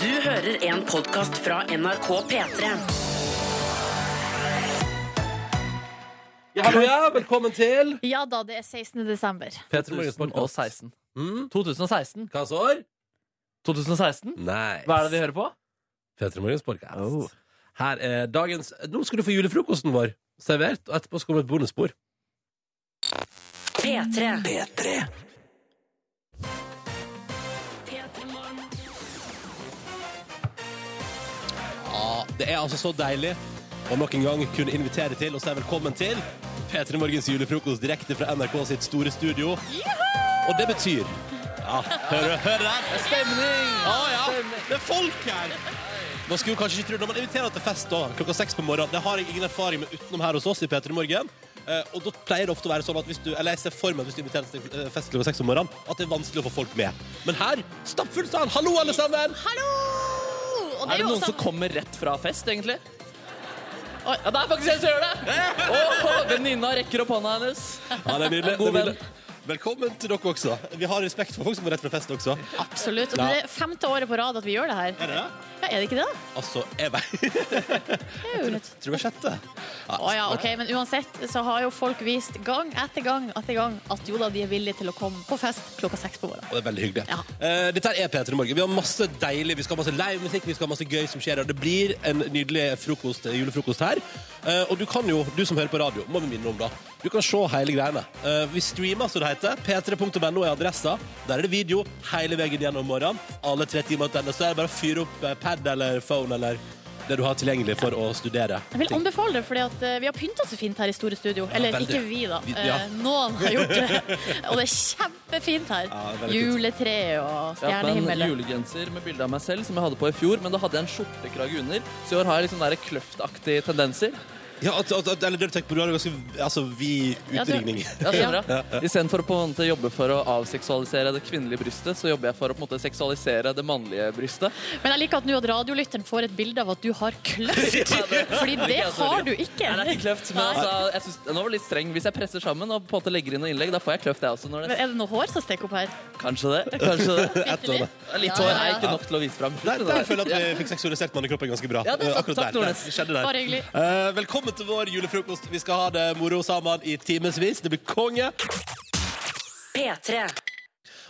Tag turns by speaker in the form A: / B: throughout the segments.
A: Du hører en podcast fra NRK P3.
B: Ja, hallo, ja, velkommen til
C: Ja da, det er 16. desember.
B: Peter Morgens podcast.
D: 2016.
B: Mm,
D: 2016?
B: hva så år?
D: 2016?
B: Nice.
D: Hva er det vi hører på?
B: Peter Morgens podcast.
D: Oh.
B: Her er dagens Nå skal du få julefrokosten vår servert, og etterpå skal det komme et bonusspor.
A: P3.
B: Ja, det er altså så deilig å nok en gang kunne invitere til og si velkommen til P3 Morgens julefrokost direkte fra NRK sitt store studio. Og det betyr Ja, hører du hør der?
D: Stemning!
B: Å ja, det er folk her! Man skulle jo kanskje ikke tro Når man inviterer til fest da, klokka seks på morgenen Det har jeg ingen erfaring med utenom her hos oss i P3 Morgen. Eh, og da pleier det ofte å være sånn at hvis du Eller jeg ser for meg at hvis du inviterer til eh, fest klokka seks om morgenen, at det er vanskelig å få folk med. Men her stappfull sal! Hallo, alle sammen!
C: Hallo! Og det
D: Er
C: er
D: det
C: jo
D: noen som
C: også
D: kommer rett fra fest, egentlig? Oi, ja, det er faktisk en som gjør det! Åh, Venninna rekker opp hånda hennes.
B: Ja, det er nydelig. det
D: God
B: er nydelig. Velkommen til dere også. Vi har respekt for folk som går rett fra fest også.
C: Absolutt. Og
B: Ja.
C: det er femte året på rad at vi gjør det her.
B: Er det det?
C: Ja, er det ikke det?
B: Altså, jeg vet
C: Det er jo litt
B: Tror jeg sjette. Ja,
C: Å ja, OK. Men uansett så har jo folk vist gang etter gang etter gang at jo da, de er villige til å komme på fest klokka seks på morgenen.
B: Og det er veldig hyggelig.
C: Ja.
B: Eh, dette her er P3 Morgen. Vi har masse deilig, vi skal ha masse live musikk, vi skal ha masse gøy som skjer. Og det blir en nydelig frokost, eh, julefrokost her. Eh, og du kan jo, du som hører på radio, må vi minne om da, du kan se hele greiene. Eh, vi streamer, så det heter. P3.no er adressa. Der er det video hele veien gjennom morgenen. Alle tre timer til denne. Så er det bare å fyre opp eh, pad eller phone eller det du har tilgjengelig for å studere.
C: Jeg vil anbefale det, fordi at eh, vi har pynta så fint her i Store Studio. Eller
B: veldig.
C: ikke vi, da.
B: Vi- ja.
C: Eh, Noen har gjort det. Og det er kjempefint her.
B: Ja, det er veldig fint.
C: Juletre og
D: Jeg har på en
C: stjernehimmel.
D: julegenser med bilde av meg selv som jeg hadde på i fjor, men da hadde jeg en skjortekrage under, så i år har jeg litt sånn der kløftaktige tendenser.
B: Ja, at, at, at, eller det du tenker på, du har en ganske altså, vid
C: Ja, du-
B: utringning.
D: Ja, skjønner du? Istedenfor å på en måte jobbe for å avseksualisere det kvinnelige brystet, så jobber jeg for å på en måte seksualisere det mannlige brystet.
C: Men jeg liker at nå at radiolytteren får et bilde av at du har kløft. Fordi det har du ikke.
D: Nei, det er ikke kløft, men altså, jeg synes, nå var det litt streng. Hvis jeg presser sammen og på en måte legger inn noen innlegg, da får jeg kløft, jeg også. Når
C: Men
D: det...
C: er det noe hår som stikker opp her?
D: Kanskje det. Kanskje det.
B: Et eller annet.
D: Litt hår er ikke nok til å vise fram.
B: Der, der føler jeg at vi fikk seksualisert mannekroppen ganske bra.
D: Ja, det er sant.
B: Eh, Akkurat
D: Takk,
B: der.
D: Nordnes.
B: Det skjedde der.
C: Bare hyggelig.
B: Eh, velkommen til vår julefrokost. Vi skal ha det moro sammen i timevis. Det blir konge.
A: P3.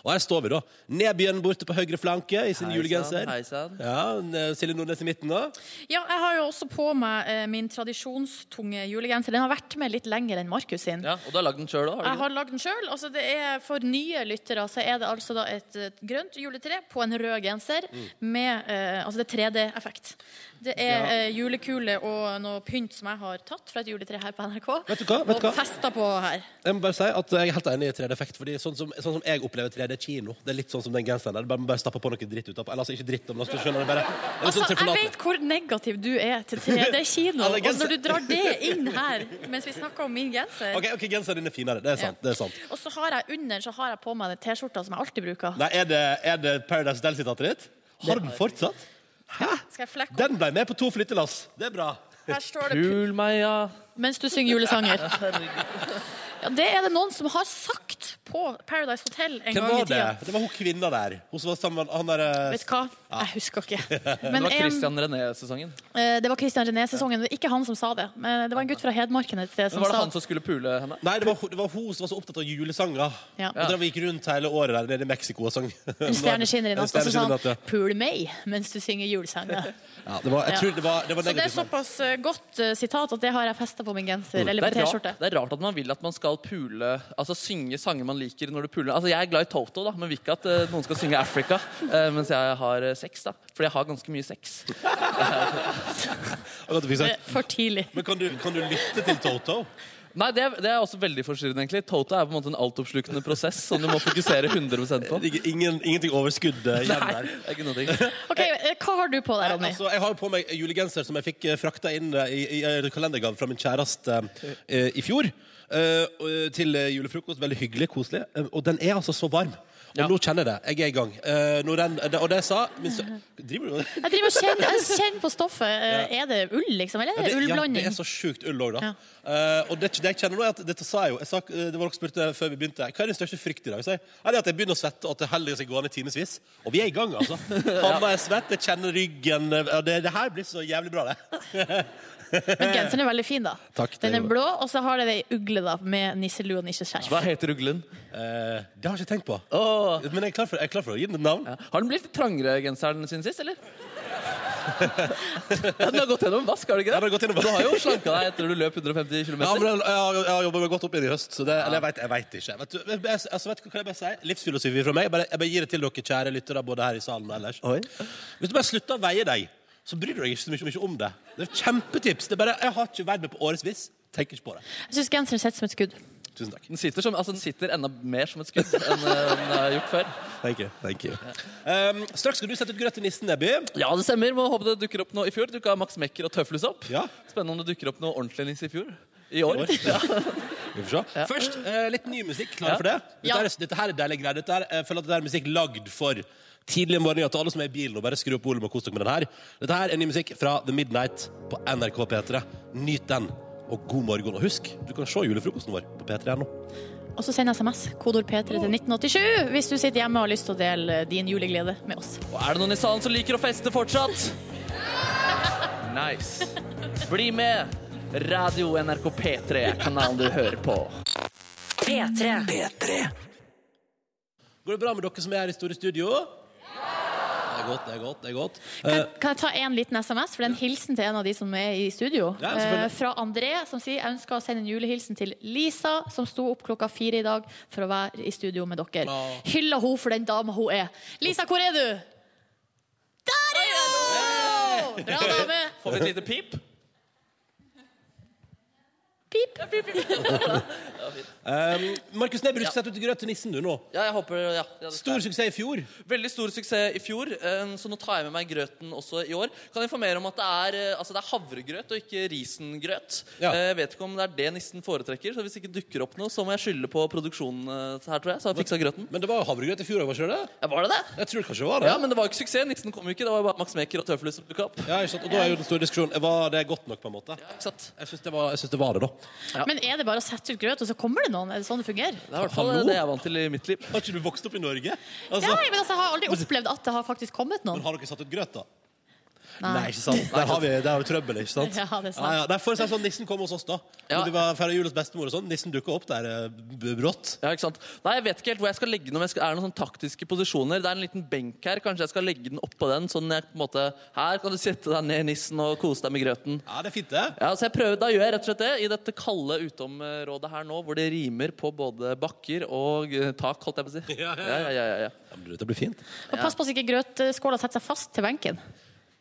B: Og her står vi, da. Nebyen borte på høyre flanke i sin julegenser.
D: Hei sann.
B: Ja, n- Silje Nordnes i midten, da.
C: Ja, jeg har jo også på meg eh, min tradisjonstunge julegenser. Den har vært med litt lenger enn Markus sin.
D: Ja, og du har lagd den sjøl òg?
C: Jeg har lagd den sjøl. Altså det er for nye lyttere så er det altså da et eh, grønt juletre på en rød genser
B: Mm.
C: med eh, Altså det er 3D-effekt. Det er eh, julekule og noe pynt som jeg har tatt fra et juletre her på NRK.
B: Vet du hva? Vet du
C: og
B: hva?
C: festa på
D: Eh.
C: her.
B: Jeg må bare si at jeg er helt enig i 3D-effekt. Fordi sånn som, sånn som jeg opplever 3D-kino, det er litt sånn som den genseren der. Du Bare, bare stapper på noe dritt utapå. Eller altså ikke dritt, men altså, skjønner du bare det er
C: Altså,
B: sånn
C: jeg
B: tilforlatelig.
C: vet hvor negativ du er til 3D-kino.
B: Alle
C: og
B: genser-
C: når du drar det inn her mens vi snakker om min genser
B: OK, ok, genseren din er finere. Det er sant. det er sant
C: Og så har jeg under så har jeg på meg den T-skjorta som jeg alltid bruker.
B: Nei, Er det, er det Paradise Del-sitatet ditt? Har du den fortsatt? Hæ?
C: Skal jeg flekke opp?
B: Den ble med på to flyttelass. Det er bra.
C: Her står det
D: Pul meg, ja.
C: mens du synger julesanger. Ja, det er det noen som har sagt på Paradise Hotel en
B: Hvem
C: gang i
B: var det?
C: tida.
B: Det var hun kvinna der. Hun som var sammen med han der eh,
C: Vet du hva? Jeg husker ikke.
D: Det
C: Men
D: var
C: en,
D: Christian René-sesongen.
C: eh, det var Christian René-sesongen. Det er ikke han som sa det. Men det var en gutt fra Hedmarken et sted
D: Så
C: som
D: var det
C: sa
D: han som skulle pule henne?
B: Nei, det var, hun- det var hun som var så opptatt av julesanger.
C: Ja.
B: Og drev og gikk rundt hele året der nede i Mexico og sang.
C: en stjerne skinner i natt. Og så sa
B: Stjerneskinner i natt, ja.
C: han 'pul meg' mens du synger julesanger.
B: Ja, det var, jeg tror det var, det var
C: Så det er
B: negativt. Mm, men-
C: såpass eh, godt eh, sitat at det har jeg festa på min genser. Eller
D: Mm.
C: på
D: Det er, rart,
C: T-skjorte.
D: det er rart at man vil at man skal pule Altså synge sanger man liker når du puler. Altså Jeg er glad i Toto, da men vil ikke at eh, noen skal synge Africa eh, mens jeg har eh, sex. da Fordi jeg har ganske mye sex.
B: Og at du fikk
C: Det
B: sagt,
C: er For tidlig.
B: Men kan du, kan du lytte til Toto?
D: Nei, det, er- det er også veldig forstyrrende, egentlig. Toto er på en måte en altoppslukende prosess som du må fokusere 100 på.
B: Det ligger ingen, ingenting overskudd eh, igjen
D: Nei,
B: der.
D: det er ikke noe ting.
C: Ok, eh, Hva har du på deg, Ronny?
B: Altså, jeg har jo på meg julegenser som jeg fikk eh, frakta inn eh, i, i eh, kalendergave fra min kjæreste eh, i fjor. eh, og, eh, til eh, julefrokost. Veldig hyggelig, koselig. Eh, og den er altså så varm. Og nå kjenner jeg det. Jeg er i gang. Eh, nå renn- det- og det jeg sa min sø- Driver du med det?
C: Jeg driver og kjenner, jeg kjenner på stoffet. Eh, Er det ull, liksom? Eller er det
B: Ja, det
C: ullblanding?
B: er så sjukt ull òg, da.
C: Ja.
B: Eh, og det, det jeg kjenner nå er at Dette sa jeg jo. Jeg sa, eh, det var dere som spurte før vi begynte. Hva er din største frykt i dag? sa jeg. Nei, det er at jeg begynner å svette, og at det heller skal gå an i timevis. Og vi er i gang, altså. Hanna er svett, jeg kjenner ryggen eh, det, det her blir så jævlig bra, det.
C: Men genseren er veldig fin, da.
B: Takk, det
C: Den er
B: gjorde-
C: blå, og så har det ei ugle da, med nisselue og nisseskjerf.
D: Hva heter uglen?
B: Eh, det har jeg ikke tenkt på.
D: Åh.
B: Men jeg er klar for, jeg er klar for å gi den et navn.
D: Ja. Har den blitt litt trangere genseren siden sist, eller? ja, den har gått gjennom vask, har du ikke
B: Den har
D: det?
B: gått gjennom-
D: Du har jo slanka deg etter du løp 150 km.
B: Ja, men jeg, jeg, har- jeg har jobba meg godt opp igjen i høst, så det, eller jeg vet, jeg vet ikke. Vet du, jeg, jeg, altså, vet du hva kan jeg bare si? Livsfilosofi fra meg. Jeg bare, jeg bare gir det til dere kjære lyttere både her i salen og ellers. Hvis du bare slutter å veie deg, så bryr du deg ikke så mye, mye om det. Det er et kjempetips. Det er bare, jeg har ikke veid meg på årevis. Tenker ikke på det.
C: Jeg syns genseren sitter som et skudd.
B: Tusen takk.
D: Den sitter, som, altså, den sitter enda mer som et skudd enn eh, den har gjort før.
B: Thank you. Thank you. Um, straks skal du sette ut grøt til nissen, Nebby.
D: Ja, det stemmer. Må håpe det dukker opp noe i fjor. Dukka Max Mekker og Tøflus opp.
B: Ja.
D: Spennende om det dukker opp noe ordentlig nisse i fjor. I år.
B: Vi får se. Først eh, litt ny musikk. Klare
D: Ja.
B: for det? Dette,
C: Ja.
B: er, dette her er deilige greier. Dette her, jeg føler at dette er musikk lagd for tidlig morgen. Til alle som er i bilen, og bare skru opp volumet og kos dere med den her. Dette her er ny musikk fra The Midnight på NRK P3. Nyt den, og god morgen. Og husk, du kan se julefrokosten vår på P3 nå.
C: Og så send SMS, kodord P3 til 1987, hvis du sitter hjemme og har lyst til å dele eh, din juleglede med oss.
D: Og er det noen i salen som liker å feste fortsatt? Nice. Bli med. Radio NRK P3 er kanalen du hører på.
A: P3.
B: Går det bra med dere som er her i store studio? Det er godt, det er godt. det er godt.
C: Kan,
B: Eh,
C: kan jeg ta en liten SMS, for det er en hilsen til en av de som er i studio?
B: Ja, selvfølgelig.
C: Eh, fra André, som sier jeg ønsker å sende en julehilsen til Lisa, som sto opp klokka fire i dag for å være i studio med dere.
B: Å.
C: Hyller hun for den dama hun er. Lisa, hvor er du? Der er hun! Bra dame.
D: Får vi et lite pip?
C: Pip.
B: eh, Markus Neby, du skal sette ut grøt til nissen du nå.
D: Ja, jeg håper ja, ja, det skal
B: Stor suksess i fjor.
D: Veldig stor suksess i fjor, eh, så nå tar jeg med meg grøten også i år. Kan informere om at det er, eh, altså det er havregrøt og ikke risengrøt.
B: Ja.
D: Eh, Jeg vet ikke om det er det nissen foretrekker, så hvis det ikke dukker opp noe, så må jeg skylde på produksjonen eh, her, tror jeg. Så har jeg fiksa grøten.
B: Men det var jo havregrøt i fjor òg, var ikke det?
D: Ja, var det det?
B: Jeg tror kanskje det var det.
D: Ja, men det var jo ikke suksess. Nissen kom jo ikke. Det var jo bare Max Mekker og Tøflus som dukka opp.
B: Ja, ikke sant? Og da er jo den store diskusjonen Var det godt nok, på en måte?
D: Ikke sant?
B: Jeg syns det, var- jeg syns det var det, da.
C: Men er det bare å sette ut grøt, og så kommer det noen? Er det sånn det fungerer?
D: Det er i hvert fall
B: Hallo?
D: det jeg er vant til i mitt liv.
B: Har ikke du vokst opp i Norge?
C: Nei,
B: Altså,
C: men altså, jeg har aldri opplevd at det har faktisk kommet
B: men
C: noen.
B: har dere satt ut grøt, da?
C: Nei.
B: Nei, ikke sant? Der har vi, der har vi trøbbel, ikke sant?
C: Ja, det er sant.
B: ja. Nei, for å si det sånn, Nissen kom hos oss, da.
D: Ja.
B: Når vi var feiret jul hos bestemor og sånn. Nissen dukka opp der eh, b- brått.
D: Ja, ikke sant? Nei, jeg vet ikke helt hvor jeg skal legge den. Om jeg skal, er det noen sånne taktiske posisjoner? Det er en liten benk her. Kanskje jeg skal legge den oppå den? Sånn jeg på en måte Her kan du sitte deg ned, nissen, og kose deg med grøten.
B: Ja, det er fint, det.
D: Ja, så jeg prøver, Da gjør jeg rett og slett det i dette kalde utområdet her nå, hvor det rimer på både bakker og eh, tak, holdt jeg på å si.
B: Ja, ja,
D: ja, ja, ja, ja.
B: Ja, men du, Dette blir fint.
C: Og pass på så ikke grøtskåla setter seg fast til benken.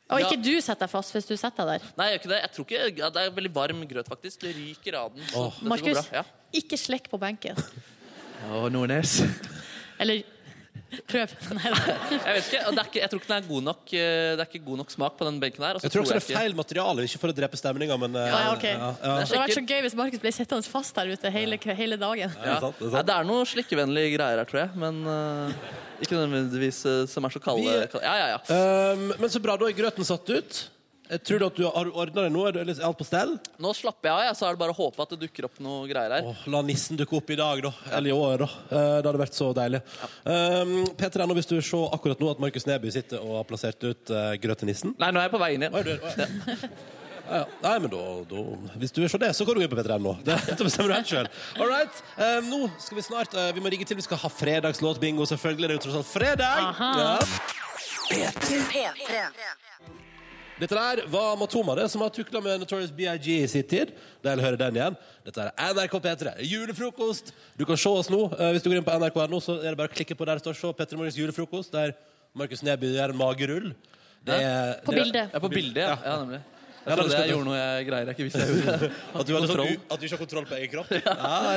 C: Og
D: Ja.
C: ikke du setter deg fast hvis du setter deg der.
D: Nei, jeg gjør ikke det. Jeg tror ikke, ja, Det er veldig varm grøt, faktisk. Det ryker av den. så dette går
C: Markus,
D: bra. Ja.
C: ikke slekk på benken.
D: Å, Nordnes.
C: Eller prøv. Nei, da.
D: Jeg vet ikke, og det er ikke, jeg tror ikke den er god nok, eh, det er ikke god nok smak på den benken her. og så
B: Jeg tror også det er
D: ikke-
B: feil materiale, ikke for å drepe stemninga, men eh,
C: Ja, ja, ok.
B: ja, ja.
C: Det hadde vært så gøy hvis Markus ble sittende fast der ute hele, hele dagen.
B: Ja, det er sant, det er sant.
D: Nei, det er noe slikkevennlige greier her, tror jeg. Men eh, ikke nødvendigvis eh, som er så kalde.
B: Vi-
D: kalde. Ja, ja, ja.
B: Um, men så bra, da er grøten satt ut. Jeg tror du at du har ordna deg nå? Er du- Er alt på stell?
D: Nå slapper jeg av, jeg, så er det bare å håpe at det dukker opp noe greier her.
B: Åh, la nissen dukke opp i dag, da. Eller i år, da. Eh, Det hadde vært så deilig. Um, Peter Ennå, hvis du vil se akkurat nå at Markus Neby sitter og har plassert ut eh, grøt til nissen
D: Nei, nå er jeg på veien inn.
B: Oi, du er- oi. Ja, ja. Nei, men da, da Hvis du vil se det, så kan du gå inn på P3.no. Det, det bestemmer du helt sjøl. All right. eh, nå skal vi snart eh, Vi må rigge til. Vi skal ha fredagslåtbingo, selvfølgelig. Det er jo tross alt fredag. Ja.
A: P3.
B: Dette der var Matoma, det, som har tukla med Notorious BIG i sin tid. Del hører den igjen. Dette er NRK P3. Julefrokost! Du kan se oss nå. Eh, Hvis du går inn på nrk.no, så er det bare å klikke på der det står 'Se P3 Morgens julefrokost', der Markus Neby gjør en magerull. Det er,
C: På
B: det er-
C: bildet.
D: Jeg er på bildet, ja. ja nemlig.
B: Ja, da,
D: Jeg
B: du
D: trodde
B: skal-
D: jeg gjorde noe jeg greier jeg ikke visste jeg gjorde.
B: At du, har litt
D: Kontroll.
B: sånn, u- at du ikke har kontroll på egen kropp? Ja,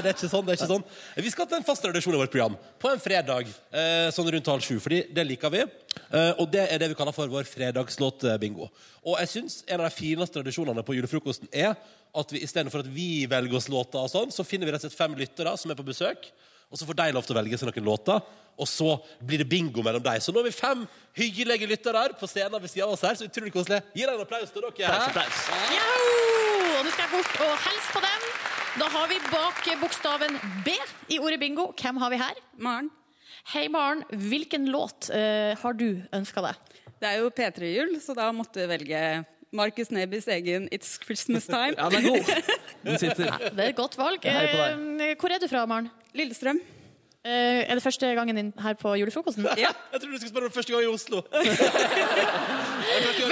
B: det er ikke sånn. det er ikke sånn Vi skal til en fast redaksjon i vårt program på en fredag eh, sånn rundt halv sju. Fordi det liker vi. Eh, og det er det vi kaller for vår fredagslåtbingo. Og jeg syns en av de fineste tradisjonene på julefrokosten er at vi istedenfor at vi velger oss låter og sånn, så finner vi rett og slett fem lyttere som er på besøk. Og så får de lov til å velge seg noen låter. Og så blir det bingo mellom deg. Så nå har vi fem hyggelige lyttere her på scenen ved siden av oss her. Så utrolig koselig. Gi dem en applaus til dere.
D: Applaus, applaus.
C: Jau! Og nå skal jeg bort og hilse på dem. Da har vi bak bokstaven B i ordet bingo. Hvem har vi her?
E: Maren,
C: Hei, Maren. Hvilken låt eh, har du ønska deg?
E: det er jo P3-jul, så da måtte vi velge Marcus Nebys egen It's Christmas Time.
D: Ja, den er god. Den sitter.
C: Det er et godt valg.
D: Hei på
C: Eh, hvor er du fra, Maren?
E: Lillestrøm.
C: Eh, er det første gangen din her på julefrokosten?
B: Jeg trodde du skulle spørre om første gang i Oslo.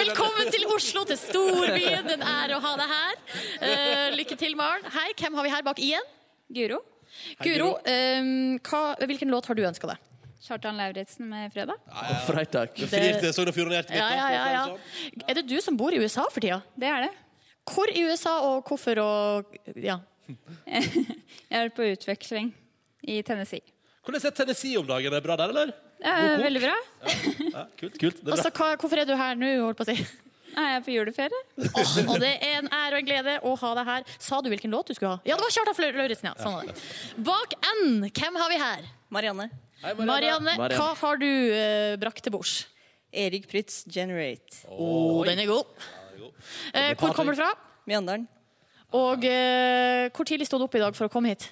C: Velkommen til Oslo, til storbyen. En ære å ha deg her. Eh, lykke til, Maren. Hei, hvem har vi her bak igjen?
F: Guro.
C: Guro, eh, hva, hvilken låt har du ønska deg?
F: Kjartan Lauritzen med Eh, 'Fredag'.
D: Freitag.
B: Frir til Sogn og Fjordane hjertet mitt.
C: Ja,
B: da,
C: ja,
B: for å
C: ja,
B: si det
C: ja.
B: sånn.
C: Er det du som bor i USA for tida?
F: Det er det.
C: Hvor i USA, og hvorfor, og ja.
F: Jeg er på utveksling i Tennessee. Eh,
B: Hvordan er Tennessee om dagen? Er det bra der, eller?
F: Det
C: Eh,
F: er veldig bra.
B: Ja, kult, kult. Det er
C: Altså,
B: bra.
C: hva, hvorfor er du her nå, holdt på å si?
F: Nei, jeg er på juleferie.
C: Åh, og det er en ære og en glede å ha deg her. Sa du hvilken låt du skulle ha? Ja, det var Kjartan Flau- Lauritzen, ja. Sånn var det. Bak N, hvem har vi her?
G: Marianne.
B: Hei,
C: Marianne,
D: Marianne.
C: hva har du eh, brakt til bords?
G: Erik Prytz, Generate.
C: Å, den er god. Eh, hvor kommer du fra?
G: Mjøndalen.
C: Og eh, hvor tidlig sto du opp i dag for å komme hit?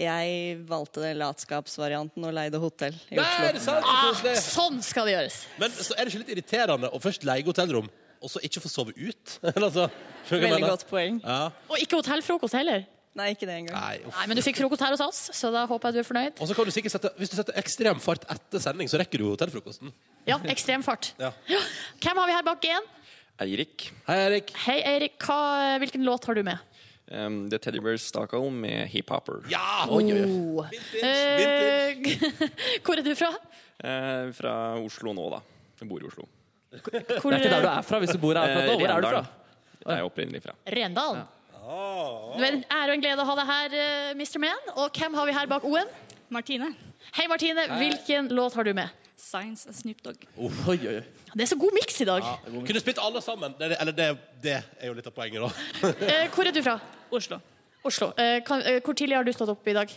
G: Jeg valgte latskapsvarianten og leide hotell i
B: Nei, er det
G: Oslo.
B: sant? Så koselig.
C: Sånn skal det gjøres.
B: Men så er det ikke litt irriterende å først leie hotellrom, og så ikke få sove ut? Eller altså, skjønner du hva jeg
G: Veldig
B: mener?
G: godt poeng.
B: Ja.
C: Og ikke hotellfrokost heller.
G: Nei, ikke det engang.
B: Nei, uff.
C: Nei, Men du fikk frokost her hos oss, så da håper jeg du er fornøyd.
B: Og så kan du sikkert sette, Hvis du setter ekstrem fart etter sending, så rekker du hotellfrokosten.
C: Ja, ekstrem fart.
B: Ja.
C: Ja. Hvem har vi her bak igjen?
H: Eirik.
B: Hei, Erik.
C: Hei, Eirik. Hva, hvilken låt har du med?
H: Um, The Teddy Bears Stockholm med Hip Hopper.
B: Ja!
C: Oh.
B: vintage.
C: hvor er du fra?
H: Eh, fra Oslo nå, da. Jeg bor i Oslo. Eh,
C: Hvor,
D: Det er ikke der du er fra hvis du bor her. akkurat nå. Hvor er du fra?
H: Rendalen. Der er jeg opprinnelig fra.
C: Rendalen. Det er en ære og en glede å ha deg her, eh, Mr. Man. Og hvem har vi her bak O-en?
F: Martine.
C: Hei, Martine. Hvilken låt har du med?
F: Science og Snoop Dogg.
D: Oi, oi, oi.
C: Det er så god miks i dag.
B: Kunne spilt alle sammen. Det, er- eller det, det er jo litt av poenget, da.
C: Eh, hvor er du fra?
I: Oslo.
C: Oslo. Eh, kan, eh, hvor tidlig har du stått opp i dag?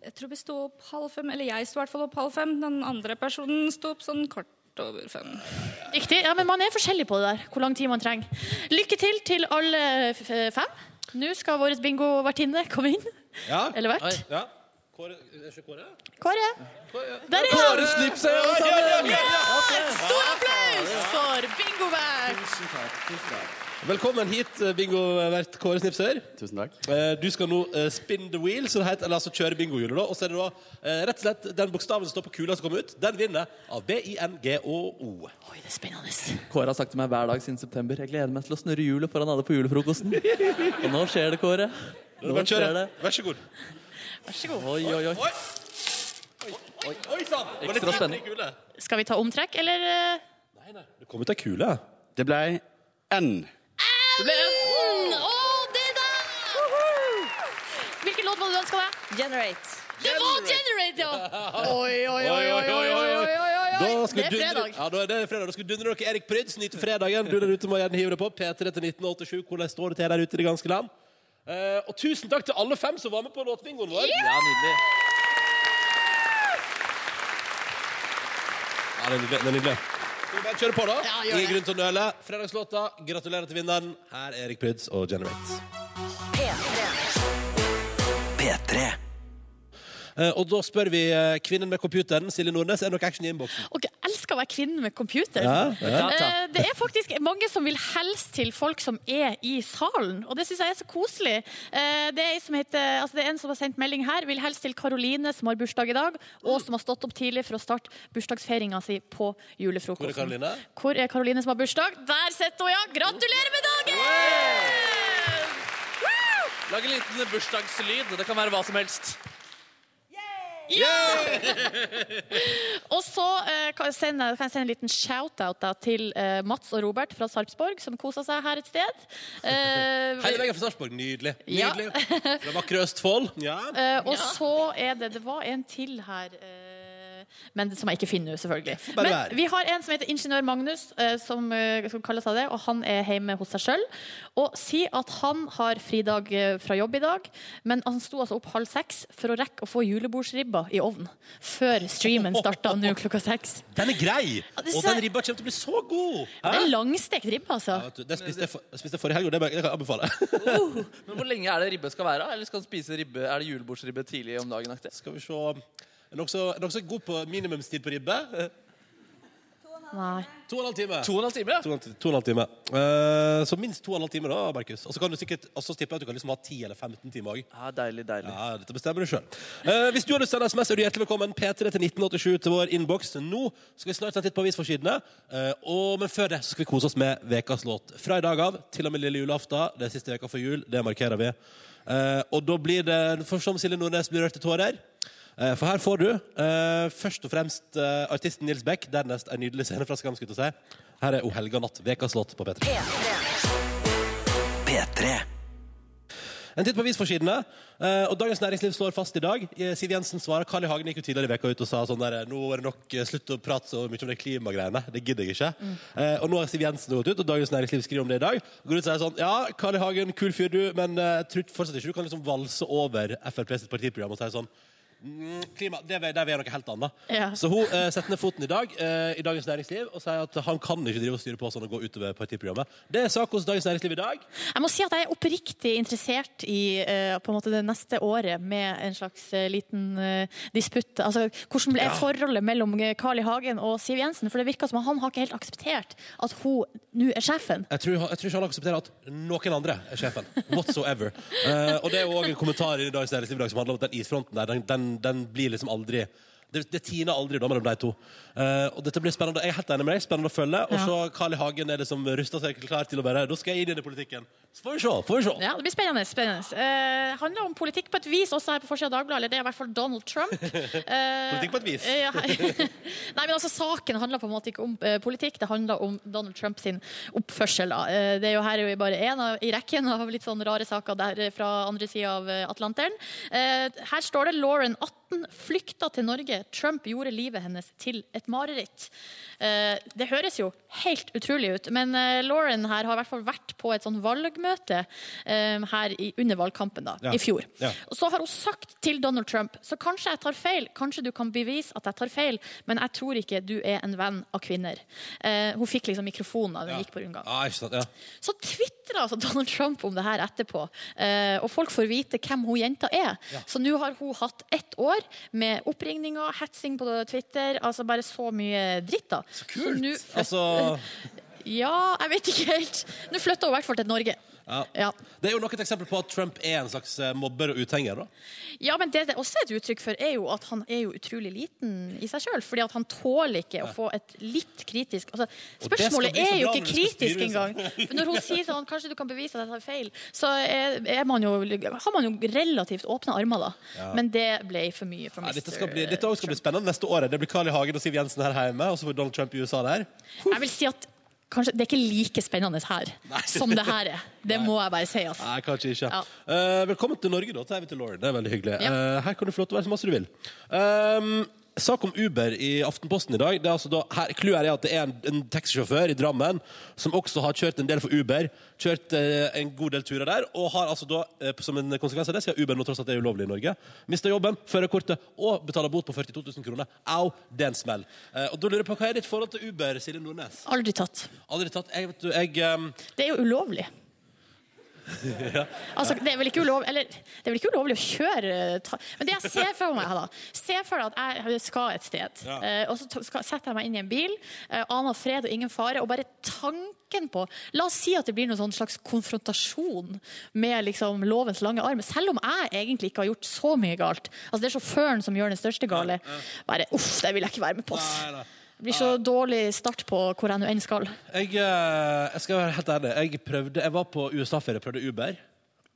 I: Jeg tror vi sto opp halv fem, eller jeg sto i hvert fall opp halv fem. Den andre personen sto opp sånn kort over fem.
C: Riktig. Ja, men man er forskjellig på det der. Hvor lang tid man trenger. Lykke til til alle f f- fem. Nå skal vår bingovertinne komme inn.
B: Ja.
C: Eller
D: Oi.
C: vert.
B: ja. Kåre, er ikke Kåre?
C: Kåre. Der er han!
D: Bare slipp seg alle sammen!
C: Stor applaus for bingovert!
B: Velkommen hit, eh, bingovert Kåre Snipser.
J: Tusen takk.
B: Eh, Du skal nå eh, spin the wheel, så det heter, eller altså kjøre bingohjulet. da. Og så er det da eh, rett og slett den bokstaven som står på kula som kommer ut, den vinner av B-I-N-G-O-O.
C: Oi, det er spennende.
D: Kåre har sagt til meg hver dag siden september Jeg gleder meg til å snurre hjulet foran alle på julefrokosten. Og nå skjer det, Kåre. Nå
B: Bare
D: skjer
B: kjøre.
D: det.
B: Vær så god.
D: Oi, oi, oi.
B: Oi! Oi, oi sann! Var det
D: Ekstra
B: tid for
D: spennende.
B: ei kule?
C: Skal vi ta omtrekk, eller eh,
B: Det kom ut ei kule.
J: Det ble N.
C: mm, Å, det der! Hvilken låt var det du ønska deg?
G: Generate.
C: Det var 'Generate', ja! Oi, oi, oi, oi, oi, oi, oi, oi, oi.
B: Da skal
C: Det er
B: dundre-
C: fredag.
B: Ja, da er det fredag. Da skal dundre dere Erik Pryds, nyte fredagen. Du der ute må gjerne hive deg på. P3 til 1987, hvordan står det til der ute i det ganske land? Eh, og tusen takk til alle fem som var med på låtbingoen vår.
D: Ja, nydelig.
B: Ja, det er nydelig. Det er nydelig. Skal vi bare kjøre på, da?
C: Ja, gjør
B: Ingen
C: det.
B: grunn til å nøle. Fredagslåta. Gratulerer til vinneren. Her er Erik Pryds og Generate. Eh, og da spør vi eh, kvinnen med computeren, Silje Nordnes, er det noe action i innboksen?
C: Og jeg elsker å være kvinne med computer.
D: Ja, ta.
C: Eh, Det er faktisk mange som vil hilse til folk som er i salen, og det syns jeg er så koselig. Eh, Det er, en som heter, altså det er en som har sendt melding her, vil hilse til Karoline, som har bursdag i dag, og som har stått opp tidlig for å starte bursdagsfeiringa si på
B: Hvor er
C: julefrokosten.
B: Karoline?
C: Hvor er Karoline som har bursdag? Der sitter hun, ja! Gratulerer med dagen!
D: Lag en liten bursdagslyd. Det kan være hva som helst.
C: Og så eh, kan jeg sende, kan jeg sende en liten shout-out da til eh, Mats og Robert fra Sarpsborg, som koser seg her et sted. Eh,
B: Hele veien fra Sarpsborg. Nydelig.
C: Ja.
B: Nydelig. Fra vakre Østfold. Ja.
C: Eh, og så er det Det var en til her. eh, Men som jeg ikke finner nå, selvfølgelig.
B: Bare
C: Men
B: vær.
C: vi har en som heter ingeniør Magnus, eh, som, eh, som kaller seg det, og han er hjemme hos seg sjøl. Og sier at han har fridag eh, fra jobb i dag, men han sto altså opp halv seks for å rekke å få julebordsribba i ovnen før streamen starta nå klokka seks.
B: Den er grei!
C: Ja, det
B: Og
C: ser-
B: den ribba kommer til å bli så god!
C: Det er langstekt ribbe, altså.
B: Ja, vet du, det spiste jeg, for, jeg spiste forrige helg, og det bare- det kan jeg anbefale.
D: Men Hvor lenge er det ribbe skal være? da? Eller skal man spise ribbe, er det julebordsribbe tidlig om dagen? aktig?
B: Skal vi se Er nokså nokså god på minimumstid på ribbe?
C: Nei.
B: To og en halv time.
D: To og en halv time, ja.
B: To og en halv- to og en halv time. Eh, så minst to og en halv time, da, Markus. Og så kan du sikkert og så tipper jeg at du kan liksom ha 10 eller 15 timer òg.
D: ja deilig, deilig.
B: Ja, dette bestemmer du sjøl. hvis du har lyst til å sende SMS, er du hjertelig velkommen. P3 til 1987 til vår innboks. Nå skal vi snart ta en titt på avisforsidene. Eh, og- men før det så skal vi kose oss med vekas låt. Fra i dag av til og med lille julaften. Det er siste veka før jul. Det markerer vi. Eh, og da blir det For som Silje Nordnes blir rørt til tårer. Eh, For her får du eh, først og fremst eh, artisten Nils Beck, dernest en nydelig scene fra Skam. skulle jeg til å si. Her er O helga natt, vekas låt på P3. En titt på avisforsidene. eh, Og Dagens Næringsliv slår fast i dag. Eh, Siv Jensen svarer. Carl I. Hagen gikk jo tidligere i veka ut og sa sånn der Nå er det nok. eh, Slutt å prate så mye om de klimagreiene. Det gidder jeg ikke. Eh, Og nå har Siv Jensen gått ut, og Dagens Næringsliv skriver om det i dag. Går ut og sier sånn Ja, Carl I. Hagen, kul fyr du, men eh, jeg tror fortsatt ikke du kan liksom valse over Frp sitt partiprogram og si sånn mm, Klima, det er, der vi er noe helt annet.
C: Ja.
B: Så hun eh, setter ned foten i dag eh, i Dagens Næringsliv og sier at han kan ikke drive og styre på sånn og gå utover partiprogrammet. Det er sak hos Dagens Næringsliv i dag.
C: Jeg må si at jeg er oppriktig interessert i eh, på en måte det neste året med en slags eh, liten eh, disputt. Altså, hvordan er forholdet mellom eh, Carl I. Hagen og Siv Jensen? For det virker som at han har ikke helt akseptert at hun nå er sjefen.
B: Jeg tror, jeg tror ikke han aksepterer at noen andre er sjefen. Whatsoever. Eh, og det er jo også en kommentar i Dagens Næringsliv i dag som handler om at den isfronten der, den, den, den blir liksom aldri det, det tiner aldri da mellom de to. Eh, og dette blir spennende. Jeg er helt enig med deg. Spennende å følge. Og
C: Ja.
B: så Carl I. Hagen er liksom rusta seg klar til å bare Da skal jeg inn i den politikken. Så får vi se. Får vi se.
C: Ja, Det blir spennende. spennende. Eh, handler om politikk på et vis også her på forsida av Dagbladet. Eller det er i hvert fall Donald Trump. Eh,
B: Politikk på et vis.
C: ja. Nei, men altså Saken handler på en måte ikke om eh, politikk, det handler om Donald Trump sin oppførsel. Da. Eh, det er jo her er jo bare én av- i rekken av litt sånn rare saker der eh, fra andre sida av eh, Atlanteren. Eh, her står det Lauren 18 flykta til Norge. Trump gjorde livet hennes til et mareritt. Eh, det høres jo helt utrolig ut, men eh, Lauren her har i hvert fall vært på et sånn valgmøte eh, her i, under valgkampen da,
B: Ja.
C: i fjor.
B: Ja.
C: Og så har hun sagt til Donald Trump så kanskje jeg tar feil, kanskje du kan bevise at jeg tar feil, men jeg tror ikke du er en venn av kvinner. Eh, hun fikk liksom mikrofonen da hun gikk på rundgang.
B: Ah, ikke sant, ja.
C: Så tvitrer altså Donald Trump om det her etterpå, eh, og folk får vite hvem hun jenta er. Så nå har hun hatt ett år med oppringninger, hetsing på Twitter, altså bare så mye dritt, da. Så
B: Kult.
C: nå flyt-
B: Altså,
C: Ja, jeg vet ikke helt. Nå flytter hun i hvert fall til Norge.
B: ja.
C: Ja.
B: Det er jo nok et eksempel på at Trump er en slags eh, mobber og uthenger. da
C: Ja, men det det også er et uttrykk for, er jo at han er jo utrolig liten i seg sjøl. Fordi at han tåler ikke å få et litt kritisk altså,
B: Og det skal
C: Spørsmålet
B: bli så
C: er jo
B: bra
C: ikke
B: når du skal
C: kritisk
B: styre,
C: engang. For når hun sier sånn, kanskje du kan bevise at jeg tar feil, så er, er man jo, har man jo relativt åpne armer, da. Men det ble for mye for
B: Ja,
C: Mr.
B: dette skal bli, dette også skal bli spennende neste år. Det blir Carl I. Hagen og Siv Jensen her hjemme, og så får Donald Trump i USA der.
C: Jeg vil si at kanskje det er ikke like spennende her som det her er. Det må jeg bare si, altså.
B: Nei, kanskje ikke.
C: Ja.
B: Eh, velkommen til Norge, da, sier vi til Lauren. Det er veldig hyggelig.
C: Ja.
B: Eh, her kan du få lov til å være så masse du vil. Um, sak om Uber i Aftenposten i dag. Det er altså da, her, clou her er at det er en, en taxisjåfør i Drammen som også har kjørt en del for Uber. Kjørt eh, en god del turer der, og har altså da, eh, som en konsekvens av det, siden Uber nå tross alt er ulovlig i Norge, mista jobben, førerkortet og betaler bot på 42 000 kroner. Au, det er en smell. Eh, og da lurer jeg på, Hva er ditt forhold til Uber, Silje Nordnes?
C: Aldri tatt.
B: Aldri tatt. Jeg, vet du, jeg um,
C: Det er jo ulovlig. Altså, det, er vel ikke ulov, eller, det er vel ikke ulovlig å kjøre eh, ta, Men det jeg ser for meg da Ser for deg at jeg skal et sted
B: Ja.
C: eh, Og så ta- skal, setter jeg meg inn i en bil eh, Aner fred og ingen fare Og bare tanken på La oss si at det blir noen sånn slags konfrontasjon Med liksom lovens lange arm Selv om jeg egentlig ikke har gjort så mye galt Altså det er sjåføren som gjør den største gale Bare, uff, det vil jeg ikke være med på ass."
B: Nei, nei.
C: Det blir så dårlig start på hvor jeg nå enn skal
B: Jeg, eh, jeg skal være helt ærlig. Jeg, prøvde, jeg var på USA-ferie og prøvde Uber.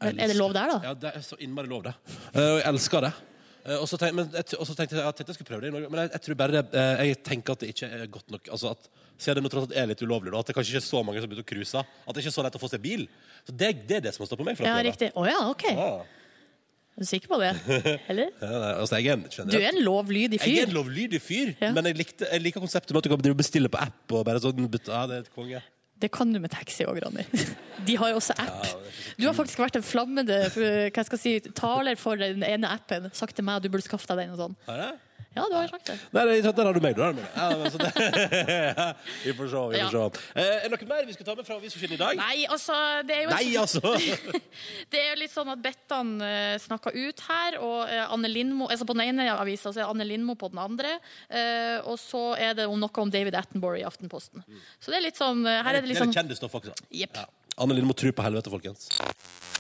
C: Er det lov der da?
B: Ja, det er så innmari lov, det. Eh, Og jeg elsker det. Eh, Og så tenk- men jeg t- og så tenkte jeg jeg tenkte jeg skulle prøve det i Norge, men jeg, jeg tror bare det- eh, jeg tenker at det ikke er godt nok. Altså at, Siden det nå tross alt er litt ulovlig, da, at det kanskje ikke er så mange som begynner å cruise. At det ikke er så lett å få seg bil. Så det, det er det som har stått på meg. for å
C: Ja,
B: prøve.
C: riktig Åja, ok
B: Ah.
C: Er du sikker på det? Eller?
B: Ja, nei, altså, jeg er en generelt-
C: Du er en lovlydig fyr.
B: Jeg er en lovlydig fyr, men jeg, likte, jeg liker konseptet med at du kan drive og bestille på app. og bare sånn, but- ja, det er et konge.
C: Det kan du med taxi òg, Ronny. De har jo også app. Du har faktisk vært en flammende eh, hva skal jeg si, taler for den ene appen. Sagt til meg at du burde skaffe deg den og sånn.
B: Har jeg?
C: Ja, du har sagt det.
B: Nei, nei, der har du meg, du har meg. Ja, men så det. Vi får se, vi får se. Eh, er det noe mer vi skal ta med fra avisforsynet i dag?
C: Nei, altså, det er jo
B: Nei, altså!
C: Det er jo litt sånn at Bettan uh, snakka ut her, og eh, Anne Lindmo altså På den ene avisa så er Anne Lindmo på den andre. eh, og så er det om noe om David Attenborough i Aftenposten. Så det er litt sånn eh, Her er det litt sånn
B: Det er litt kjendisstoff også.
C: Jepp.
B: Anne Lindmo tror på helvete, folkens.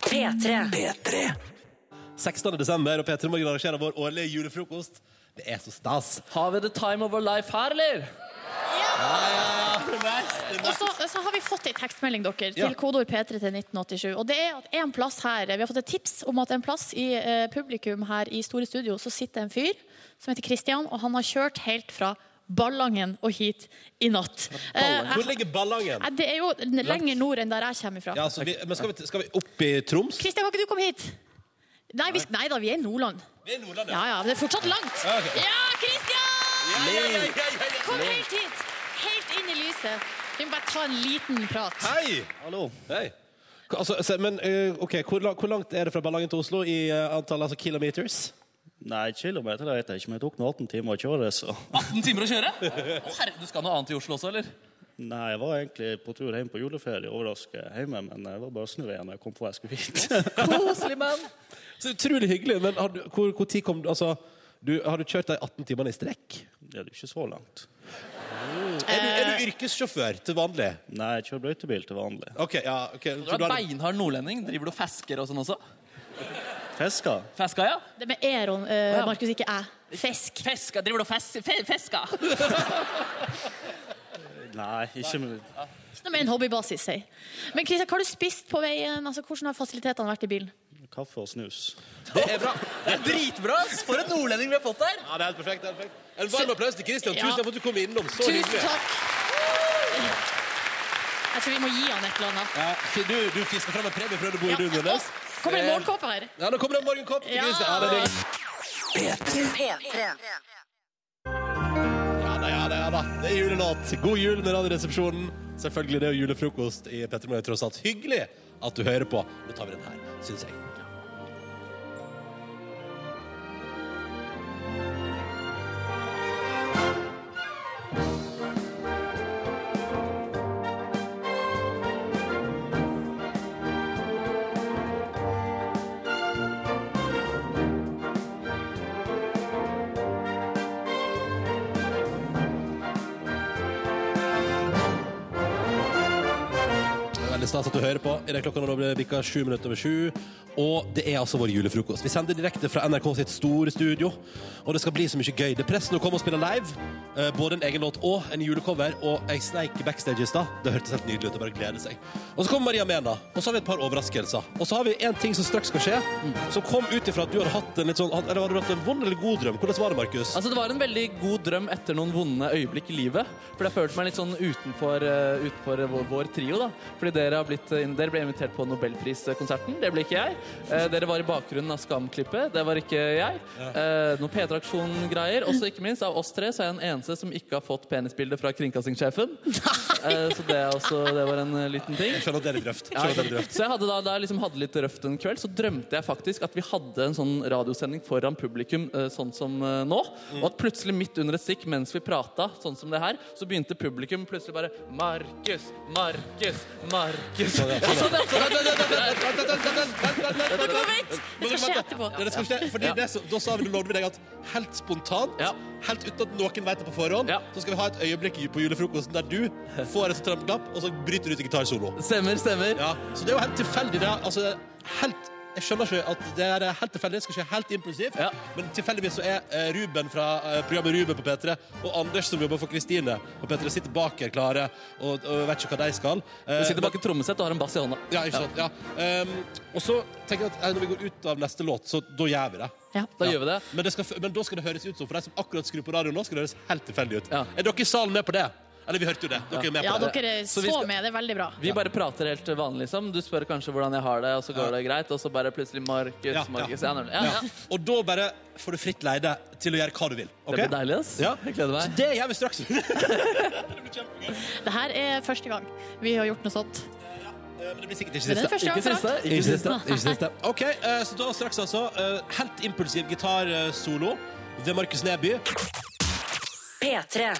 A: P3.
B: 16. desember, og P3 Morgen arrangerer vår årlige julefrokost. Det er så stas.
D: Har vi the time of our life her, eller?
C: Og så, så har vi fått ei tekstmelding dere til
B: Ja.
C: kodeord P3 til 1987. Og det er at en plass her Vi har fått et tips om at en plass i eh, publikum her i Store Studio så sitter en fyr som heter Kristian, og han har kjørt helt fra Ballangen og hit i natt. Eh,
B: Hvor
C: jeg-
B: ligger Ballangen?
C: Nei, det er jo lenger nord enn der jeg kommer ifra.
B: Ja, så vi, men skal vi, skal vi opp i Troms?
C: Kristian, kan ikke du komme hit? Nei, vi, nei da, vi er i Nordland.
B: Vi er i Nordland,
C: Ja, ja, men det er fortsatt langt.
B: Ja, ok.
C: Ja, Kristian!
B: Ja, ja, ja, ja, ja, ja.
C: Kom helt hit. Helt inn i lyset. Vi må bare ta en liten prat.
B: Hei! Hallo. Hei. Hva- Altså, se- men eh, ok, hvor, la- hvor langt er det fra Ballangen til Oslo i eh, antall altså, kilometers?
K: Nei, kilometer vet jeg ikke, men det tok nå 18 timer å kjøre, så
D: 18 timer å kjøre? Å, herre, du skal noe annet i Oslo også, eller?
K: Nei, jeg var egentlig på tur hjem på juleferie, overraska hjemme, men det var bare snø igjen da jeg kom på hva jeg skulle hit.
D: Koselig mann.
B: Så utrolig hyggelig. Men har du, hvor, hvor tid kom du Altså, du, har du kjørt de 18 timene i strekk?
K: Det er jo ikke så langt.
B: Eh. Er du, er du yrkessjåfør til vanlig?
K: Nei, jeg kjører brøytebil til vanlig.
B: Ok, ja, ok.
D: Du er beinhard nordlending. Driver du og fesker og sånn også?
K: Fiska?
D: Feska, ja.
C: Det med Eron, eh,
D: Ja.
C: Markus, ikke jeg. Fisk.
D: Feska, Driver du og fes fe feska?
K: Nei, ikke med
C: Det er mer en hobbybasis, sier. Men Kristian, hva har du spist på veien? Altså, hvordan har fasilitetene vært i bilen?
K: kaffe og snus.
B: Det er bra.
D: Det er dritbra! ass. For en nordlending vi har fått her!
B: Ja, det er helt perfekt. det er helt perfekt. En varm applaus til Christian.
C: Ja.
B: Tusen takk for at du kom innom. Så
C: Tusen
B: hyggelig.
C: takk. Jeg tror vi må gi han et eller annet.
B: Ja, så du, du fisker frem en premie for at du bor i Lund, Nordnes.
C: Kommer
B: Eh,
C: det morgenkåpe her?
B: Ja, nå kommer det en morgenkopp til
C: Ja.
B: Christian. Ja, det er digg.
A: P3.
B: ja, da, ja, da, ja da. Det er julelåt. God jul med Radioresepsjonen. Selvfølgelig, det er jo julefrokost i Petter Morgen, tross alt. Hyggelig at du hører på. Nå tar vi den her, syns jeg. Det er Veldig stas at du hører på. I den klokka nå blir det bikka sju minutter over sju. Og det er altså vår julefrokost. Vi sender direkte fra NRK sitt store studio. Og det skal bli så mye gøy. Det er pressen å komme og spille live. eh, Både en egen låt og en julecover. Og jeg sneik backstage i stad. Det hørtes helt nydelig ut. Det bare gleder seg. Og så kommer Maria Mena. Og så har vi et par overraskelser. Og så har vi en ting som straks skal skje, som kom ut ifra at du hadde hatt en litt sånn Eller hadde du hatt en vond eller god drøm? Hvordan var det, Markus?
D: Altså, det var en veldig god drøm etter noen vonde øyeblikk i livet. For jeg følte meg litt sånn utenfor, eh, utenfor vår, vår trio, da. Fordi dere, har blitt, eh, dere ble invitert på Nobelpriskonserten. Det ble ikke jeg. Eh, dere var i bakgrunnen av Skamklippet. Det var ikke jeg. Eh, noen P3-aksjon-greier. Også ikke minst, av oss tre så er jeg den eneste som ikke har fått penisbilde fra kringkastingssjefen. Eh, så det, er også, det var en eh, liten ting.
B: Jeg skjønner at det er litt røft. Jeg
D: Ja,
B: Skjønner at det er litt røft.
D: så jeg hadde da, da jeg liksom hadde litt røft en kveld, så drømte jeg faktisk at vi hadde en sånn radiosending foran publikum, eh, sånn som eh, nå. Og at plutselig midt under et stikk, mens vi prata, sånn som det her, så begynte publikum plutselig bare Markus, Markus, Markus.
B: Sånn, ja,
D: Og så-
C: Det skal skje etterpå.
B: Ja, det skal skje, fordi
D: Ja.
B: det, som- da sa vi lovde vi deg at helt spontant,
D: Ja.
B: helt uten at noen vet det på forhånd,
D: Ja.
B: så skal vi ha et øyeblikk på julefrokosten der du får et trampeknapp, og så bryter du ut i gitarsolo.
D: Stemmer, stemmer.
B: Ja, så det er jo helt tilfeldig. Det er, altså, helt, jeg skjønner ikke at det er helt tilfeldig, det skal skje helt impulsivt,
D: Ja.
B: men tilfeldigvis så er eh, Ruben fra eh, programmet Ruben på P3, og Anders som jobber for Kristine på P3, sitter bak her klare, og, og vet ikke hva de skal. Eh,
D: Du sitter bak et trommesett og har en bass i hånda.
B: ja, ikke sant. Ja. Ehm, og så tenker jeg at eh, når vi går ut av neste låt, så da gjør vi det.
C: Ja.
D: Da gjør vi det.
B: Men, det skal, f- men da skal det høres ut som for de som akkurat skrur på radioen nå, skal det høres helt tilfeldig ut.
D: Ja.
B: Er dere i salen med på det? Eller vi hørte jo det. Dere er med
C: Ja,
B: på det.
C: dere eh, så, med. Det er veldig bra.
D: Vi bare prater helt vanlig, liksom. Du spør kanskje hvordan jeg har det, og så går det greit. Og så bare plutselig Markus, Markus ja, nemlig. ja, ja.
B: Og da bare får du fritt leide til å gjøre hva du vil. ok?
D: Det blir deilig, ass.
B: Ja.
D: Jeg gleder meg.
B: Så det gjør vi straks.
C: Det her er første gang vi har gjort noe sånt.
B: Men det blir sikkert ikke
C: Men det er
B: siste.
C: første gang Ikke siste, for alt. ikke siste, ikke siste.
B: Ok, eh, så da straks altså eh, helt impulsiv gitarsolo ved Markus Neby.
A: P3.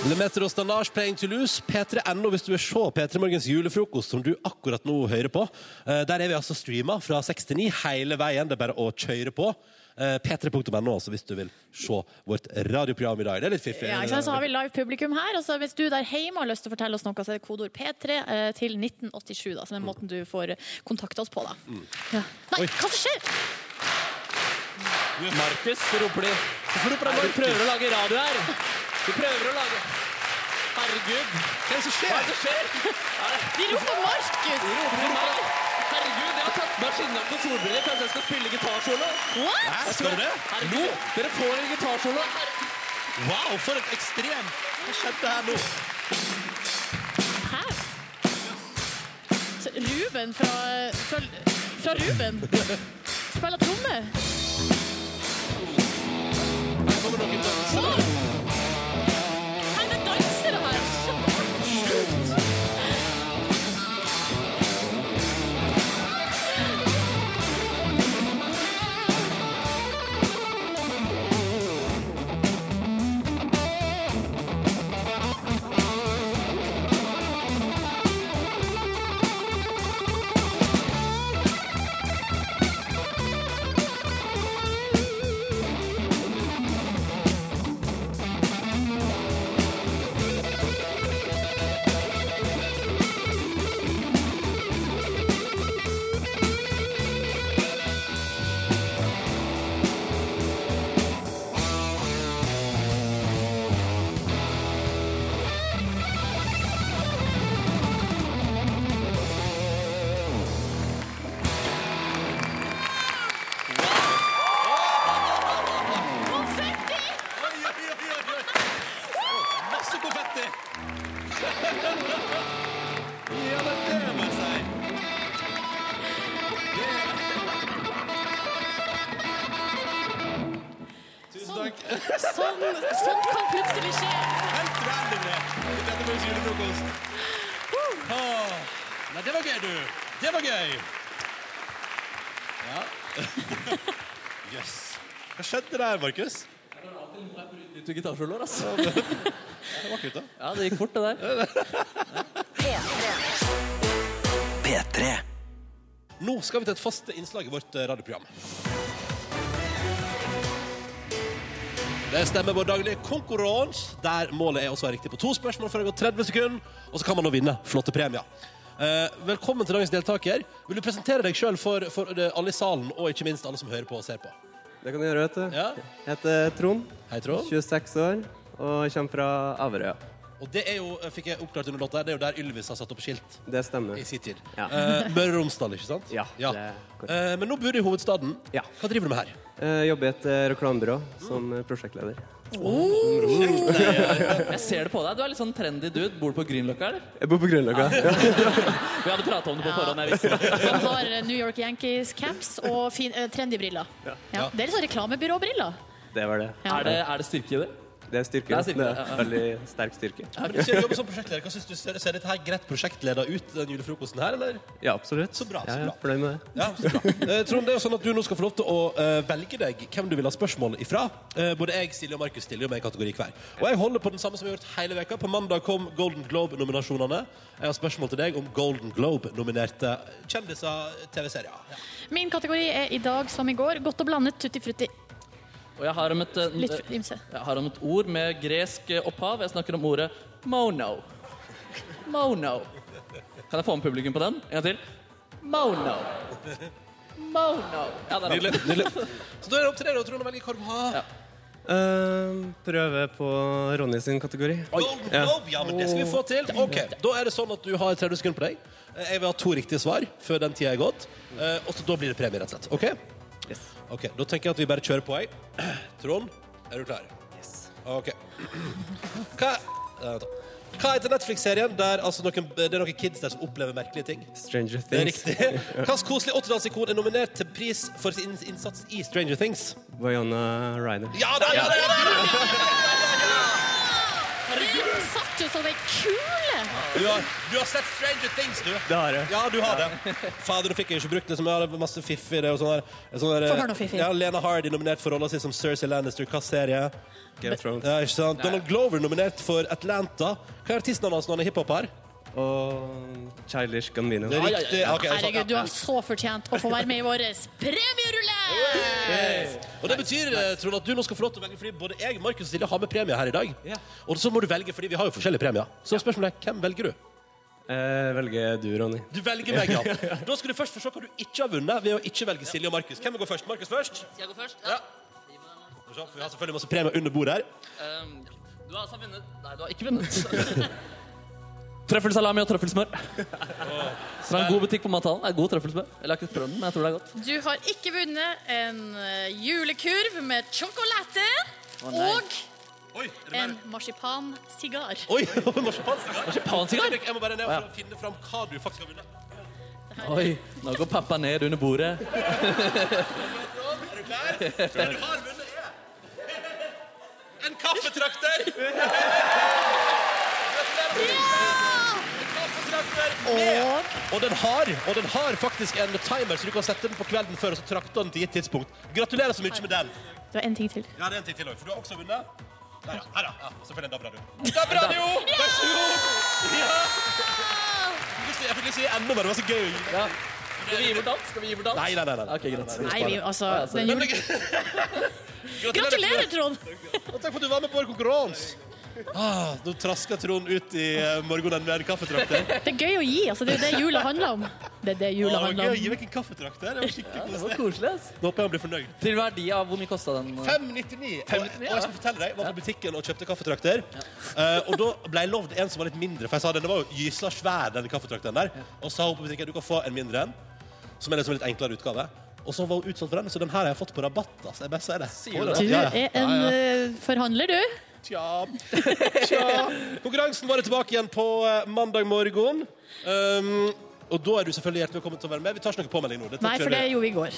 B: Le Metre og Standage playing to lose. P3.no hvis du vil se P3 Morgens julefrokost, som du akkurat nå hører på. Eh, Der er vi altså streama fra 6 til 9 hele veien. Det er bare å kjøre på. Eh, P3.no altså hvis du vil se vårt radioprogram i dag. Det er litt fiffig.
C: Ja, ikke sant? Så har vi live publikum her. Og så hvis du der hjemme har lyst til å fortelle oss noe, så er det kodeord P3 eh, til 1987. Da, som er måten du får kontakte oss på. da.
B: Mm.
C: Nei, hva som skjer?
D: Markus, roper de. Nei, vi prøver å lage radio her. Vi prøver å lage Herregud.
B: Hva er det som skjer?
D: Hva er det som skjer? Er det-
C: De roper Markus!
D: De roper til meg. Herregud, jeg har tatt på meg skinnjakke og solbriller. Kanskje jeg skal spille gitarsolo?
C: What?
B: Hæ, skal du det?
D: Herregud, dere får en gitarsolo.
B: Wow, for et ekstrem Hva skjedde her nå?
C: Hæ? Så Ruben fra, fra, fra Ruben spiller tromme. Wow! Nei, det danser det her. Konfetti!
B: Oi, oi, oi, oi, oi. Å, Masse konfetti! Ja, men det må jeg si. Tusen takk.
C: Sånn, sånn kan plutselig skje.
B: Helt random, det. I Dette var julefrokost. Åh, Nei, det var gøy, du. Det var gøy. Ja. Jøss. Hva skjedde der, Markus?
D: Litt gitarsoloer, altså. Det
B: var kult, da.
D: Ja, det gikk fort, det der.
B: P3. Nå skal vi til et fast innslag i vårt eh, radioprogram. Det stemmer vår daglige konkurranse, der målet er å svare riktig på to spørsmål før det går 30 sekunder, og så kan man nå vinne flotte premier. Eh, velkommen til dagens deltaker. Vil du presentere deg sjøl for, for eh, alle i salen, og ikke minst alle som hører på og ser på?
L: Det kan du gjøre, vet du. Jeg heter Trond.
B: Hei, Trond.
L: 26 år og jeg kommer fra Averøya.
B: Og det er jo, eh, fikk jeg oppklart under låta, her, det er jo der Ylvis har satt opp skilt.
L: Det stemmer.
B: I sin tid.
L: Ja.
B: Eh, Møre og Romsdal, ikke sant?
L: Ja.
B: Ja. Eh, men nå bor du i hovedstaden. Hva driver du med her?
L: Jeg jobber i et eh, reklamebyrå som eh, prosjektleder.
D: Uh! Jeg ser det på deg. Du er litt sånn trendy dude. Bor du på Grünerløkka, eller?
L: Jeg bor på Grünerløkka.
D: Vi hadde prata om det på forhånd. jeg visste det.
C: Han har eh, New York Yankees-caps og fin, eh, trendy briller. Ja. Det er litt sånn reklamebyråbriller.
L: Det var det.
C: Ja. Er det-
D: styrke i det?
L: Det er styrke.
D: Det er
L: Det
D: styrke,
L: er,
D: ja, ja.
L: Veldig sterk styrke.
B: Men du ser, jobber som prosjektleder. Hva synes du? Ser, ser dette her greit prosjektleder ut, den julefrokosten her, eller?
L: Ja, absolutt.
B: Så bra, så
L: Ja, ja,
B: bra.
L: fornøyd med det.
B: Ja, så bra. Eh, Trond, det er jo sånn at du nå skal få lov til å eh, velge deg hvem du vil ha spørsmål ifra. Eh, både jeg, Silje og Markus stiller jo med en kategori hver. Og jeg holder på den samme som jeg har gjort hele veka. På mandag kom Golden Globe-nominasjonene. Jeg har spørsmål til deg om Golden Globe-nominerte kjendiser, TV-serier. Ja.
C: Min kategori er i dag som i går. Godt og blandet tutti frutti.
D: Og jeg har om et, eh,
C: Litt ymse.
D: jeg har om et ord med gresk eh, opphav. Jeg snakker om ordet mono. Mono. Kan jeg få med publikum på den? En gang til. Mono. Mono. Ja, der har vi den.
B: Nydelig. nydelig. Så da er det opp til deg, da, Trond, å velge hva du vil ha.
L: Eh, prøve på Ronny sin kategori.
B: Golden Globe, ja, men det skal vi få til. Ok, Da er det sånn at du har 30 sekunder på deg. Eh, Jeg vil ha to riktige svar før den tida er gått. Eh, Og så da blir det premie, rett og slett. Ok? Ok, Da tenker jeg at vi bare kjører på, jeg. Trond, er du klar? Yes. Ok. Hva eh, vent da. Hva heter Netflix-serien der altså, noen, det er noen kids der som opplever merkelige ting?
L: Stranger
B: Det er
L: Things.
B: riktig. Hvilket koselig 80-tallsikon er nominert til pris for sin innsats i Stranger Things?
L: Wayona Ryder.
B: Ja, der, ja, der, ja, der, ja, der, ja, der, ja, der, ja.
C: Den satt jo som ei kule!
B: Du har, du har sett Stranger Things, du.
L: Det har jeg.
B: Ja, du har det. Fader, du fikk jo ikke brukt det som jeg hadde masse fiff i det. Og sånn der, sånn der,
C: Få høre noe fiff i.
B: ja, Lena Hardy nominert for rolla si som Cersei Lannister. Hva serie?
L: Game of Thrones.
B: Ja, ikke sant?
L: Nei.
B: Donald Glover nominert for Atlanta. Hva er artisten hans når han er hiphop her?
L: Og Childish Gambino.
B: Det er riktig. Ok, sånn.
C: Herregud, du har så fortjent å få være med i vår premierulett!
B: Og det betyr eh, Trond, at du nå skal få lov til å velge, fordi både jeg Markus og Silje har med premie her i dag. Og så må du velge, fordi vi har jo forskjellige premier. Så spørsmålet er hvem velger du?
L: Eh, velger du, Ronny.
B: Du velger meg, ja. Da skal du først få se hva du ikke har vunnet ved å ikke velge Silje og Markus. Hvem vil gå først? Markus først?
M: Skal jeg gå først? Ja.
B: Skal vi se, for Vi har selvfølgelig masse premier under bordet her.
M: Ehm, du har altså vunnet Nei, du har ikke vunnet.
D: Trøffelsalami og trøffelsmør. Fra en god butikk på Mathallen. Det er god trøffelsmør. Eller jeg har ikke prøvd den, men jeg tror det er godt.
C: Du har ikke vunnet en eh, julekurv med sjokolade
D: Å, nei.
C: og en marsipansigar.
B: Oi, marsipansigar?
D: Marsipansigar?
B: Jeg må bare ned og
D: Å, ja.
B: finne fram hva du faktisk har vunnet.
D: Oi, nå går pappa ned under bordet.
B: Er du klar? Det du har vunnet, er en kaffetrakter!
C: Og
B: Og den har, og den har faktisk en timer, så du kan sette den på kvelden før, og så trakter den til gitt tidspunkt. Gratulerer så mye med den.
C: det var en ting til.
B: Ja, det er en ting til også, for du har også vunnet. Der, ja. Her, ja. ja. Selvfølgelig en DAB-radio. DAB-radio! Vær så god! Ja! Jeg fikk lyst til- Jeg fikk lyst til å gi enda mer, det var så gøy.
D: Skal vi gi bort alt? Skal vi gi bort alt?
B: Nei, nei, nei. nei.
D: Ok, greit.
C: Nei, vi, altså,
B: Ja, altså.
C: den jul... Gratulerer, Trond!
B: Og takk for at du var med på vår konkurranse. Ah, nå trasker Trond ut i eh, morgenen med en kaffetrakter.
C: Det er gøy å gi. altså Det er jo det jula handler om. Det er det
B: Å,
C: jula
B: det var gøy
C: handler
B: å gi
C: om.
B: vekk en kaffetrakter. Det var skikkelig
D: Det
B: koselig.
D: var koselig, ass.
B: Nå håper jeg han blir fornøyd.
D: Til verdi av hvor mye kosta den?
B: 599. Og, og jeg skal fortelle deg, jeg var på butikken og kjøpte kaffetrakter. Eh, og da ble jeg lovd en som var litt mindre, for jeg sa den var jo gysla svær, den kaffetrakteren der. Og så sa hun på butikken du kan få en mindre en, som er liksom en litt enklere utgave. Og så var hun utsolgt for den, så den her har jeg fått på rabatt. Altså. Jeg bare sier det. På rabatt,
C: Du
B: ja,
C: er
B: ja.
C: en
B: Ja, ja.
C: eh, forhandler, du.
B: Tja. Konkurransen vår er tilbake igjen på eh, mandag morgen. Um, og da er du selvfølgelig hjertelig velkommen til å være med. Vi tar ikke noen påmelding nå. Dette
C: Nei,
B: tror
C: for
B: jeg
C: det
B: du-
C: gjorde vi i går.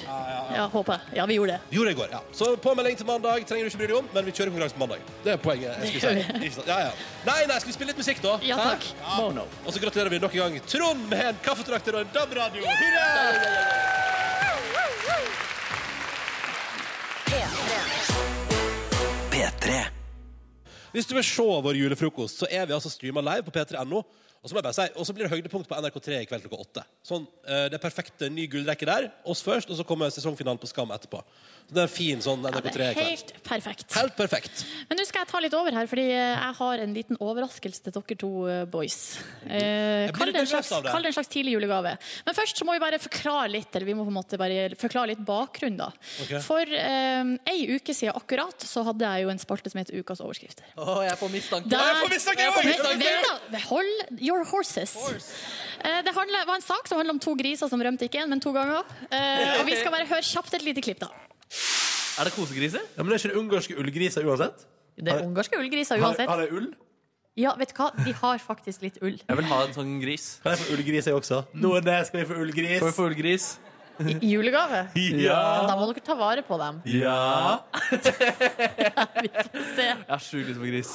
C: Ja, håper jeg. Ja, vi gjorde det.
B: Gjorde jeg i går, ja. Så påmelding til mandag trenger du ikke bry deg om, men vi kjører konkurranse på mandag. Det er poenget. jeg skulle si. Ikke sant? Ja, ja. Nei, nei, skal vi spille litt musikk, da?
C: Ja,
B: Hæ?
C: takk.
B: Ja. Og så gratulerer vi nok en gang Trond med en kaffetrakter og en DAB-radio. Hurra! Hvis du vil se vår julefrokost, så er vi altså streama live på p3.no. Og så må jeg bare si, og så blir det høydepunkt på NRK3 i kveld klokka åtte. Sånn, eh, det er perfekte ny gullrekke der. Oss først, og så kommer sesongfinalen på Skam etterpå. Så det er en fin sånn
C: Det
B: NRK3 i
C: er
B: kveld.
C: helt perfekt.
B: Helt perfekt.
C: Men nå skal jeg ta litt over her, fordi eh, jeg har en liten overraskelse til dere to eh, boys. Eh,
B: Jeg blir
C: kall, det en
B: nervøs
C: slags,
B: av det.
C: kall det en slags tidlig julegave. Men først så må vi bare forklare litt, eller vi må på en måte bare forklare litt bakgrunn, da.
D: Ok.
C: For eh, ei uke siden akkurat så hadde jeg jo en spalte som het Ukas overskrifter.
D: Å, jeg får mistanke.
C: Der-
D: Jeg får mistanke!
C: Jeg
D: jeg
C: får
D: får
C: mistanke.
D: mistanke.
C: Vent da, Hold your horses. Eh, Det handler, var en sak som handlet om to griser som rømte ikke én, men to ganger. Eh, Og vi skal bare høre kjapt et lite klipp, da.
D: Er det kosegriser?
N: Ja, men det er ikke det ungarske ullgriser uansett?
C: Det er ungarske ullgriser uansett.
N: Har, har de ull?
C: Ja, vet du hva? De har faktisk litt ull.
D: Jeg vil ha en sånn gris.
N: Kan jeg få ullgris, jeg også? Nordnes, skal vi få ullgris?
D: Får vi få ullgris?
C: I i julegave?
N: Ja.
C: Da må dere ta vare på dem.
D: Ja.
C: Se.
D: Jeg har sjukt lyst på gris.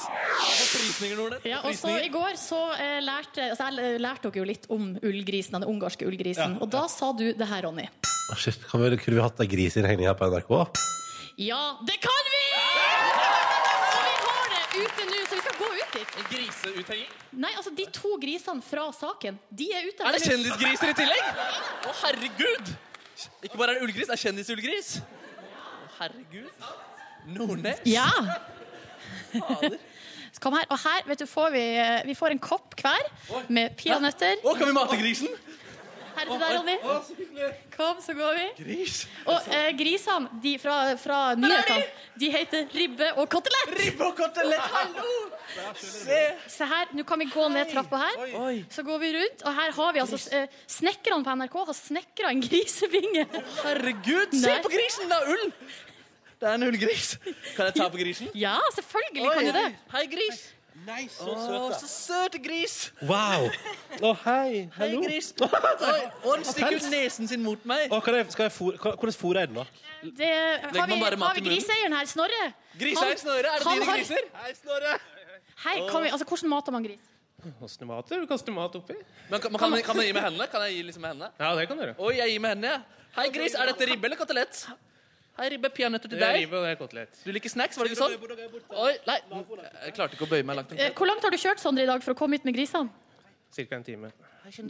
C: Ja, og så I går så eh, lærte altså, jeg l- lærte dere jo litt om ullgrisen, den ungarske ullgrisen. Og da sa du det her, Ronny.
N: Å, shit, kan vi, kunne vi hatt en grisinnhegning her på NRK?
C: Ja, det kan vi! Og vi har det ute nå, så vi skal gå ut dit.
D: Griseuthenging?
C: Nei, altså, de to grisene fra saken, de er ute.
D: Er det kjendisgriser i tillegg? Å, herregud! Ikke bare er det ullgris, det er kjendisullgris. Å, herregud. Nordnes?
C: Ja. Så kom her, og her vet du, får vi, eh, vi får en kopp hver med peanøtter.
D: Å, kan vi mate grisen?
C: Her er det der, Ronny. Kom, så går vi.
D: Gris?
C: Og eh, grisene de fra, fra nyhetene, de heter ribbe og kotelett. Ribbe og kotelett, hallo! Se, her, nå kan vi gå ned trappa her. Så går vi rundt, og her har vi altså eh, Snekkerne på NRK har snekra en grisevinge.
D: herregud, se på grisen, det er ull! Det er en ullgris. Kan jeg ta på grisen?
C: Ja, selvfølgelig kan du det.
D: Hei, gris.
B: Nei,
O: Å, så søte gris!
B: Wow. Å, hei.
O: Hei,
B: Hallo.
O: gris. Oi, og den stikker ut nesen sin mot meg.
B: Å, kan jeg, skal jeg fôr- hva- hvordan fôrer jeg den, da?
C: Det, har
B: man
C: vi,
B: bare mat
C: har vi
B: i munnen?
C: griseieren her, Snorre?
O: Griseier,
C: Han-
O: Snorre, er det
C: han
O: dine
C: har-
O: griser? Hei, Snorre.
C: Hei, kan vi, altså, hvordan mater man gris?
L: Kaste mat, du kaster mat oppi.
D: Men kan, man kan, kan jeg gi med hendene? Kan jeg gi liksom med hendene?
L: Ja, det kan du gjøre.
D: Oi, jeg gir med hendene, jeg. Hei, gris, er dette ribbe eller kotelett? Hei, ribbe. Peanøtter til
L: Det er
D: deg.
L: ribbe og det er kotelett.
D: Du liker snacks, var det ikke sånn? Oi, nei. Jeg klarte ikke å bøye meg langt.
C: Eh, Hvor langt har du kjørt, Sondre, i dag for å komme hit med grisene?
L: Cirka en time.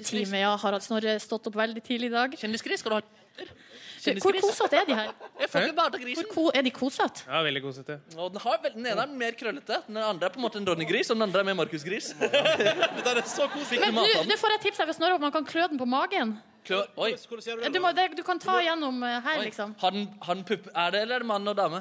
C: Time, ja. Harald Snorre stått opp veldig tidlig i dag.
D: Kjendisgris skal du ha.
C: Hvor kosete er de her?
D: Jeg får ikke bada grisen.
C: Hvor ko er de kosete?
L: Ja, veldig kosete.
D: Og den, har vel, den ene er mer krøllete. Den andre er på en måte en Ronny-gris, og den andre er mer Markus-gris. Men det er så koselig.
C: Men du, nå får jeg tips her fra Snorre om man kan klø den på magen.
D: Klø, oi.
C: Du, må, det, du kan ta gjennom eh, her,
D: Oi.
C: liksom.
D: Har den, har den pupp? Er det eller er det mann og dame?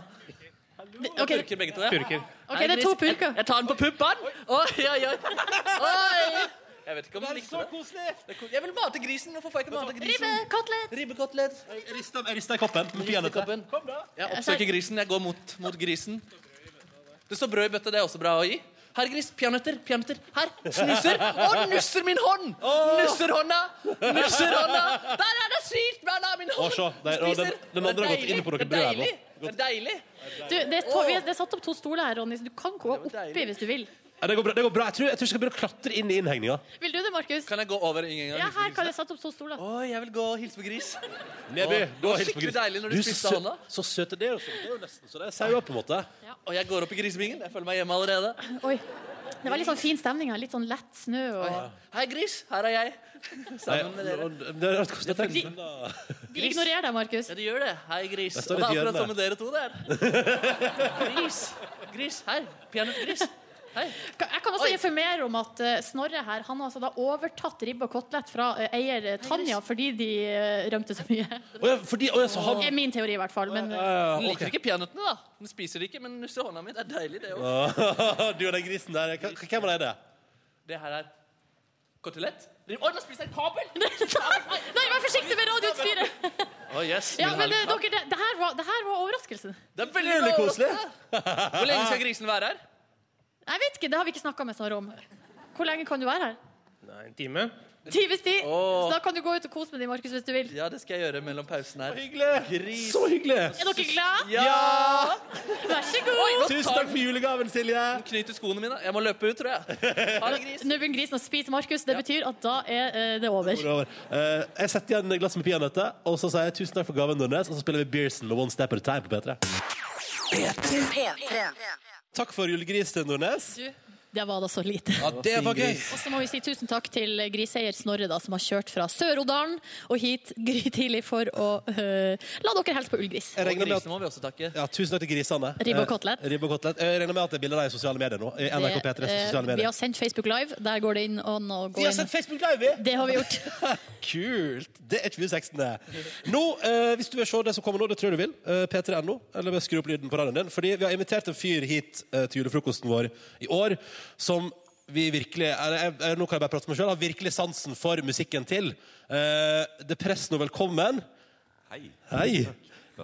C: ok.
D: Purker begge to, ja.
L: Purker.
C: Ok, det er to purker.
D: Jeg, jeg tar den på puppene. Oi, oi, oi. oi. Jeg vet ikke om du likte det. Det er ko- Jeg vil mate grisen. Hvorfor får jeg ikke mate grisen?
C: Ribbekotelett.
D: Ribbekotelett.
B: Jeg rister, jeg rister i koppen. med peanøtter.
D: Kom da. Jeg oppsøker grisen. Jeg går mot, mot grisen. Det står brød i bøtta. Det er også bra å gi. Her, gris. Peanøtter. Peanøtter. Her. Snuser. Å, nusser min hånd! Nusser hånda! Nusser hånda! Der er det sylt! Hva er det, min
B: Å,
D: hånd?
B: se, der, og den, den andre har gått inn på noe brød. her nå.
D: Det er deilig.
C: Du, det, er to, vi har, det er satt opp to stoler her, Ronny, så du kan gå oppi hvis du vil.
B: Ja, det går bra. Det går bra. Jeg, tror, jeg tror jeg skal begynne å klatre inn i innhegninga.
C: Vil du det, Markus?
D: Kan jeg gå over inngangen?
C: Ja, her kan jeg sette opp to stoler.
D: Å, jeg vil gå og hilse på gris.
B: Neby, du har
D: Å, det var
B: helt på
D: skikkelig
B: gris.
D: deilig når du,
B: er
D: spiste
B: sø-
D: hånda.
B: Så søt er det også. Det er jo nesten så det er sauer, på en måte.
D: Og jeg går opp i grisebingen. Jeg føler meg hjemme allerede.
C: Oi. Det var litt sånn fin stemning her. Litt sånn lett snø og
D: Hei, gris. Her er jeg. Sammen med dere.
B: Det er liksom, rart hvordan jeg tenker.
C: De ignorerer deg, Markus.
D: Ja, de gjør det. Hei, gris.
B: Jeg
D: Og
B: står
D: det er
B: litt i
D: akkurat
B: hjørnet.
D: som med dere to der. Gris. Gris. Her. Peanøttgris. Hei.
C: Jeg kan også informere om at eh, Snorre her Han har altså da overtatt ribbe og kotelett fra eh, eier eh, Tanja fordi de eh, rømte så mye. Det er min teori, i hvert fall. Men eh,
D: Den liker ikke peanøttene, da. Den spiser de ikke, men nusser hånda mi. Det er deilig, det òg.
B: Åh, Du og den grisen der. Hva- Hvem var det? det?
D: Det her er kotelett. Oi, nå spiser jeg et kabel!
C: Nei, vær forsiktig med radioutstyret!
D: Å, yes.
C: Ja,
D: min
C: men det,
D: helse.
C: dere, det, det, her var, det her var overraskelsen.
D: Det er veldig bra
B: koselig.
D: overraskende. Hvor lenge skal grisen være her?
C: Jeg vet ikke, det har vi ikke snakka med Snorre om. Hvor lenge kan du være her?
L: Nei, en time.
C: Times ti.
D: Åh.
C: Så da kan du gå ut og kose med dem, Markus, hvis du vil.
D: Ja, det skal jeg gjøre mellom pausen her. Gris.
B: Så hyggelig!
C: Er dere glad?
D: Ja!
C: Vær så god.
B: Tusen takk for julegaven, Silje.
D: Den knyter skoene mine. Jeg må løpe ut, tror jeg. Ha det, gris.
C: Nå begynner grisen å spise Markus. Det betyr at da er eh, det over.
B: Over, over. Eh, jeg setter igjen et glass med peanøtter, og så sier jeg tusen takk for gaven, Nordnes, og så spiller vi Beerson med One Step at a Time på P3.
A: P3.
B: Takk for julegris til Nordnes.
C: Det var da så lite.
B: Ja, det var gøy.
C: Og så må vi si tusen takk til griseier Snorre, da, som har kjørt fra Sør-Odalen og hit grytidlig for å eh, la dere hilse på ullgris.
B: Jeg regner med at-
D: Grisene må vi også takke.
B: Ja, tusen takk til grisene.
C: Ribbe og kotelett.
B: Eh, Ribbe og kotelett. Jeg regner med at det er bilder av deg i sosiale medier nå. I NRK
C: Det,
B: P3
C: eh,
B: sosiale medier.
C: Vi har sendt Facebook Live. Der går det inn an å gå
B: Vi har
C: inn.
B: sendt Facebook Live, vi!
C: Det har vi gjort.
B: Kult! Det er 2016, det. Nå, eh, hvis du vil se det som kommer nå, det tror jeg du vil, eh, p3.no, eller bare skru opp lyden på radioen din, fordi vi har invitert en fyr hit eh, til julefrokosten vår i år som vi virkelig, eller jeg, jeg, nå kan jeg bare prate for meg selv, har virkelig sansen for musikken til. Eh, det presser nå velkommen. Hei.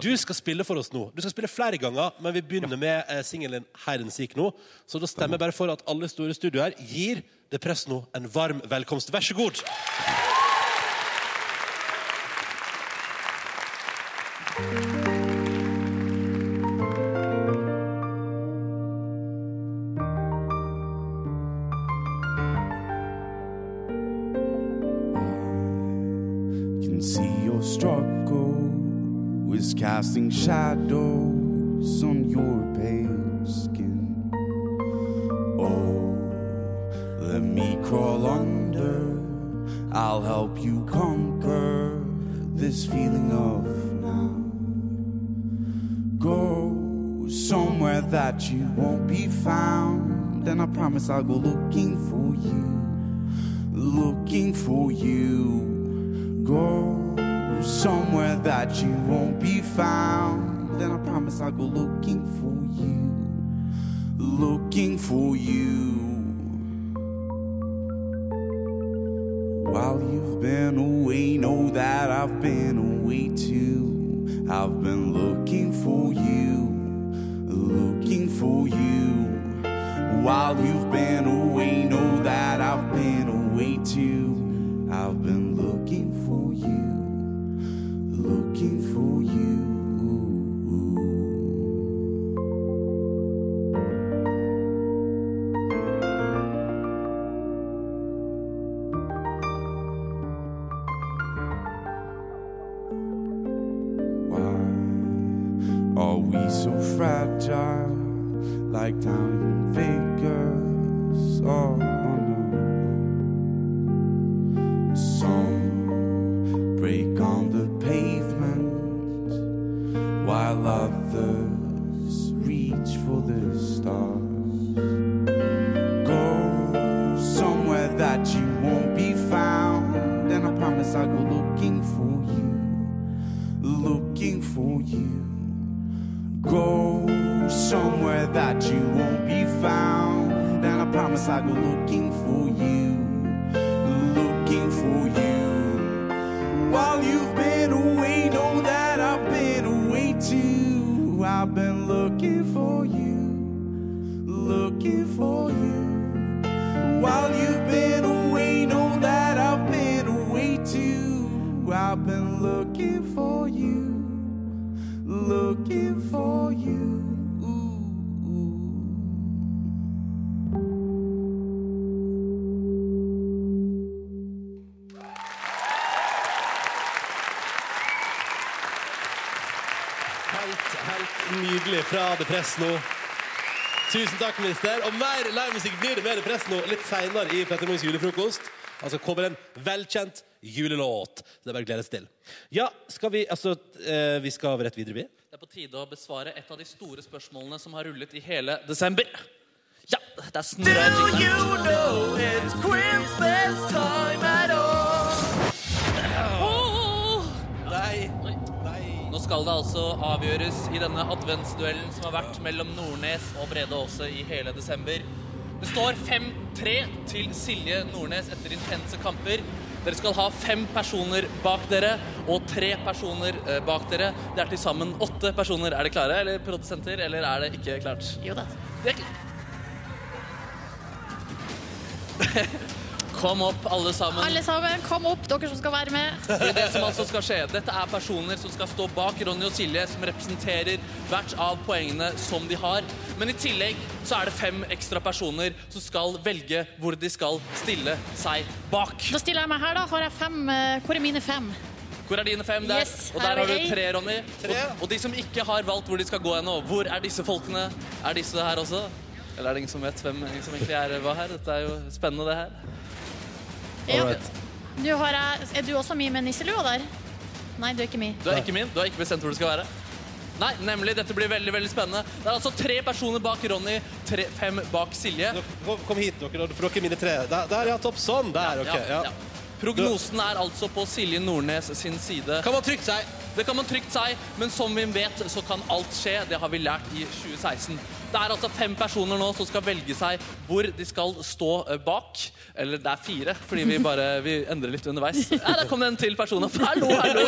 B: Du skal spille for oss nå. Du skal spille flere ganger, men vi begynner med eh, singelen 'Herrens gikk' nå. Så da stemmer jeg bare for at alle store studioer gir det press nå en varm velkomst. Vær så god.
P: can see your struggle is casting shadows on your pale skin. Oh, let me crawl under. I'll help you conquer this feeling of now. Go somewhere that you won't be found, and I promise I'll go looking for you. Looking for you go somewhere that you won't be found. Then I promise I'll go looking for you, looking for you. While you've been away, know that I've been away too. I've been looking for you, looking for you. While you've been away, know that I've been away too. I've been looking for you, looking for you. Are we so fragile like time figures? Oh, no. Some break on the pavement while others reach for the stars. Go somewhere that you won't be found, and I promise I'll go looking for you, looking for you. Go somewhere that you won't be found. And I promise I'll go looking for you. Looking for you. While you've been away, know that I've been away too. I've been looking for you. Looking for you. While you've been away, know that I've been away too. I've been looking for you looking for you.
B: Helt, helt nydelig fra The Press nå. Tusen takk, minister. Og mer livemusikk blir det med The Press nå litt senere i Petter Moes julefrokost. Han skal covre en velkjent julelåt. Det er bare å glede seg til. Ja, skal vi Altså, eh, vi skal rett videre, vi.
D: Det er på tide å besvare et av de store spørsmålene som har rullet i hele desember. Ja, det er snurra
O: Do you know it's Christmas time at all?
D: Nei. Nå skal det altså avgjøres i denne adventsduellen som har vært mellom Nordnes og Brede Aase i hele desember. Det står 5-3 til Silje Nordnes etter intense kamper. Dere skal ha fem personer bak dere og tre personer eh, bak dere. Det er til sammen åtte personer. Er det klare, eller produsenter, eller er det ikke klart? Jo da. Det er Kom opp, alle sammen.
C: Alle sammen, kom opp, dere som skal være med.
D: Fordi det som altså skal skje, Dette er personer som skal stå bak Ronny og Silje, som representerer hvert av poengene som de har. Men i tillegg så er det fem ekstra personer som skal velge hvor de skal stille seg bak.
C: Da stiller jeg meg her, da. Har jeg fem eh, Hvor er mine fem?
D: Hvor er dine fem der?
C: Yes,
D: og
C: her
D: der
C: er
D: har du
C: jeg.
D: tre, Ronny. Og, og de som ikke har valgt hvor de skal gå ennå, hvor er disse folkene? Er disse her også? Eller er det ingen som vet hvem som egentlig er hva her? Dette er jo spennende, det her.
C: Ja. Nå har jeg Er du også mi med nisselua der? Nei, du er ikke mi.
D: Du er ikke min. Du har ikke bestemt hvor du skal være. Nei, nemlig. Dette blir veldig veldig spennende. Det er altså tre personer bak Ronny, tre, fem bak Silje.
B: Kom, kom hit, dere, for dere er mine tre. Der, der ja, topp. Sånn. Der, OK. Ja.
D: ja. Prognosen er altså på Silje Nordnes sin side.
B: Kan man trygt seg?
D: Det kan man trygt seg, men som vi vet, så kan alt skje. Det har vi lært i 2016. Det er altså fem personer nå som skal velge seg hvor de skal stå eh, bak. Eller det er fire, fordi vi bare vi endrer litt underveis. Ja, der kom det en til person opp. Hallo, hallo!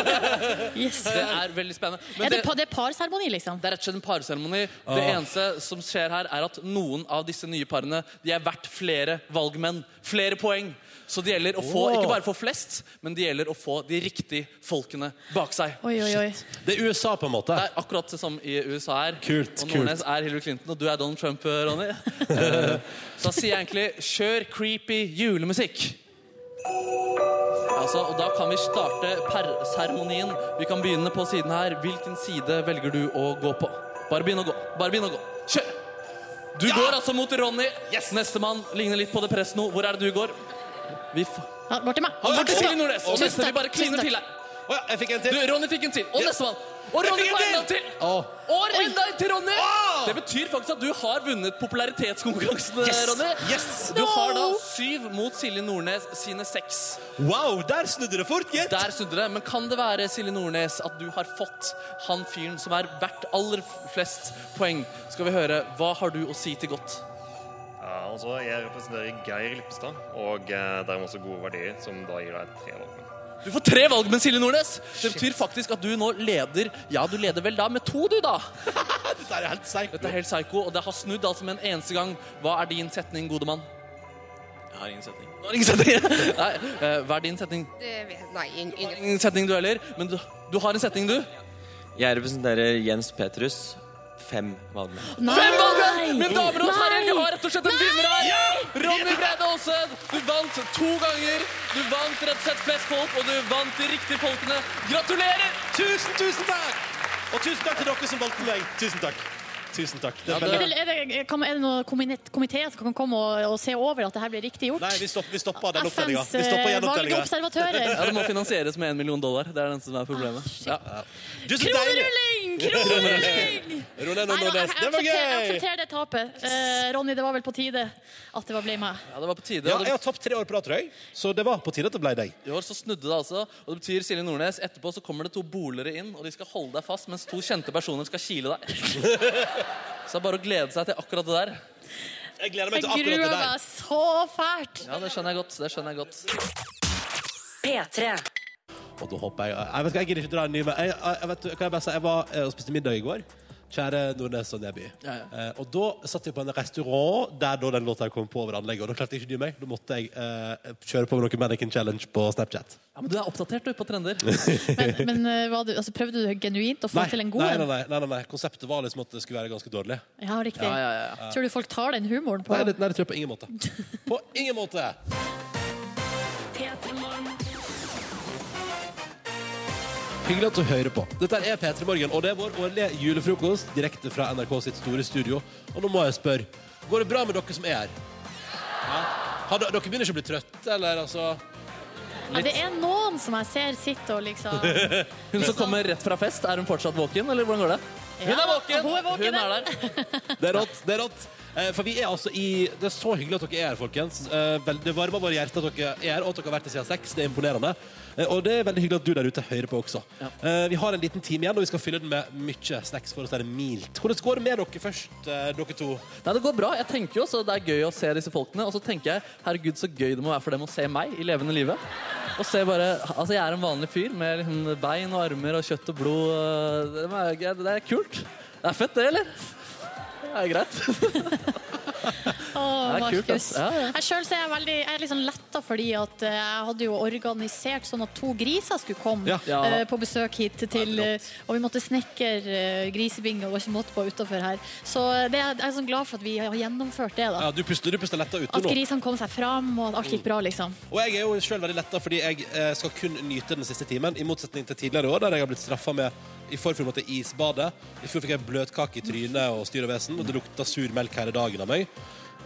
D: Det er veldig spennende. Men
C: er det, pa- det er parseremoni, liksom?
D: Det er rett og slett en parseremoni. Det
C: Ah.
D: eneste som skjer her, er at noen av disse nye parene de er verdt flere valgmenn. Flere poeng. Så det gjelder å få
B: Åh.
D: ikke bare få flest, men det gjelder å få de riktige folkene bak seg.
C: Oi, oi, oi.
B: Det er USA, på en måte.
D: Det er akkurat det samme i USA her.
B: Kult,
D: og
B: kult.
D: Nordnes er Hillary Clinton, og du er Donald Trump, Ronny. Eh, Så da sier jeg egentlig 'kjør creepy julemusikk'. Altså, og Da kan vi starte parseremonien. Vi kan begynne på siden her. Hvilken side velger du å gå på? Bare begynn å gå. Bare begynn å gå. Kjør! Du går altså mot Ronny. Yes! Nestemann ligner litt på det presset nå. Hvor er det du går? Vi f
C: Han går til meg.
D: Han går til Silje Nordnes. Og
C: Tusen
D: neste, vi
C: takk,
D: bare
C: tusen
D: kliner
C: takk.
D: til her.
B: jeg fikk en til.
D: Du, Ronny fikk en til. Og nestemann. Og
O: Jeg
D: Ronny
O: fikk en
D: får
O: til!
D: enda en til. Og enda en til, Ronny! Det betyr faktisk at du har vunnet popularitetskonkurransen,
O: Yes!
D: Ronny.
O: Yes!
D: Du har
O: No!
D: da syv mot Silje Nordnes sine seks.
B: Wow, der snudde det fort, gitt.
D: Der snudde det. Men kan det være, Silje Nordnes, at du har fått han fyren som er verdt aller flest poeng? Skal vi høre. Hva har du å si til godt?
Q: Ja, altså, jeg representerer Geir Lippestad, og eh, dermed også gode verdier, som da gir deg tre valgmenn.
D: Du får tre valg, men Silje Nordnes! Det betyr faktisk at du nå leder Ja, du leder vel da med to, du, da! Dette er helt psycho. Dette er helt psycho, Og det har snudd altså med en eneste gang. Hva er din setning, gode mann?
H: Jeg har ingen setning.
D: Du har ingen setning. Nei, eh, hva er din setning?
Q: Det vet- Nei, ing- ingen.
D: Ingen setning du heller, men du, du har en setning, du.
R: Jeg representerer Jens Petrus. Fem valgmenn.
D: Fem valgmenn! Men damer og herrer, vi
O: Nei!
D: har rett og slett en vinner her! Ronny Breide Aased, du vant to ganger. Du vant rett og slett flest folk, og du vant de riktige folkene. Gratulerer!
B: Tusen, tusen takk! Og tusen takk til dere som valgte meg. Tusen takk. Tusen takk. Det er
C: Er
B: veldig-
C: det, er det, kan, er det noen komite- komité som kan komme og, og se over at det her blir riktig gjort?
B: Nei, vi stopper, vi stopper den opptellinga.
C: FNs
B: Vi stopper
C: eh,
B: gjenopptellinga.
C: valgobservatører.
D: Ja, det må finansieres med en million dollar. Det er den som er problemet. Ja.
B: Du, så
C: Kronerulling! Kronerulling!
B: Ronny
C: Nei, da, jeg
B: Nordnes, det var
C: aksepterer- Jeg
B: gøy!
C: aksepterer det tapet. Eh, Ronny, det var vel på tide at det var ble meg.
D: Ja, det var på tide.
B: Ja, jeg har tapt tre år på rad, tror jeg. Så det var på tide at det ble deg.
D: I år så snudde det altså, og det betyr Silje Nordnes, etterpå så kommer det to bolere inn, og de skal holde deg fast mens to kjente personer skal kile deg. Så det er bare å glede seg til akkurat det der.
B: Jeg gleder
C: Jeg gruer meg så fælt.
D: Ja, det skjønner jeg godt. Det skjønner jeg godt.
A: P3.
B: Og da håper jeg Jeg vet ikke, jeg gidder ikke dra en ny men jeg, jeg, jeg vet hva jeg bare sier. Jeg var eh, og spiste middag i går. Kjære Nordnes og Neby. Eh, og da satt vi på en restaurant der da den låta her kom på over anlegget. Og da klarte jeg ikke dy meg. Da måtte jeg eh, kjøre på med noe Mannequin Challenge på Snapchat.
D: Ja, men du er oppdatert du på trender.
C: Men eh, var du, altså, prøvde du genuint å få til en god
B: nei, nei,
C: en?
B: nei, nei, nei, nei. Konseptet var liksom at det skulle være ganske dårlig.
C: Ja, riktig.
B: Ja, ja, ja, ja.
C: Tror du folk tar den humoren på?
B: Nei, det, nei, det tror jeg på ingen måte. På ingen måte! Hyggelig at du hører på. Dette er P3 Morgen, og det er vår årlige julefrokost direkte fra NRK sitt store studio. Og nå må jeg spørre, går det bra med dere som er her? Ja. Har dere, dere begynner ikke å bli trøtte, eller altså
C: Ja, det er noen som jeg ser sitter og liksom
D: Hun som kommer rett fra fest, er hun fortsatt våken, eller hvordan går det? Hun er våken! Hun er, der.
B: Det er rått. det er rått. Eh, For vi er altså i Det er så hyggelig at dere er her, folkens. Eh, vel- Det varmer våre hjerter at dere er her, og at dere har vært her siden seks. Det er imponerende. Eh, Og det er veldig hyggelig at du der ute hører på også. Eh, Vi har en liten time igjen, og vi skal fylle den med mye snacks for oss. Det er mildt. Hvordan går det med dere først, eh, dere to?
D: Nei, det går bra. Jeg tenker jo også det er gøy å se disse folkene. Og så tenker jeg herregud, så gøy det må være for dem å se meg i levende live. Og se bare, altså Jeg er en vanlig fyr med liksom bein og armer og kjøtt og blod. og Det er, gøy. det er kult. Det er fett, det, eller? Det er greit.
C: Å,
D: Det er kult,
C: Markus.
D: ass. Ja, ja.
C: Jeg sjøl er jeg veldig jeg er liksom letta fordi at eh, jeg hadde jo organisert sånn at to griser skulle komme
D: Ja. Ja.
C: eh, på besøk hit til eh, Og vi måtte snekre eh, grisebingo, det var ikke måte på utafor her. Så det er, jeg er sånn glad for at vi har gjennomført det, da.
B: Ja, du puster, du puster letta ute
C: At
B: nå.
C: grisene kom seg fram, og at alt gikk bra, liksom.
B: Og jeg er jo selv veldig letta, fordi jeg eh, skal kun nyte den siste timen. I motsetning til tidligere år, der jeg har blitt straffa med i forfjor måtte jeg isbade. I fjor fikk jeg bløtkake i trynet og styr og vesen, og det lukta sur melk hele dagen av meg.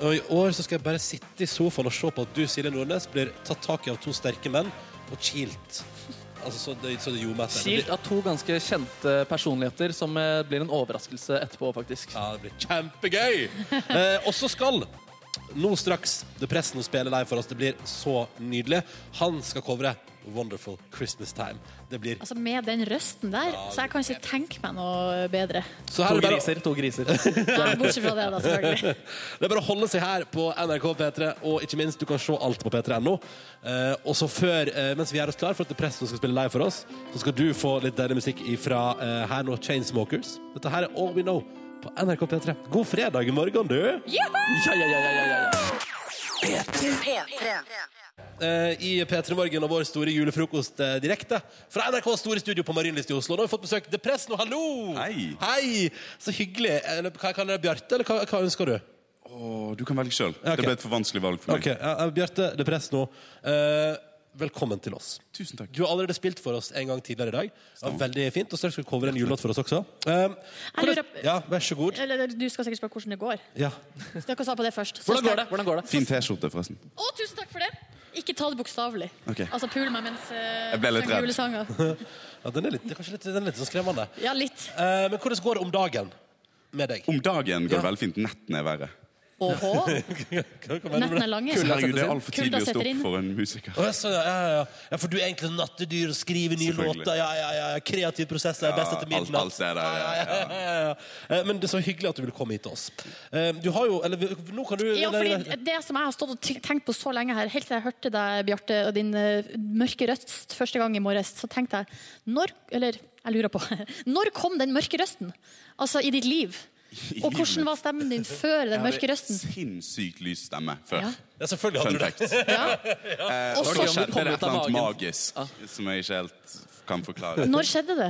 B: Og i år så skal jeg bare sitte i sofaen og se på at du, Silje Nordnes, blir tatt tak i av to sterke menn og kilt. Altså så det, så det gjorde meg etter.
D: Kilt av to ganske kjente personligheter som eh, blir en overraskelse etterpå, faktisk.
B: Ja, det blir kjempegøy! Eh, og så skal nå straks The Pressen spille live for oss. Det blir så nydelig. Han skal covre Wonderful Christmas Time. Det blir
C: Altså Med den røsten der,
B: Ja,
C: så jeg kan ikke tenke meg noe eh, bedre.
B: Så her er
D: to
B: det bare-
D: griser. to griser.
C: Ja, bortsett fra det, da, selvfølgelig.
B: Det er bare å holde seg her på NRK P3, og ikke minst, du kan se alt på p3.no. Eh, og så før, eh, mens vi gjør oss klar for at pressen skal spille live for oss, så skal du få litt deilig musikk fra eh, her nå, Chainsmokers. Dette her er All We Know på NRK P3. God fredag i morgen, du!
D: Ja, ja, ja, ja, ja, ja.
A: P3.
B: Eh, I P3 Morgen og vår store julefrokost eh, direkte fra NRKs store studio på Marienlyst i Oslo. Nå har vi fått besøk av Pressen, og hallo! Hei! Så hyggelig. Eh, Eller hva kaller jeg Bjarte, eller hva, hva ønsker du?
S: Åh, du kan velge sjøl. Det ble et for vanskelig valg for meg.
B: Ok, ja, ja, Bjarte De Presto, eh, velkommen til oss. Tusen takk Du har allerede spilt for oss en gang tidligere i dag. Det var veldig fint, og straks skal du covre en julelåt for oss også. Eh, hvordan- ja, vær så god.
C: Eller du skal sikkert spørre hvordan det går.
B: Ja.
C: Så dere sa på det først. Så
S: Hvordan går
C: skal-
S: det?
D: Hvordan går det?
S: Fin T-skjorte, forresten.
C: Å, tusen takk for det! Ikke ta det bokstavelig.
S: Ok.
C: Altså pul meg mens eh,
S: Jeg ble litt
C: sang
S: redd.
C: julesanger.
B: ja, den er litt, det er kanskje litt, den er litt sånn skremmende.
C: Ja, litt.
B: Eh, men hvordan går det om dagen med deg?
S: Om dagen går det veldig fint. Netten er verre.
C: Åhå. Nettene er lange. Kulda
S: Herregud, det
C: setter
S: er
C: inn.
S: altfor tidlig å
C: Kulda
S: stå
C: setter inn.
S: opp for en musiker.
B: Å, jeg sa, ja, ja, ja. ja, for du er egentlig nattedyr, skriver nye
S: Selvfølgelig.
B: låter. Ja, ja, ja, ja. Kreativ prosess er best etter
S: Ja, alt-
B: midnatt.
S: alt er der, ja, ja,
B: ja, ja, ja. Eh, Men det er så hyggelig at du vil komme hit til oss. Eh, Du har jo Eller vi- nå kan du
C: Ja,
B: eller-
C: fordi Det som jeg har stått og ty- tenkt på så lenge her, helt til jeg hørte deg, Bjarte, og din eh, mørke røst første gang i morges, så tenkte jeg når, Eller jeg lurer på Når kom den mørke røsten? Altså i ditt liv? Og hvordan var stemmen din før den mørke røsten?
S: Sinnssykt lys stemme før.
B: Ja, selvfølgelig
S: hadde du det. Eh,
C: Og
S: og
C: så-
S: så skjedde det et eller annet
C: magen.
S: magisk som jeg ikke helt kan forklare.
C: Når skjedde det?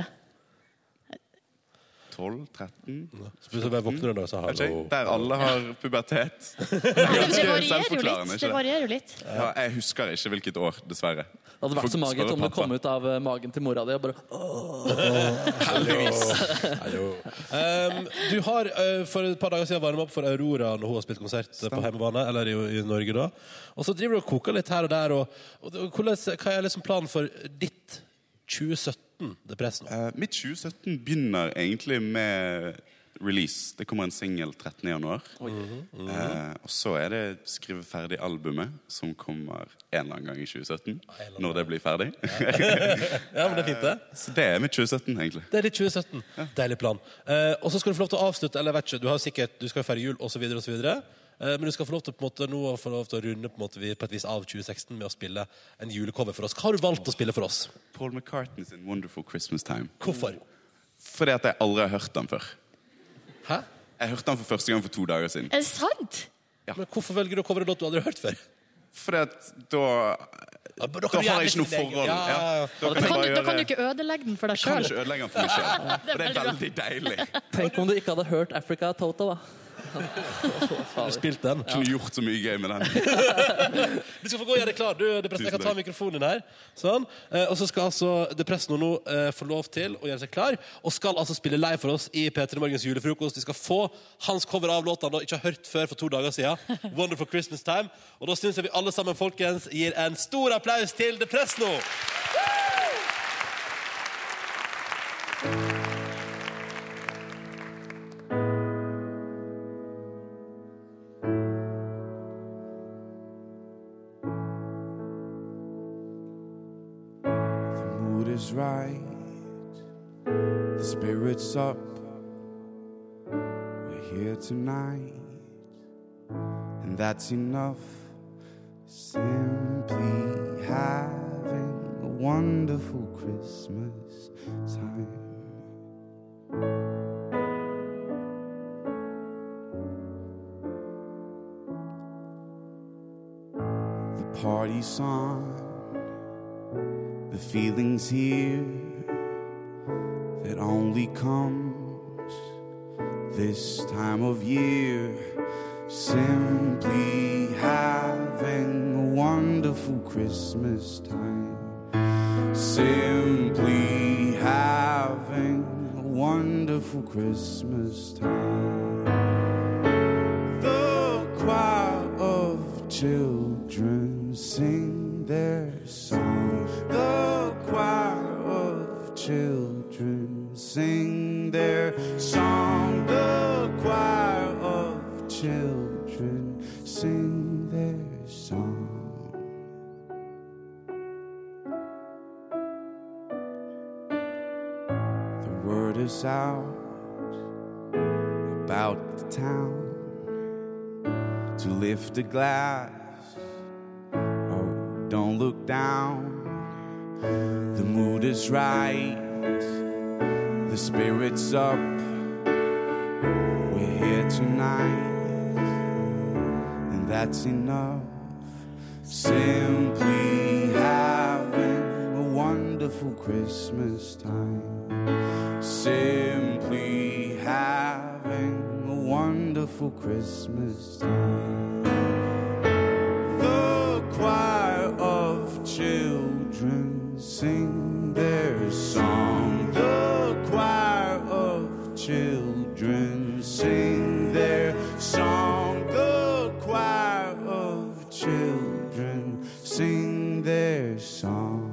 S: 12-13?
B: Spesielt om jeg våkner en dag og sier hallo.
S: Der alle har pubertet.
C: Det, det varierer jo
S: selvforklarende,
C: litt.
S: ikke
C: Det
S: det?
C: varierer jo litt.
S: Ja, jeg husker ikke hvilket år, dessverre.
D: Det hadde vært så magert om det kom ut av eh, magen til mora di og bare
B: Heldigvis. Um, du har eh, for et par dager siden varmet opp for Aurora når hun har spilt konsert eh, på hjemmebane, eller i, i Norge da. Og så driver du og koker litt her og der. Og, og, det- hvordan, hva er liksom planen for ditt 2017? Det press nå.
S: Eh, mitt 2017 begynner egentlig med release. Det kommer en singel 13. januar.
B: Mhm,
S: Eh, og så er det skrive ferdig albumet, som kommer en eller annen gang i 2017. Når det blir ferdig. Eh,
B: ja, men det er fint, det.
S: Så det er mitt 2017, egentlig.
B: Det er ditt 2017. Deilig plan. Eh, og så skal du få lov til å avslutte, eller jeg vet ikke, du har sikkert, du skal feire jul osv. osv. Uh, men du skal få lov til å på en måte, nå få lov til å runde på, en måte, vi- på et vis av 2016 med å spille en julecover for oss. Hva har du valgt å spille for oss?
S: Paul McCartney sin 'Wonderful Christmas Time'.
B: Hvorfor?
S: Fordi at jeg aldri har hørt den før.
B: Hæ?
S: Jeg hørte den for første gang for to dager siden.
C: Er det sant?
B: Men hvorfor velger du å covre en låt du aldri har hørt før?
S: Fordi at da Da
B: kan du
S: har
B: gjøre
S: jeg ikke noe
B: sin egen-
S: forhold.
B: Ja,
S: Ja,
B: ja, ja.
S: Da
C: Da
S: kan jeg
C: kan,
S: bare
C: du, da kan du
S: gjøre
C: ikke ødelegge den for
S: Kan
C: deg sjøl.
S: ikke ødelegge den for meg selv. Og det er veldig deilig.
D: Tenk om du ikke hadde hørt Africa av Toto, da.
B: Du spilte den.
S: Kunne gjort så mye gøy med den.
B: Du skal få gå og gjøre deg klar. Du, Depressen, jeg kan ta mikrofonen her. Sånn. Eh, og så skal altså Depressen nå eh, få lov til å gjøre seg klar, og skal altså spille live for oss i P3 Morgens julefrokost. Vi skal få hans cover av låta han da ikke har hørt før for to dager siden. 'Wonderful Christmas Time'. Og da syns jeg vi alle sammen folkens, gir en stor applaus til Depressen nå.
P: The mood is right, the spirit's up. We're here tonight, and that's enough. Simply having a wonderful Christmas time. The party's on. The feelings here that only comes this time of year. Simply having a wonderful Christmas time. Simply having a wonderful Christmas time. The choir of children sing their song. The choir of children sing their song. The choir of children sing their song. The word is out about the town to lift a glass. Oh, don't look down. The mood is right, the spirit's up. We're here tonight, and that's enough. Simply having a wonderful Christmas time. Simply having a wonderful Christmas time. The choir of children sing their song. The choir of children sing their song. The choir of children sing their song.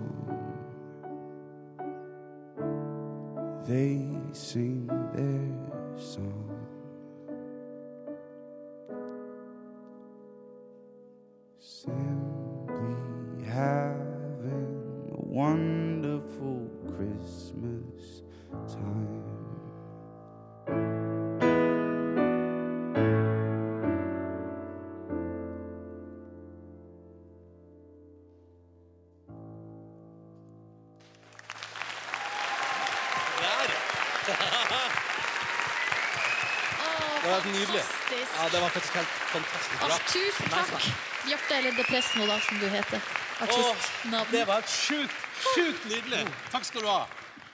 P: They sing their song. having a wonderful Christmas time.
B: Det var nydelig.
C: Fantastisk.
B: Ja, det var faktisk helt fantastisk bra.
C: Ah, tusen takk, Bjarte eller Depress nå, da, som du heter.
B: Åh, det
C: Artistnavn.
B: var sjukt, sjukt nydelig. Takk skal du ha.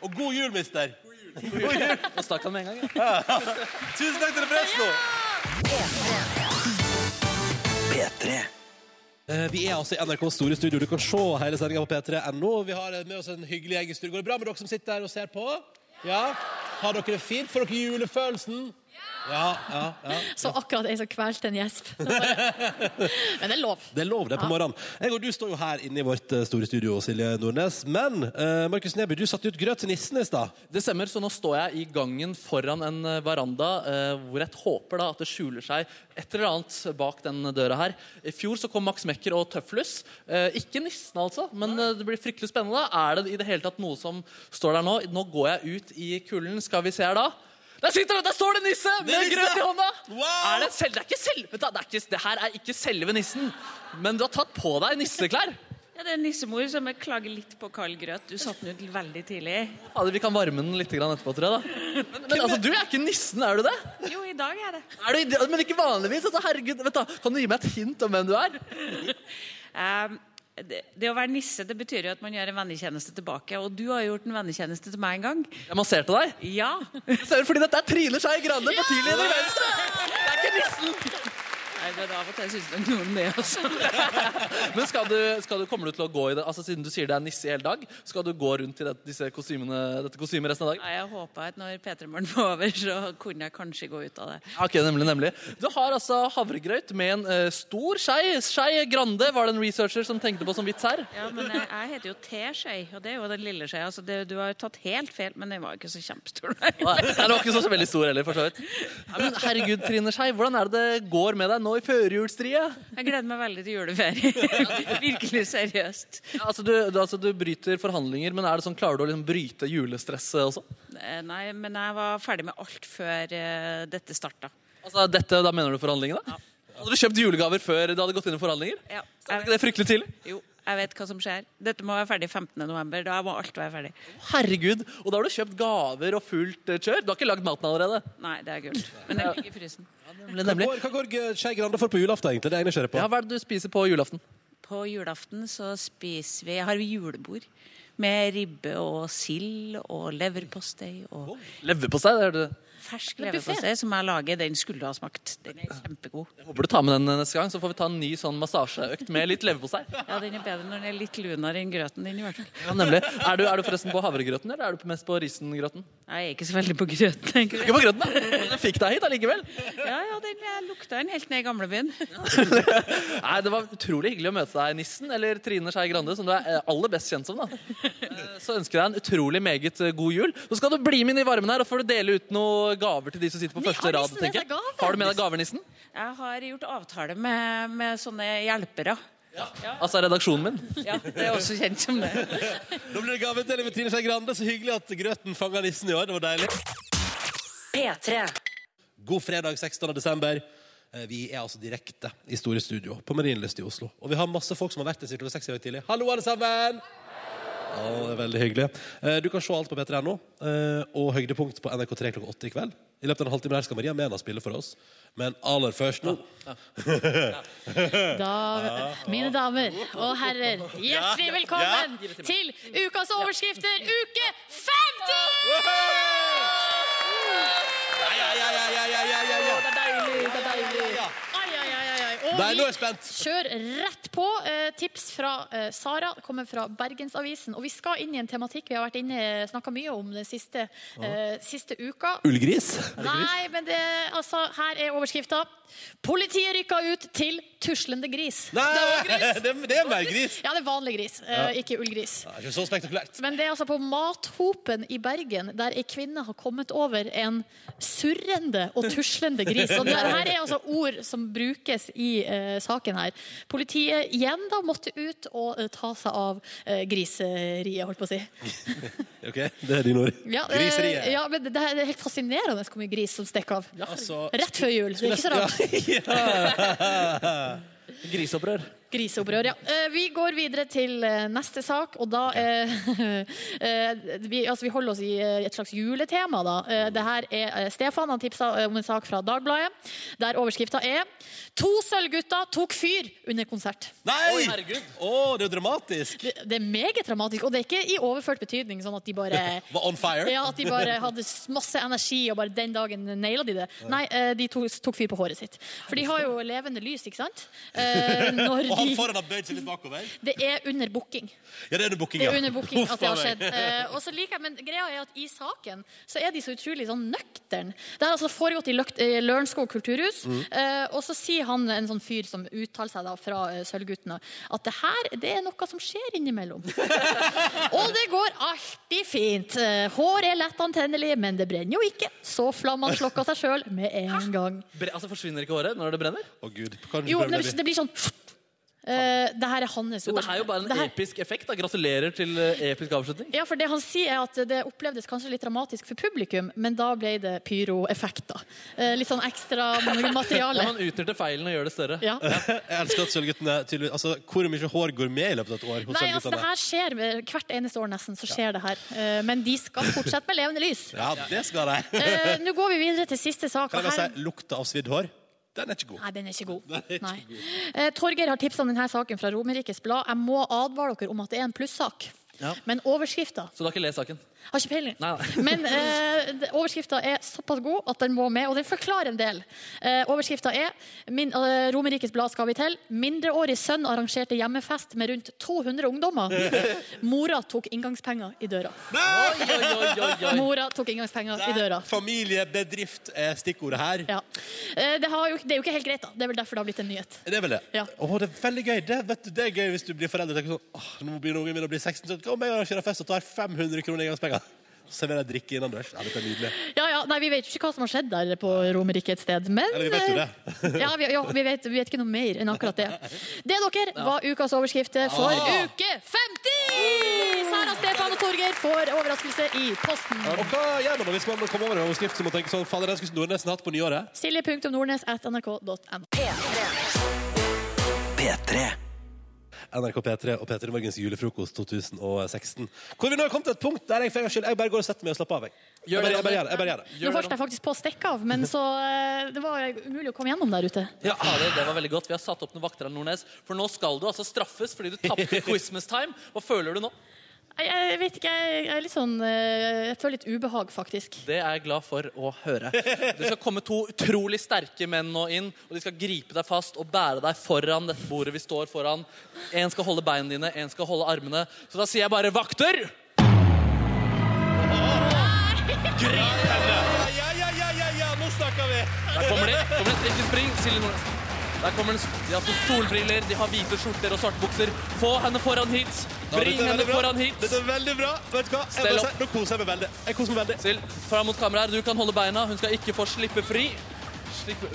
B: Og god jul, mister. God jul.
D: Og stakk han med en gang.
B: Ja. Tusen takk til Presto. P3. Vi er altså i NRKs store studio. Du kan se hele sendinga på p3.no. Vi har eh, med oss en hyggelig gjeng i studio. Går det bra med dere som sitter her og ser på? Ja? Har dere det fint? Får dere julefølelsen? Ja, ja, ja.
C: Så akkurat ei som kvelte en gjesp. Det var det. Men det er lov.
B: Det er lov, det er på
C: Ja.
B: morgenen. Jeg og du står jo her inne i vårt eh, store studio, Silje Nordnes. Men eh, Markus Neby, du satte ut grøt til nissen i stad.
D: Det stemmer, så nå står jeg i gangen foran en eh, veranda eh, hvor jeg håper da at det skjuler seg et eller annet bak den døra her. I fjor så kom Max Mekker og Tøflus. Eh, ikke nissen, altså, men eh, det blir fryktelig spennende. Er det i det hele tatt noe som står der nå? Nå går jeg ut i kulden. Skal vi se her, da. Der sitter det! Der står det nisse
O: Det
D: med
O: er nisse!
D: grøt i hånda!
O: Wow!
D: Er det, selv, det, er ikke selv, vet du, det, er ikke, det her er ikke selve nissen, men du har tatt på deg nisseklær.
Q: Ja, det er nissemor som jeg klager litt på kald grøt. Du satte den ut veldig tidlig.
D: Ja, vi kan varme den litt grann etterpå, tror jeg. da. Men, men altså, du er ikke nissen, er du det?
Q: Jo, i dag er det.
D: Er du, men ikke vanligvis. Altså, herregud, vet du, kan du gi meg et hint om hvem du er?
Q: Ehm, det, det å være nisse det betyr jo at man gjør en vennetjeneste tilbake. Og du har gjort en vennetjeneste til meg en gang.
D: Jeg masserte deg?
Q: Ja.
D: Fordi dette er Trine Skei Grande, partileder i Venstre! Det er ikke nissen!
Q: Nei, men Av og til syns nok noen det også.
D: Men skal du, skal du, kommer du til å gå i det? Altså, Siden du sier det er nisse i hele dag, skal du gå rundt i det, disse kostymene, dette kostymet resten av dagen?
Q: Nei, jeg håpa at når P3 Morgen var over, så kunne jeg kanskje gå ut av det.
D: Ja, Ok, nemlig, nemlig. Du har altså havregrøt med en eh, stor skei. Skei Grande var det en researcher som tenkte på som vits her.
Q: Ja, men jeg, jeg heter jo T-skei, og det er jo den lille skjea. Altså, det- du har tatt helt feil, men den var jo ikke så kjempestor. nei.
D: Nei, den var ikke så sånn veldig stor heller, for så vidt. Nei, men herregud, Trine Skei, hvordan er det det går med deg nå i førjulstria?
Q: Jeg gleder meg veldig til juleferie. Virkelig seriøst.
D: Ja, altså, du, du, altså, du bryter forhandlinger, men er det sånn, klarer du å liksom bryte julestresset også?
Q: Eh, Nei, men jeg var ferdig med alt før eh, dette starta.
D: Altså, dette, da mener du forhandlingene? Hadde du kjøpt julegaver før du hadde gått inn i forhandlinger?
Q: Ja.
D: Så er det ikke det fryktelig tidlig?
Q: Jo, jeg vet hva som skjer. Dette må være ferdig 15.11. Da må alt være ferdig.
D: Herregud, og da har du kjøpt gaver og fullt eh, kjør. Du har ikke lagd maten allerede.
Q: Nei, det er gult. Men den ligger i frysen.
D: Nemlig, nemlig.
B: Hva går eh, Skei Grande for på julaften, egentlig? Det er jeg nysgjerrig på.
D: Ja, hva er det du spiser på julaften?
Q: På julaften så spiser vi Har vi julebord. Med ribbe og sild og leverpostei og
D: Leverpostei? det er det.
Q: fersk
D: Det er buffet.
Q: leverpostei som jeg lager. Den skulle du ha smakt. Den er kjempegod.
D: Håper du tar med den eh, neste gang, så får vi ta en ny sånn massasjeøkt med litt leverpostei.
Q: Ja, den er bedre når den er litt lunere enn grøten din, i hvert fall.
D: Ja, nemlig. Er du, er du forresten på havregrøten, eller er du mest på risengrøten?
Q: Nei, Jeg er ikke så veldig på grøten. egentlig.
D: Ikke på grøten, da. Men jeg fikk deg hit allikevel.
Q: Ja, ja, den jeg lukta den helt ned i gamlebyen.
D: Nei, Det var utrolig hyggelig å møte deg, Nissen, eller Trine Skei Grande, som du er eh, aller best kjent som. da. Eh, Så ønsker jeg deg en utrolig meget eh, god jul. Så skal du bli med inn i varmen her, og får du dele ut noen gaver til de som sitter på første rad.
Q: nissen med
D: tenker
Q: seg
D: jeg.
Q: gaver?
D: Har du med deg gaver, Nissen?
Q: Jeg har gjort avtale med, med sånne hjelpere.
D: Altså redaksjonen min?
Q: Ja, det er også kjent som det.
B: Da blir det gaveutdeling med Trine Skei Grande. Så hyggelig at grøten fanga nissen i år. Det var deilig.
A: P3.
B: God fredag 16. desember. Eh, Vi er altså direkte i store studio på Marienlyst i Oslo. Og vi har masse folk som har vært der siden klokka seks i dag tidlig. Hallo, alle sammen! Ja, det er veldig hyggelig. Eh, Du kan se alt på p3.no, eh, og høydepunkt på NRK3 klokka åtte i kveld. I løpet av en halvtime her skal Maria Mena spille for oss. Men aller først nå
C: Da,
B: Ah.
C: mine damer og herrer, hjertelig velkommen til ukas overskrifter, uke 50! Ai, ai, ai, ai, ai. Og
B: Nei, nå er jeg
C: vi Kjør rett på. Eh, tips fra eh, Sara, kommer fra Bergensavisen. Og vi skal inn i en tematikk vi har vært inne snakka mye om den siste, eh, siste uka.
B: Ullgris?
C: Nei, men det, altså, her er overskrifta. Politiet rykka ut til tuslende gris.
B: Nei, Ah, det, det er mer gris.
C: Ja, det er vanlig gris, eh,
B: Ja.
C: ikke ullgris.
B: Det er ikke så spektakulært.
C: Men det er altså på Mathopen i Bergen, der ei kvinne har kommet over en surrende og tuslende gris. Og det her er altså ord som brukes i i eh, saken her. Politiet igjen da måtte ut og eh, ta seg av eh, griseriet, holdt på å si.
B: OK, det er dine ord.
C: Ja, eh,
B: Griseriet.
C: Ja, men det, det er helt fascinerende hvor mye gris som stikker av. Rett før jul. Det er ikke så rart.
D: Griseopprør.
C: Griseopprør, ja. Eh, Vi går videre til eh, neste sak, og da eh, eh, vi, altså, vi holder oss i eh, et slags juletema, da. Eh, Det her er eh, Stefan, han tipsa eh, om en sak fra Dagbladet, der overskrifta er 'To sølvgutter tok fyr under konsert'.
B: Nei! Å, det er dramatisk!
C: Det, det er meget dramatisk, og det er ikke i overført betydning sånn at de bare
B: Var on fire?
C: Ja, at de bare hadde s- masse energi, og bare den dagen naila de det. Nei, eh, de tok, tok fyr på håret sitt. For de har jo levende lys, ikke sant? Eh, Når
B: Og han
C: de
B: foran har bøyd seg litt bakover.
C: Det er under booking.
B: Ja, det er under booking,
C: Det
B: ja.
C: er under booking
B: Huff
C: at det har
B: a meg.
C: skjedd. Eh, og så liker jeg, men greia er at i saken så er de så utrolig sånn nøktern. Det har altså foregått i Løkt- eh, Lørenskog kulturhus,
F: Mm.
C: eh, og så sier han en sånn fyr som uttaler seg da fra eh, Sølvguttene, at det her, det er noe som skjer innimellom. og det går alltid fint. Eh, Hår er lett antennelig, men det brenner jo ikke. Så flammene slukker seg sjøl med en gang.
D: Bre altså Forsvinner ikke håret når det brenner?
B: Å Gud.
C: Jo, det blir, det blir sånn eh, Det her er hans ord.
D: Dette er jo bare en
C: Det her-
D: episk effekt. da Gratulerer til eh, episk avslutning.
C: Ja, for det han sier er at det opplevdes kanskje litt dramatisk for publikum, men da ble det pyroeffekter. Eh, Litt sånn ekstra
D: Ja,
C: materiale.
D: man utnytter feilen og gjør det større.
C: Ja.
B: Jeg elsker at sølvguttene tydeligvis Altså, hvor mye hår går med i løpet av et år hos
C: Nei, altså det
B: sølvguttene?
C: her skjer eh, hvert eneste år nesten, så skjer det her. Eh, Men de skal fortsette med levende lys.
B: Ja, det skal de.
C: Eh, Nå går vi videre til siste sak.
B: Kan jeg
C: og
B: bare
C: her-
B: si lukta av svidd hår? Den er ikke god.
C: Nei, den er ikke god.
B: Den er ikke
C: Nei.
B: god.
C: Eh, Torgeir har tipsa om denne saken fra Romerikes Blad. Jeg må advare dere om at det er en plussak.
D: Ja.
C: Men overskrifta
D: Så du har ikke lest saken?
C: Har ikke peiling.
D: Nei, nei.
C: Men eh, overskrifta er såpass god at den må med, og den forklarer en del. Eh, overskrifta er min, eh, Romerikes Blad skal vi til. Mindreårig sønn arrangerte hjemmefest med rundt 200 ungdommer. Mora tok inngangspenger i døra.
B: Oi, oi, oi, oi.
C: Mora tok inngangspenger i døra.
B: Familiebedrift er stikkordet her.
C: Ja. Eh, det, har jo, det er jo ikke helt greit, da. Det er vel derfor det har blitt en nyhet.
B: Det er vel det.
C: Ja.
B: Å, det er veldig gøy. Det, vet du, det er gøy hvis du blir forelder og tenker sånn Åh, nå begynner ungen min å bli 16 så Om jeg arrangerer fest og tar 500 kroner i gangspenger, så serverer jeg drikke innendørs. Ja, dette er nydelig.
C: Ja, ja, nei, Vi vet jo ikke hva som har skjedd der på Romerike et sted. Men
B: Eller vi vet jo det.
C: eh, ja, vi, ja, vi, vet, vi vet ikke noe mer enn akkurat det. Det dere var ukas overskrifter for
O: Ah.
C: uke 50! Sara, Stefan og Torgeir får overraskelse i posten.
B: Og hva gjør man hvis man kommer over en overskrift som man tenker sånn Fader, den skulle Nordnesen hatt på nyåret?
C: Silje.nordnes.nrk.no.
B: P3. NRK P3 og P3 Morgens julefrokost 2016. Hvor vi nå har kommet til et punkt der jeg for en gangs skyld jeg bare går og setter meg og slapper av. Jeg, jeg, bare, jeg, bare, gjør det, jeg bare gjør det.
C: Nå holdt jeg faktisk på å stikke av, men så eh, det var umulig å komme gjennom der ute.
D: Ja, fader, det var veldig godt. Vi har satt opp noen vakter av Nordnes. For nå skal du altså straffes fordi du tapte Christmas time. Hva føler du nå?
C: Jeg, jeg vet ikke, jeg, jeg er litt sånn eh, Jeg føler litt ubehag, faktisk.
D: Det er jeg glad for å høre. Det skal komme to utrolig sterke menn nå inn, og de skal gripe deg fast og bære deg foran dette bordet vi står foran. En skal holde beina dine, en skal holde armene. Så da sier jeg bare 'vakter'! Grip henne!
B: Ja, ja, ja, ja, ja, nå snakker vi!
D: Der kommer de. Kommer det et trekkespring. Silje Nordnes. Der kommer den, De har fått solbriller, de har hvite skjorter og svarte bukser. Få henne foran hit.
B: Ja, dette er
D: Bring henne
B: veldig bra.
D: foran hit.
B: Dette er veldig bra. Vet du hva? Jeg
D: Stell
B: bare
D: opp.
B: sier, nå koser jeg meg veldig. Jeg koser meg veldig.
D: Sil, fram mot kameraet. Du kan holde beina. Hun skal ikke få slippe fri. Slippe.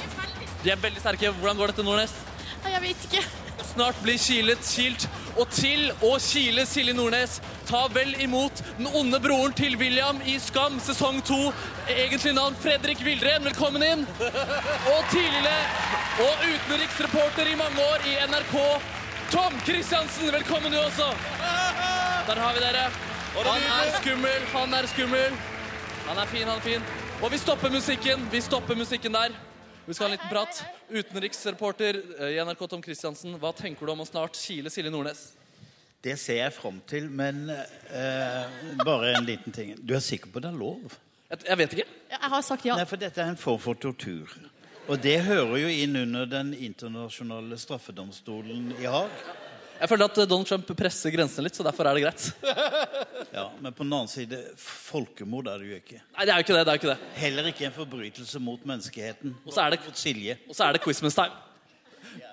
D: De er veldig sterke. Hvordan går dette, Nordnes?
C: Nei, Jeg vet ikke.
D: Snart blir kilet kilt. Og til å kile Silje Nordnes, ta vel imot den onde broren til William i Skam sesong to. Egentlig navn Fredrik Vildren. Velkommen inn. Og tidligere og utenriksreporter i mange år i NRK, Tom Kristiansen. Velkommen du også. Der har vi dere. Han er skummel, han er skummel. Han er fin, han er fin. Og vi stopper musikken. Vi stopper musikken der. Vi skal ha en liten prat. Utenriksreporter eh, i NRK Tom Kristiansen, hva tenker du om å snart kile Silje Nordnes?
T: Det ser jeg fram til, men eh, bare en liten ting. Du er sikker på det er lov?
D: Jeg, vet ikke.
C: Jeg har sagt ja.
T: Nei, for dette er en form for tortur. Og det hører jo inn under Den internasjonale straffedomstolen i Haag.
D: Jeg føler at eh, Donald Trump presser grensene litt, så derfor er det greit.
T: Ja, Men på den annen side, folkemord er det jo ikke.
D: Nei, det er jo ikke det. det er jo ikke det.
T: Heller ikke en forbrytelse mot menneskeheten.
D: Og så er det,
T: mot Silje.
D: Og så er det Christmas time.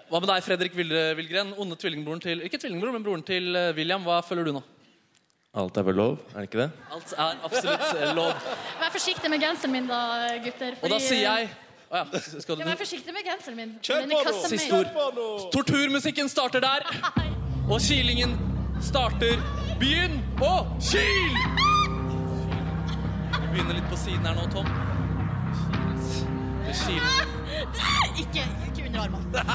D: Hva med deg, Fredrik Vilde- Vilgren? Onde tvillingbroren til Ikke tvillingbror, men broren til eh, William. Hva føler du nå?
R: Alt er vel lov, er det ikke det?
D: Alt er absolutt eh, lov.
C: Vær forsiktig med genseren min, da, gutter.
D: Og da
C: fordi- eh,
D: sier jeg Å ja. Skal du
C: Jeg må være forsiktig med genseren min.
D: Kjør
C: Men jeg kaster meg-
D: Siste ord. Torturmusikken starter der. Og kilingen starter. Begynn å kil! Vi begynner litt på siden her nå, Tom. Det kiler.
O: Ikke, ikke under armene.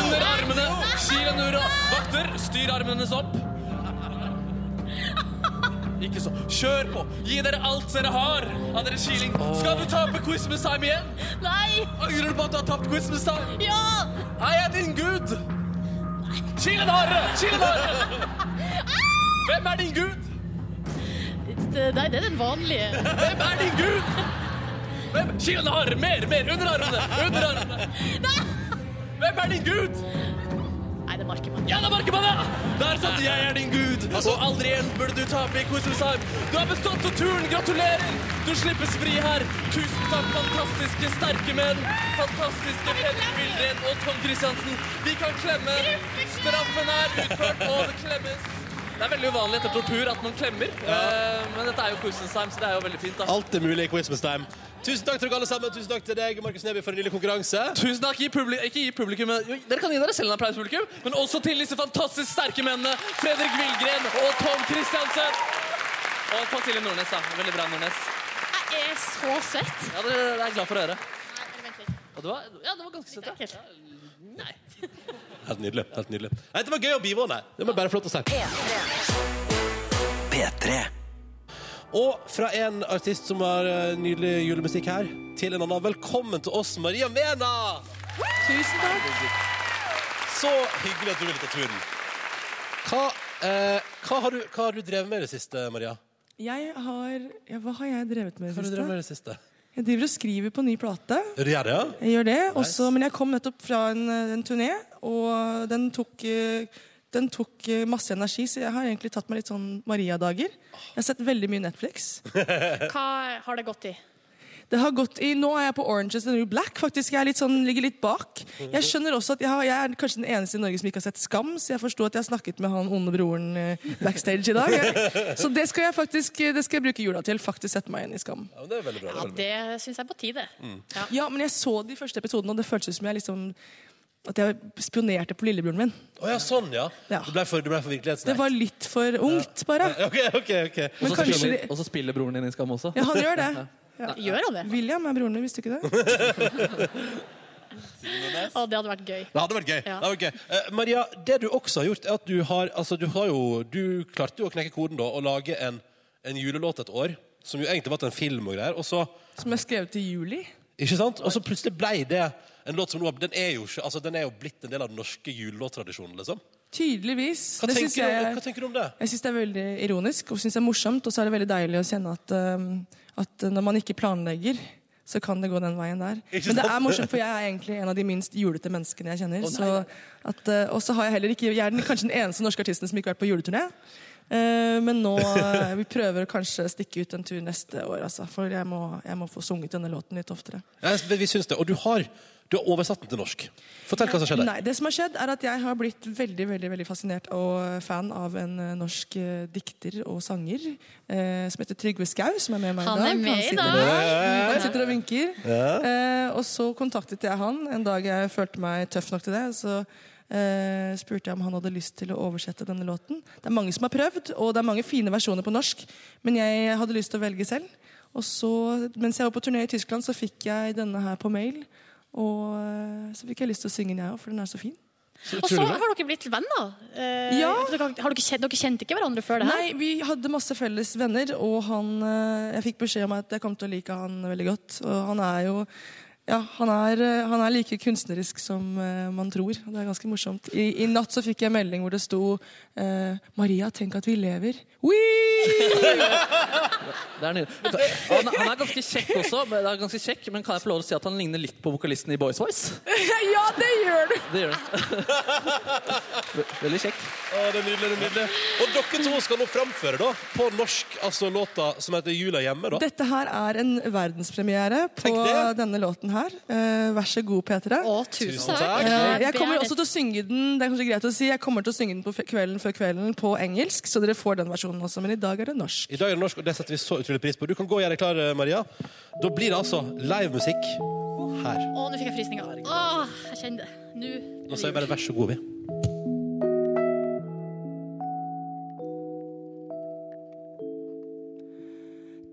D: Under armene. Kil en uro. Vakter, styr armene hennes opp. Ikke så. Kjør på. Gi dere alt dere har av deres kiling. Skal du tape Christmas time igjen?
O: Nei!
D: Angrer du på at du har tapt Christmas time?
O: Ja!
D: Er jeg din gud? Kil en hardere! Kil en hardere! Hvem er din gud?
C: Det- Nei, det er den vanlige.
D: Hvem er din gud? Hvem? Kil en hardere! Mer, mer! Under armene! Under armene! Hvem er din gud?
C: Nei, det er Markemann.
D: Ja, det er Markemann! Der satt jeg er din gud, og aldri igjen burde du tape i Christmas time. Du har bestått torturen! Gratulerer! Du slippes fri her. Tusen takk, fantastiske sterke menn. Fantastiske Peder Vildred og Tom Christiansen. Vi kan klemme. Straffen er utført, og det klemmes. Det er veldig uvanlig etter tortur at man klemmer, eh, men dette er jo Christmas time, så det er jo veldig fint. da.
B: Alt er mulig i Christmas time. Tusen takk til dere alle sammen. Tusen takk til deg, Markus Neby, for en lille konkurranse.
D: Tusen takk. Gi publi ikke gi publikum men- jo, Dere kan gi dere selv en applaus, publikum. Men også til disse fantastisk sterke mennene. Fredrik Vilgren og Tom Christiansen. Og Cecilie Nordnes. da. Veldig bra, Nordnes.
C: Jeg er så søtt.
D: Ja, det, det er jeg glad for å høre. Og det var, ja, det var ganske
C: søtt. Ja.
B: Helt nydelig. helt nydelig. Nei, det var gøy å bivåne. Det var bare flott å si. P3. Og fra en artist som har eh, nydelig julemusikk her, til en annen. Velkommen til oss, Maria Mena!
D: Tusen takk.
B: Så hyggelig at du ville ta turen. Hva, eh, hva, har du, hva har du drevet med i det siste, Maria?
U: Jeg har ja, Hva har jeg drevet med i
B: Hva har du
U: det
B: drevet med i
U: siste?
B: det siste?
U: Jeg driver og skriver på ny plate.
B: Er du gjør det, ja?
U: Jeg gjør det også, men jeg kom nettopp fra en, eh, en turné, og den tok eh, den tok eh, masse energi, så jeg har egentlig tatt meg litt sånn Maria-dager. Jeg har sett veldig mye Netflix.
C: Hva har det gått i?
U: Det har gått i, Nå er jeg på Orange is the New Black. faktisk. Jeg er litt sånn, ligger litt bak.
D: Mhm.
U: Jeg skjønner også at jeg, har, jeg er kanskje den eneste i Norge som ikke har sett Skam, så jeg forsto at jeg har snakket med han onde broren eh, backstage i dag. Jeg, så det skal jeg faktisk, eh, det skal jeg bruke jula til. Faktisk sette meg inn i Skam.
B: Ja, men det er veldig bra.
C: Ja, det syns jeg er på tide.
U: Ja. men jeg så de første episodene, og det føltes som jeg liksom at jeg spionerte på lillebroren min.
B: Å ja, sånn, ja. Du ble for, du ble for
U: Det
B: virkelighetsnær.
U: var litt for ungt, bare.
B: Ja, ok, ok, ok.
U: Men
D: Og så
U: kanskje
D: spiller,
U: de-
D: og så spiller broren din i Skam også.
U: Ja, han gjør det. Ja.
C: Gjør han det?
U: William er broren min, visste du ikke det?
C: Å, det hadde vært gøy.
B: Det hadde vært gøy.
C: Ja.
B: Det hadde vært gøy. Eh, Maria, det du også har gjort, er at du har altså, Du, har jo, du klarte jo å knekke koden da og lage en, en julelåt et år, som jo egentlig var til en film og greier, og så
U: Som er skrevet i juli.
B: Ikke sant? Og så plutselig blei det en låt som nå Den er jo, ikke- altså, den er jo blitt en del av den norske julelåttradisjonen, liksom.
U: Tydeligvis.
B: Hva
U: synes
B: tenker, du, om- hva tenker du om det?
U: Jeg syns det er veldig ironisk og synes det er morsomt. Og så er det veldig deilig å kjenne at, um, at når man ikke planlegger, så kan det gå den veien der.
B: Ikke
U: Men det
B: sant?
U: er morsomt, for jeg er egentlig en av de minst julete menneskene jeg kjenner.
B: Å,
U: så at, uh, og så har jeg heller ikke Jeg er den, kanskje den eneste norske artisten som ikke har vært på juleturné. Eh, men nå eh, vi prøver å kanskje stikke ut en tur neste år, altså. For jeg må, jeg må få sunget denne låten litt oftere.
B: Ja, vi- vi syns det. Og du har, du har oversatt den til norsk. Fortell hva som skjedde.
U: Nei, det som har skjedd er at Jeg har blitt veldig veldig, veldig fascinert og fan av en eh, norsk eh, dikter og sanger eh, som heter Trygve Skau, som er med meg
C: Han
U: i dag.
C: er med i
U: sitter
C: dag.
U: der. Han sitter og vinker.
B: Ja.
U: Eh, og så kontaktet jeg han en dag jeg følte meg tøff nok til det. Så eh, spurte jeg om han hadde lyst til å oversette denne låten. Det er mange som har prøvd, og det er mange fine versjoner på norsk, men jeg hadde lyst til å velge selv. Og så, mens jeg var på turné i Tyskland, så fikk jeg denne her på mail. Og eh, så fikk jeg lyst til å synge den, jeg òg, for den er så fin.
C: Og så har dere blitt venner. Eh,
U: Ja.
C: for dere, har dere, kjent, dere kjente ikke hverandre før det her?
U: Nei, vi hadde masse felles venner, og han, eh, jeg fikk beskjed om at jeg kom til å like han veldig godt. Og han er jo ja, han er, eh, han er like kunstnerisk som eh, man tror. og Det er ganske morsomt. I, i natt så fikk jeg en melding hvor det sto eh, 'Maria, tenk at vi lever'.
D: Det er nydelig. Vet du, Han, han er ganske kjekk også, men, han er ganske kjekk, men kan jeg få lov til å si at han ligner litt på vokalisten i Boys Voice?
U: ja, det gjør du!
D: Det gjør han. Ve- Veldig kjekk.
B: Å, det er nydelig, det er nydelig. Og dere to skal nå framføre da, på norsk altså låta som heter 'Jula hjemme'. da.
U: Dette her er en verdenspremiere på denne låten her. Eh, vær så god, Petra.
B: tusen Tusen takk. takk.
U: Eh, jeg
B: Det
U: kommer
B: er-
U: også til å synge den det er kanskje greit å si, jeg kommer til å synge den på fe- kvelden før kvelden på engelsk, så dere får den versjonen også. Men i dag er det norsk.
B: I dag er det norsk, og det setter vi så utrolig pris på. Du kan gå og gjøre deg klar, eh, Maria. Da blir det altså livemusikk
D: her.
C: Å, nå fikk jeg frysninger. Åh, jeg kjenner det. Nå
D: Nå sier vi bare vær så god, vi.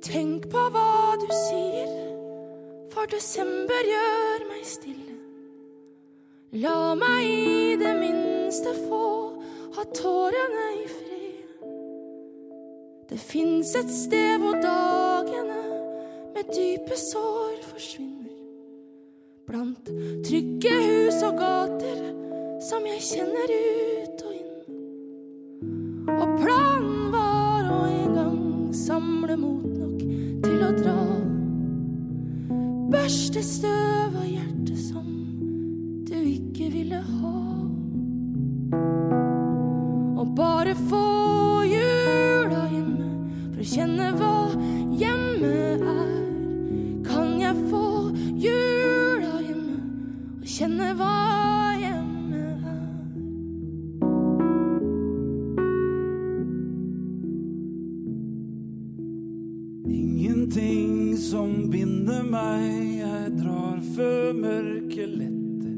E: Tenk på hva du sier, for desember gjør meg stille. La meg i det minste få ha tårene i fred. Det fins et sted hvor dagene med dype sår forsvinner. Blant trygge hus og gater som jeg kjenner ut og inn. Og planen var å en gang samle mot nok til å dra. Børste støv av hjertet som du ikke ville ha. Og bare få jula hjemme for å kjenne hva hjemme er. Kan jeg få jula hjemme og kjenne hva hjemme er?
N: Ingenting som binder meg, jeg drar før mørket letter.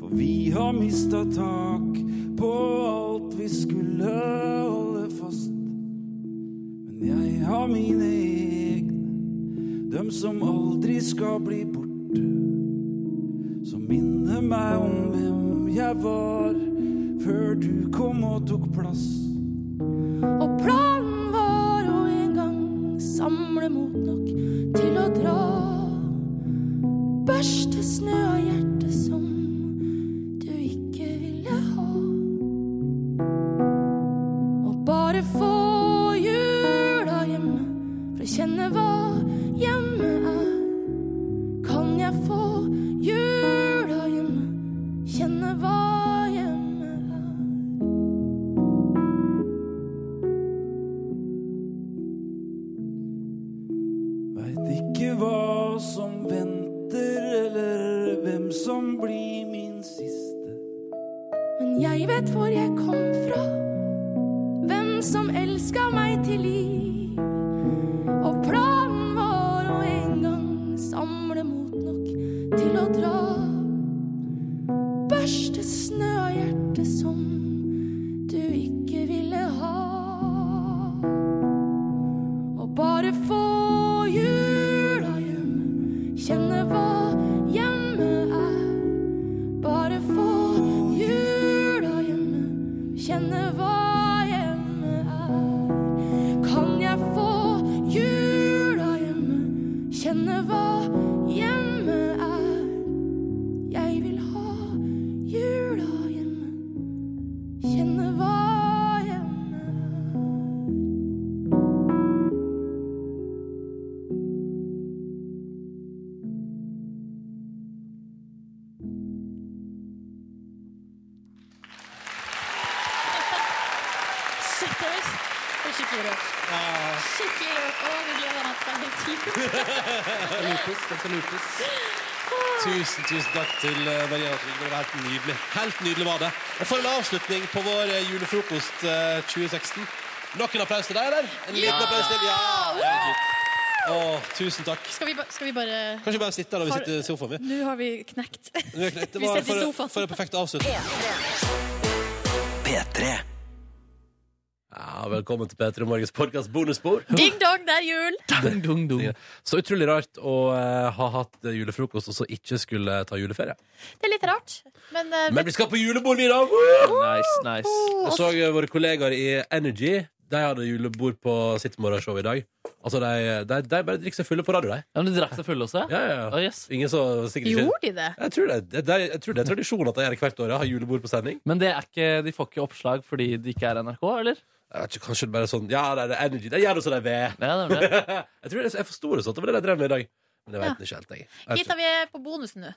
N: For vi har mista tak på alt vi skulle holde fast. Men jeg har mine egne, dem som aldri skal bli borte. Som minner meg om hvem jeg var før du kom og tok plass.
E: Og planen var å en gang samle mot nok til å dra. Børste snø av hjertet som du ikke ville ha. Og bare få jula hjemme for å kjenne hva hjemme er. Kan jeg få jula hjemme, kjenne hva hjemme er?
N: Veit ikke hva som venter, eller hvem som blir min siste.
E: Men jeg vet hvor jeg kom fra. Hvem som elska meg til liv. Og planen var å en gang samle mot nok til å dra. Børste snø av hjertet som du ikke ville ha. Og bare få jula hjemme, kjenne hva hjemme er. Bare få jula hjemme, kjenne hva hjemme er. Kan jeg få jula hjemme, kjenne hva hjemme er? Jeg vil ha jula hjemme, kjenne hva hjemme
C: Skikkelig og skikkelig rørt. Skikkelig rørt. Å, nå gleder jeg meg til denne timen.
D: Tusen, tusen takk til eh, Maria Trygve. Det var helt nydelig. Helt nydelig var det. Og for en avslutning på vår eh, julefrokost eh, 2016. Nok en applaus til deg, eller? En liten
C: Ja!
D: applaus til Ja! det er kult. Å, tusen takk.
C: Skal vi, ba- skal vi bare
D: Kanskje vi bare sitter der og vi
C: Har-
D: sitter i sofaen, vi.
C: Nå har vi knekt.
D: Det var- Det
C: Vi
D: var
C: sitter i
D: for,
C: sofaen.
D: for en perfekt avslutning.
B: P3. Ja, velkommen til P3 Morgens podkast bonusbord.
C: Ding dong, det er jul!
B: Så utrolig rart å eh, ha hatt eh, julefrokost og så ikke skulle ta juleferie.
C: Det er litt rart, men, eh,
B: Men vi skal på julebord, vi, da!
V: Nice, nice.
B: Jeg så eh, våre kollegaer i Energy. De hadde julebord på sitt morgenshow i dag. Altså, De, de, de bare drikker seg fulle på radio, de.
V: Ja, men Du drakk deg full også?
B: Ja, ja, ja. Ingen så sikkert ikke-
C: Gjorde de det?
B: Jeg tror det, det, det, jeg tror det er tradisjon at de gjør det hvert år. Jeg har julebord på sending.
V: Men det er ikke, de får ikke oppslag fordi de ikke er NRK, eller?
B: Jeg vet ikke, kanskje det bare er sånn Ja, det er energy. Det gjør det som de vil. jeg tror det, jeg forsto det sånn. Det var det de drev med i dag. Men
C: Ja.
B: jeg vet det ikke helt, jeg. jeg. vet
C: Gita, vi er på bonusen nå.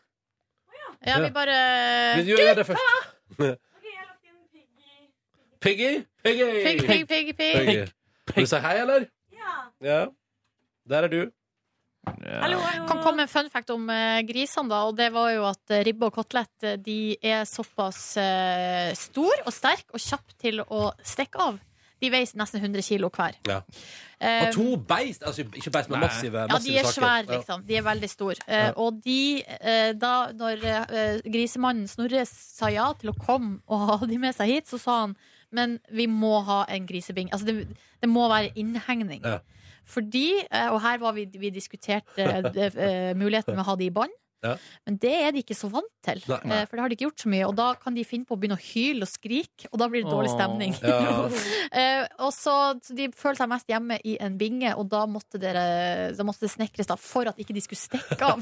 C: Ja, vi
B: Ja.
C: bare
B: ikke. Vi gjør det først. Piggy? Piggy!
C: Pigg, pigg, pigg, pigg.
B: Piggy. Vil du si hei, eller? Ja. Der er du.
C: kan komme en fun fact om eh, grisene, da. Og det var jo at eh, ribbe og kotelett eh, de er såpass eh, stor og sterk og kjapp til å stikke av. De veier nesten 100 kilo hver.
B: Ja.
C: Eh,
B: Og to beist, altså ikke beist, men
N: Nei.
B: massive,
C: ja, de
B: massive
C: er
B: saker.
C: svære,
B: Ja.
C: liksom. De er veldig store. Eh,
B: Ja.
C: Og de, eh, da når eh, grisemannen Snorre sa ja til å komme og ha de med seg hit, så sa han men vi må ha en grisebing. Altså, det, det må være innhegning.
O: Ja.
C: Fordi, eh, og her var vi, vi diskuterte eh, eh, muligheten med å ha de i bånd.
O: Ja.
C: Men det er de ikke så vant til,
O: Nei.
C: eh, for det har de ikke gjort så mye. Og da kan de finne på å begynne å hyle og skrike, og da blir det dårlig
O: Åh.
C: stemning.
O: Ja.
C: Eh, og så, så De følte seg mest hjemme i en binge, og da måtte, dere, da måtte det snekres da, for at ikke de skulle stikke av.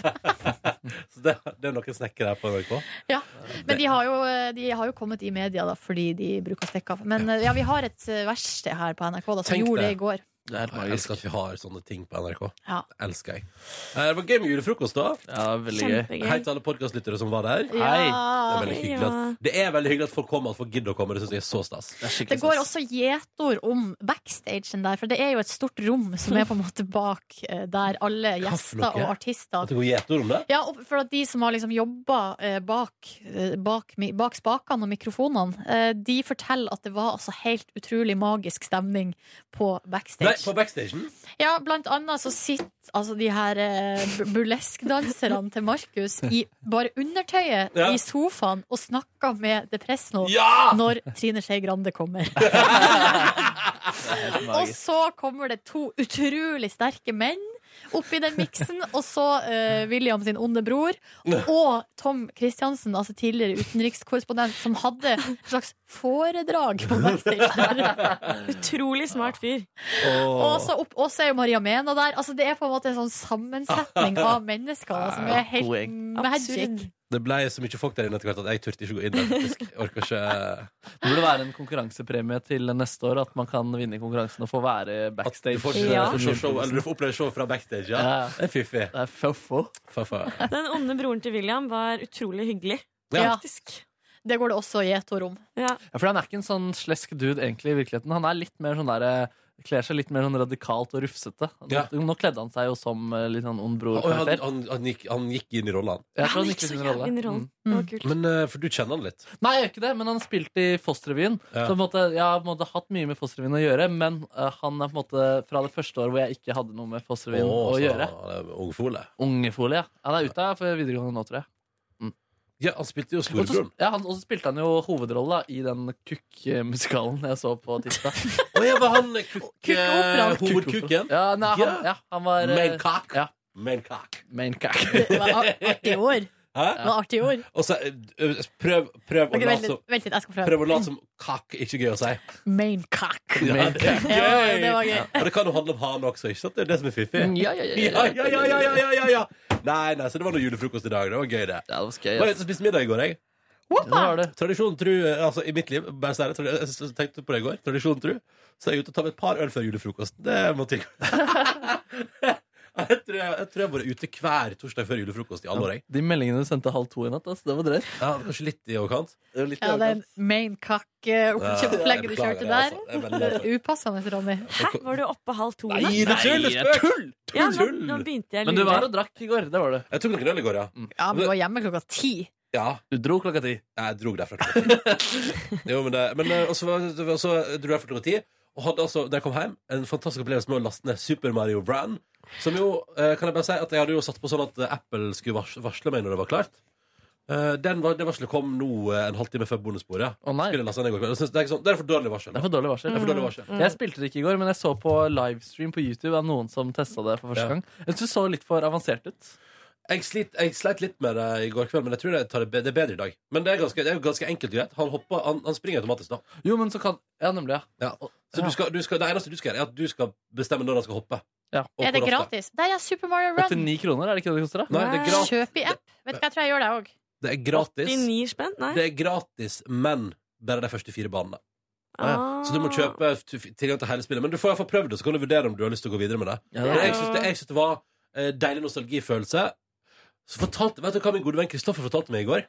B: Så det, det er noen snekkere her på NRK.
C: ja. Men de har, jo, eh, de har jo kommet i media da, fordi de bruker å stikke av. Men eh, ja, vi har et eh, verksted her på NRK da, som
B: Tenk
C: gjorde det
B: det.
C: i går.
B: Det er jeg elsker at vi har sånne ting på NRK.
C: Ja.
B: Det elsker jeg. Eh, Det var gøy med julefrokost, da.
D: Ja,
O: veldig gøy. Kjempegøy.
B: Hei til alle podkastlyttere som var der.
C: Ja.
B: Hei. Det, er veldig hyggelig
C: Ja.
B: at, det er veldig hyggelig at folk kommer, at folk gidder å komme. Det syns jeg er så stas.
C: Det går også gjetord om backstagen der, for det er jo et stort rom som er på en måte bak eh, der alle gjester og artister
B: At det går gjetord om det?
C: Ja, og for at de som har liksom jobba eh, bak, eh, bak, mi- bak spakene og mikrofonene, eh, de forteller at det var altså helt utrolig magisk stemning på backstage.
B: Nei, på backstagen?
C: Ja, blant annet så sitter altså de her eh, bu- burleskdanserne til Markus i bare undertøyet
O: Ja.
C: i sofaen og snakker med The Press nå
O: Ja!
C: når Trine Skei Grande kommer. Og så kommer det to utrolig sterke menn oppi den miksen, og så eh, William sin onde bror, og Tom Kristiansen, altså tidligere utenrikskorrespondent, som hadde et slags foredrag på backstage der. Utrolig smart fyr. Og så opp- og så er jo Maria Mena der. Altså, det er på en måte en sånn sammensetning av mennesker da, som er
B: God
C: helt
B: gjeng.
C: magic.
B: Det ble så mye folk der inne etter hvert at jeg turte ikke gå inn der. faktisk. Jeg orker ikke
D: Det burde være en konkurransepremie til neste år, at man kan vinne konkurransen og få være backstage.
B: Du får, ikke- du får, se show, eller du får oppleve show fra backstage. Ja.
D: Ja.
B: Det er fiffig.
D: Det er fofo.
I: Den onde broren til William var utrolig hyggelig.
D: Ja.
I: Faktisk.
C: Det går det også gjetord om.
I: Ja.
D: Ja, for han er ikke en sånn slesk dude egentlig i virkeligheten. Han er litt mer sånn der eh, Kler seg litt mer sånn radikalt og rufsete.
B: Ja.
D: Nå kledde han seg jo som eh, litt sånn ond bror.
B: Og han, han, han, gikk, han gikk inn i rollen.
D: Jeg tror han gikk inn i rolle. Mm.
B: Men, eh, for du kjenner han litt?
D: Nei, jeg gjør ikke det, men han spilte i Fosterrevyen.
B: Ja.
D: Så på en måte, jeg har på en måte hatt mye med Fosterrevyen å gjøre, men eh, han er på en måte fra det første året hvor jeg ikke hadde noe med Fosterrevyen
B: Å,
D: å
B: så
D: gjøre.
B: han er Ungfole.
D: Ungefole, ja. Han er ute for videregående nå, tror jeg.
B: Ja, han spilte jo
D: Og så,
B: storebroren.
D: ja, han, og så spilte han jo hovedrolla i den Kukk-musikalen jeg så på tirsdag.
B: Å ja, var han Kukk...
D: Kukkoperaen.
B: Eh, hovedkukken?
D: Ja, nei, han,
B: Ja.
D: ja. han var eh,
B: Main cock.
D: Ja.
B: Main cock.
D: Main cock.
C: Det var artig år.
B: Hæ?
C: Det var Ah, artig år.
B: Og så, ø, ø, prøv, prøv å
C: Ok,
B: late
C: vent litt,
B: som
C: vent litt, jeg skal prøve.
B: Altså, Prøv å late som kak ikke er gøy å si.
C: Main cock.
B: Ja, det er gøy.
C: Ja, det var gøy.
B: Og det kan jo handle om han også, ikke sant? Det er det som er fiffig.
D: Mm, Ja, ja, ja, ja,
B: ja, ja, ja, ja, ja, ja. Nei, nei, så det var noe julefrokost i dag. Det var gøy, det.
D: Ja, det var skøy,
B: Var ute og spiste middag i går, jeg. Tradisjonen tru, eh, altså i mitt liv, bare si det, tradi- jeg s- tenkte på det i går, tradisjonen tru, så er jeg ute og tar meg et par øl før julefrokost. Det må til. jeg, tror jeg, jeg tror jeg har vært ute hver torsdag før julefrokost i alle år, jeg.
D: De meldingene du sendte halv to i natt, altså, det var drøyt.
B: Ja, kanskje litt i overkant.
C: Ja, den main cock-opplegget du
B: Ja, jeg
C: kjørte
B: beklager
C: der.
B: det, altså. Jeg er veldig lei
C: Upassende, Ronny.
I: Hæ, var du oppe halv to? i
B: Nei,
I: natt?
B: det er tull! Det er tull!
I: Ja, nå, nå begynte jeg å lure.
D: drakk i går. Det var det.
B: Jeg tok noen øl i går, ja.
C: Ja, men du var hjemme klokka ti.
B: Ja.
D: Du dro klokka ti?
B: Jeg dro derfra klokka ti. jo, men det, men eh, og så var- og så dro jeg derfra klokka ti. Og hadde altså, da jeg kom hjem, en fantastisk opplevelse med å laste ned Super Mario Brand. Som jo, eh, kan jeg bare si, at jeg hadde jo satt på sånn at eh, Apple skulle vars varsle meg når det var klart. Eh, Den var, det varselet kom nå eh, en halvtime før bonussporet. Skulle jeg laste ned i går kveld. Jeg synes Det er ikke sånn- det er for dårlig varsel.
D: Det er for dårlig varsel. Mm.
B: Det er for dårlig varsel.
D: Jeg spilte det ikke i går, men jeg så på livestream på YouTube av noen som testa det for første
B: Ja.
D: gang. Jeg synes det så litt for avansert ut.
B: Jeg, slit, jeg sleit litt med det i går kveld, men jeg tror jeg tar det, be- det er bedre i dag. Men det er ganske, det er jo ganske enkelt og greit. Han, hopper, han, han springer automatisk, da.
D: Jo, men så kan Ja, nemlig, ja.
B: Ja. Så du skal, du skal, det eneste du skal gjøre, er at du skal bestemme når han skal hoppe. Og
C: Er det
B: hvor ofte.
C: gratis? Der er Super Mario Run.
D: 89 kroner, er det ikke det det koster? da?
B: Nei, det er gratis.
C: Kjøp i app. Vet du hva, jeg tror jeg gjør det òg.
B: Det er gratis.
I: 89 spenn? Nei.
B: Det er gratis, men bare de første fire banene. Så
I: Ah.
B: du må kjøpe f- tilgang til hele spillet. Men du får i hvert fall prøvd det, så kan du vurdere om du har lyst til å gå videre med det.
D: det er
B: Men jeg
D: det.
B: syns det, jeg synes det var eh, deilig nostalgifølelse. Så fortalte, vet du hva min gode venn Kristoffer fortalte meg i går?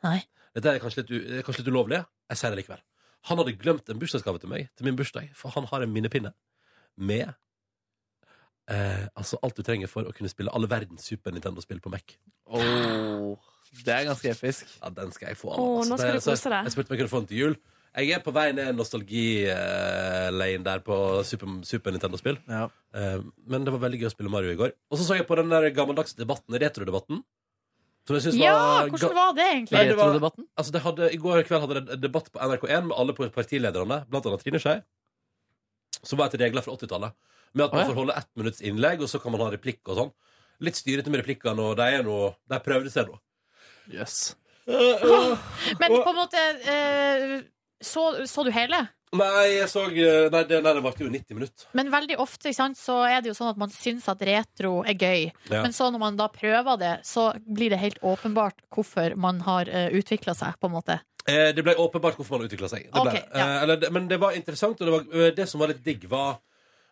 B: Dette er kanskje litt, u- det er kanskje litt ulovlig. Jeg sier det likevel. Han hadde glemt en bursdagsgave til meg, til min bursdag, for han har en minnepinne med eh, altså alt du trenger for å kunne spille alle verdens Super Nintendo-spill på Mac.
D: Åh, det er ganske episk.
B: Ja, den skal jeg få.
I: Åh, nå skal du
B: Det- altså, så
I: kose deg.
B: Jeg spurte om jeg kunne få den til jul. Jeg er på vei ned nostalgi-lane der på Super, Super Nintendo-spill. Eh, Men det var veldig gøy å spille Mario i går. Og så så jeg på den der gammeldagse debatten, retrodebatten. Som jeg synes
C: Ja,
B: var
C: hvordan
B: ga-
C: var det egentlig?
B: Nei, det var- Altså, det hadde, I går kveld hadde det en debatt på NRK1 med alle partilederne, blant annet Trine Skei, som var etter regler fra 80-tallet. Med at man
W: Å, ja.
B: får holde ett minutts innlegg, og så kan man ha replikk og sånn. Litt styrete med replikkene, og de er nå De prøvde seg nå.
D: Yes.
C: Men på en måte eh, så, så du hele?
B: Nei, jeg så eh, Nei, det, nei, det varte jo 90 minutter.
C: Men veldig ofte ikke sant, så er det jo sånn at man syns at retro er gøy.
B: Ja.
C: Men så når man da prøver det, så blir det helt åpenbart hvorfor man har uh, utvikla seg, på en måte.
B: Eh, Det ble åpenbart hvorfor man utvikla seg. Det ble,
C: Ok, ja.
B: eh, eller, det- men det var interessant, og det, var, eh, det som var litt digg, var